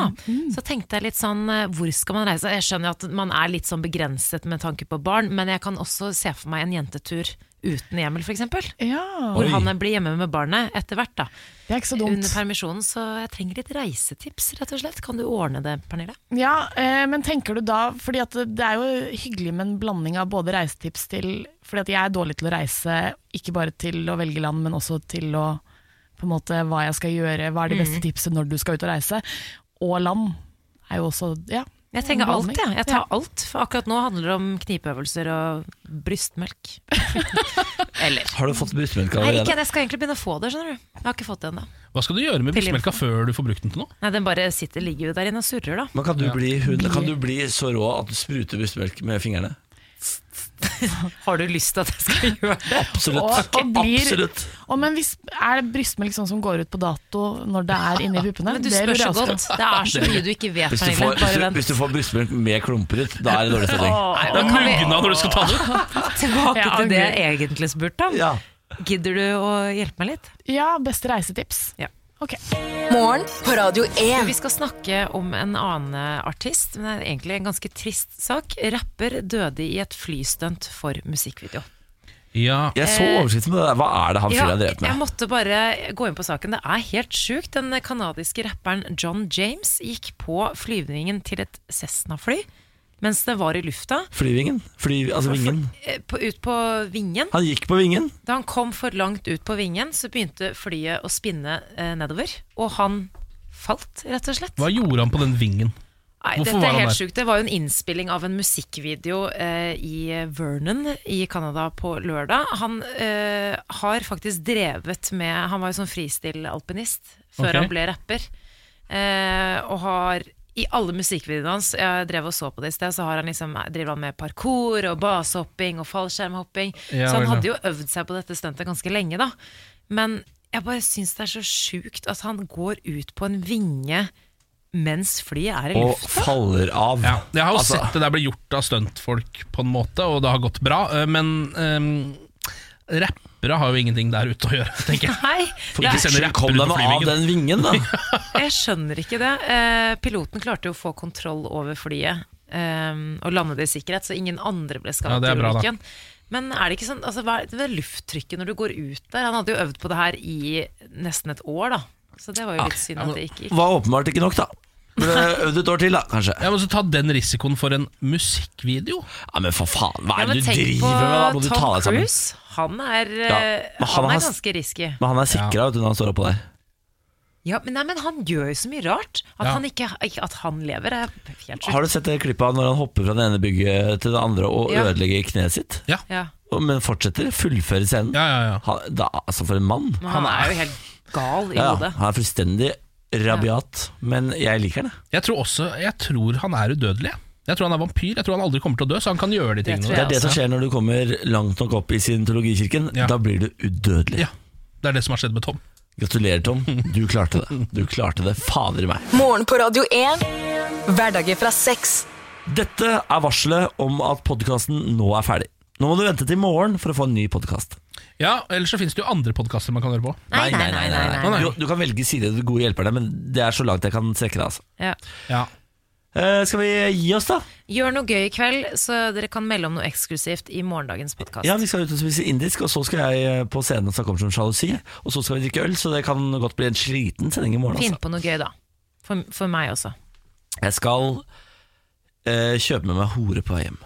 S2: Så tenkte jeg litt sånn eh, Hvor skal man reise? Jeg skjønner jo at man er litt sånn begrenset med tanke på barn, men jeg kan også se for meg en jentetur uten Emil, f.eks.
S6: Ja,
S2: Hvor
S1: Oi.
S2: han blir hjemme med barnet etter hvert, da.
S6: det er ikke så
S2: Under
S6: dumt.
S2: permisjonen. Så jeg trenger litt reisetips, rett og slett. Kan du ordne det, Pernille?
S6: Ja, eh, men tenker du da Fordi at det er jo hyggelig med en blanding av både reisetips til Fordi at jeg er dårlig til å reise, ikke bare til å velge land, men også til å På en måte hva jeg skal gjøre, hva er de
S2: Mm.
S6: beste tipset når du skal ut og reise. Og land er jo også Ja.
S2: Jeg trenger
S6: en
S2: alt,
S6: blanding.
S2: jeg. Jeg tar alt. For akkurat nå handler det om knipeøvelser og brystmelk. Eller
S1: Har du fått brystmelk
S2: Nei, ikke,
S1: allerede?
S2: jeg skal egentlig begynne å få det, skjønner du. Jeg har ikke fått det ennå.
S3: Hva skal du gjøre med brystmelka før du får brukt den til noe?
S2: Nei, den bare sitter, ligger jo der inne og surrer, da.
S1: Men kan du, bli, hun, kan du bli så rå at du spruter brystmelk med fingrene?
S2: Har du lyst til at jeg skal gjøre det?
S1: Absolutt.
S6: Og- og blir-
S1: Absolutt.
S6: Og men hvis, er det brystmelk sånn som går ut på dato når det er inni puppene?
S2: Men du
S6: Det lurer
S2: spør så
S6: jeg også på.
S2: godt. Det er så mye du ikke vet,
S1: Hvis du
S2: Pernille.
S1: får, hvis
S2: Bare
S1: du,
S2: vent.
S1: hvis du får brystmelk med klumper ut, da er det dårlig stemning.
S2: Åh,
S3: Det er
S2: kan vi
S3: mugna når du skal ta den ut!
S2: Tilbake
S6: Ja,
S2: til det
S6: angrer.
S2: jeg egentlig spurte om.
S1: Ja.
S2: Gidder du å hjelpe meg litt?
S6: Ja, beste reisetips.
S2: Ja.
S6: Ok.
S4: Morgen på Radio 1.
S2: Vi skal snakke om en annen artist, men det er egentlig en ganske trist sak. Rapper døde i et flystunt for musikkvideo.
S3: Ja,
S1: Jeg så overskriften på det der. Hva er det han fyren har drevet
S2: Eh, jeg
S1: med?
S2: måtte bare gå inn på saken. Det er helt sjukt. Den kanadiske rapperen John James gikk på flyvningen til et Cessna-fly mens det var i lufta,
S1: Flyvingen? Fly, altså vingen?
S2: eh, på, ut på vingen.
S1: Han gikk på vingen.
S2: Da han kom for langt ut på vingen, så begynte flyet å spinne eh, nedover. Og han falt, rett og slett.
S3: Hva gjorde han på den vingen?
S2: Nei,
S3: Hvorfor
S2: dette
S3: var
S2: er
S3: han
S2: helt
S3: der?
S2: sjukt. Det var jo en innspilling av en musikkvideo eh, i Vernon i Canada på lørdag. Han eh, har faktisk drevet med Han var jo sånn freestyle-alpinist før
S3: Ok.
S2: han ble rapper. Eh, og har i alle musikkvideoene hans Jeg drev og så på det i sted, så har han liksom, driver han med parkour og basehopping og fallskjermhopping.
S3: Ja,
S2: så han
S3: vel, ja.
S2: hadde jo øvd seg på dette stuntet ganske lenge, da. Men jeg bare syns det er så sjukt at han går ut på en vinge mens flyet er i
S1: Og
S2: lufta.
S1: faller av.
S3: Ja, jeg har jo
S1: Altså,
S3: sett det der ble gjort av stuntfolk på en måte, og det har gått bra, eh, men eh, rappere har jo ingenting der ute å gjøre, tenker jeg.
S2: Nei,
S3: For
S2: det
S3: ikke
S2: er,
S3: sende
S1: Unnskyld,
S3: rapper
S1: Kom
S3: ut
S1: deg
S3: på
S1: nå av
S3: flyvingen.
S1: den vingen, da!
S2: jeg skjønner ikke det. Eh, piloten klarte jo å få kontroll over flyet eh, og lande det i sikkerhet, så ingen andre ble
S3: Ja,
S2: skadet
S3: det er
S2: i
S3: bra, da.
S2: ulykken. Men er det ikke sånn, altså, hva er det lufttrykket når du går ut der? Han hadde jo øvd på det her i nesten et år, da. Så det var jo litt synd
S3: ja, men-
S2: at det ikke gikk.
S1: Var åpenbart ikke nok, da. Burde øvd et år til, da, kanskje.
S3: Ja, men så Ta den risikoen for en musikkvideo.
S1: Ja, Men for faen, hva
S2: Ja,
S1: er det
S2: men
S1: du
S2: tenk på
S1: driver med? Da må du ta
S2: Tom
S1: deg sammen.
S2: Cruise. Han er, eh,
S1: Ja, men han
S2: han
S1: har-
S2: er ganske risky.
S1: Men han er sikra vet du, når han står oppå der.
S2: Ja, men, nei, men han gjør jo så mye rart. At,
S3: Ja.
S2: han, ikke, ikke, at han lever, er helt sjukt.
S1: Har du sett det klippet av når han hopper fra det ene bygget til det andre og
S2: Ja.
S1: ødelegger kneet sitt?
S2: Ja.
S1: Og- Men fortsetter, fullfører scenen.
S3: Ja, ja, ja.
S1: Han, da, altså, for en mann.
S2: Men han er jo helt gal i
S1: Ja,
S2: hodet.
S1: han er fullstendig rabiat, men jeg liker det.
S3: Jeg tror også, jeg tror han er udødelig. jeg. Jeg tror han er vampyr. Jeg tror han aldri kommer til å dø, så han kan gjøre de tingene.
S2: tror
S1: Det
S2: jeg
S1: er det som skjer når du kommer langt nok opp i scientologikirken.
S3: altså. Ja.
S1: Da blir du udødelig.
S3: Ja, det er det som har skjedd med Tom.
S1: Gratulerer, Tom. Du klarte det. Du klarte det, fader i meg.
S4: Morgen på Radio 1. Hverdager fra seks.
S1: Dette er varselet om at podkasten nå er ferdig. Nå må du vente til i morgen for å få en ny podkast.
S3: Ja, Ellers så finnes det jo andre podkaster man kan høre på.
S2: Nei, nei, nei. nei, nei,
S1: Du, du kan velge side til gode hjelperne, men det er så langt jeg kan strekke det. altså
S2: Ja.
S3: Ja,
S1: Eh, skal vi gi oss, da?
S2: Gjør noe gøy i kveld, så dere kan melde om noe eksklusivt i morgendagens podkast.
S1: Ja, Vi skal ut og spise indisk, og så skal jeg eh, på scenen og snakke om som sjalusi. Og så skal vi drikke øl, så det kan godt bli en sliten sending i morgen.
S2: Finn
S1: Altså.
S2: på noe gøy, da. For, for meg også.
S1: Jeg skal eh, kjøpe med meg hore på vei hjem.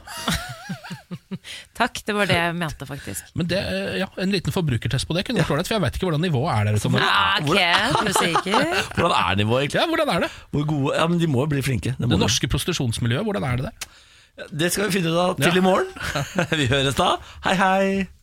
S2: Takk, det var det jeg mente, faktisk.
S3: Men det, eh, ja, En liten forbrukertest på det kunne vært ålreit, for jeg veit ikke hvordan nivået er der ute. om dagen.
S2: Ah, ok, er du sikker?
S1: Hvordan er nivået, egentlig?
S3: Ja, hvordan er det?
S1: Hvor gode? Ja, men De må jo bli flinke. Det, må
S3: Det
S1: de.
S3: norske prostitusjonsmiljøet, hvordan er det der?
S1: det skal vi finne ut av til i morgen. vi høres da. Hei, hei.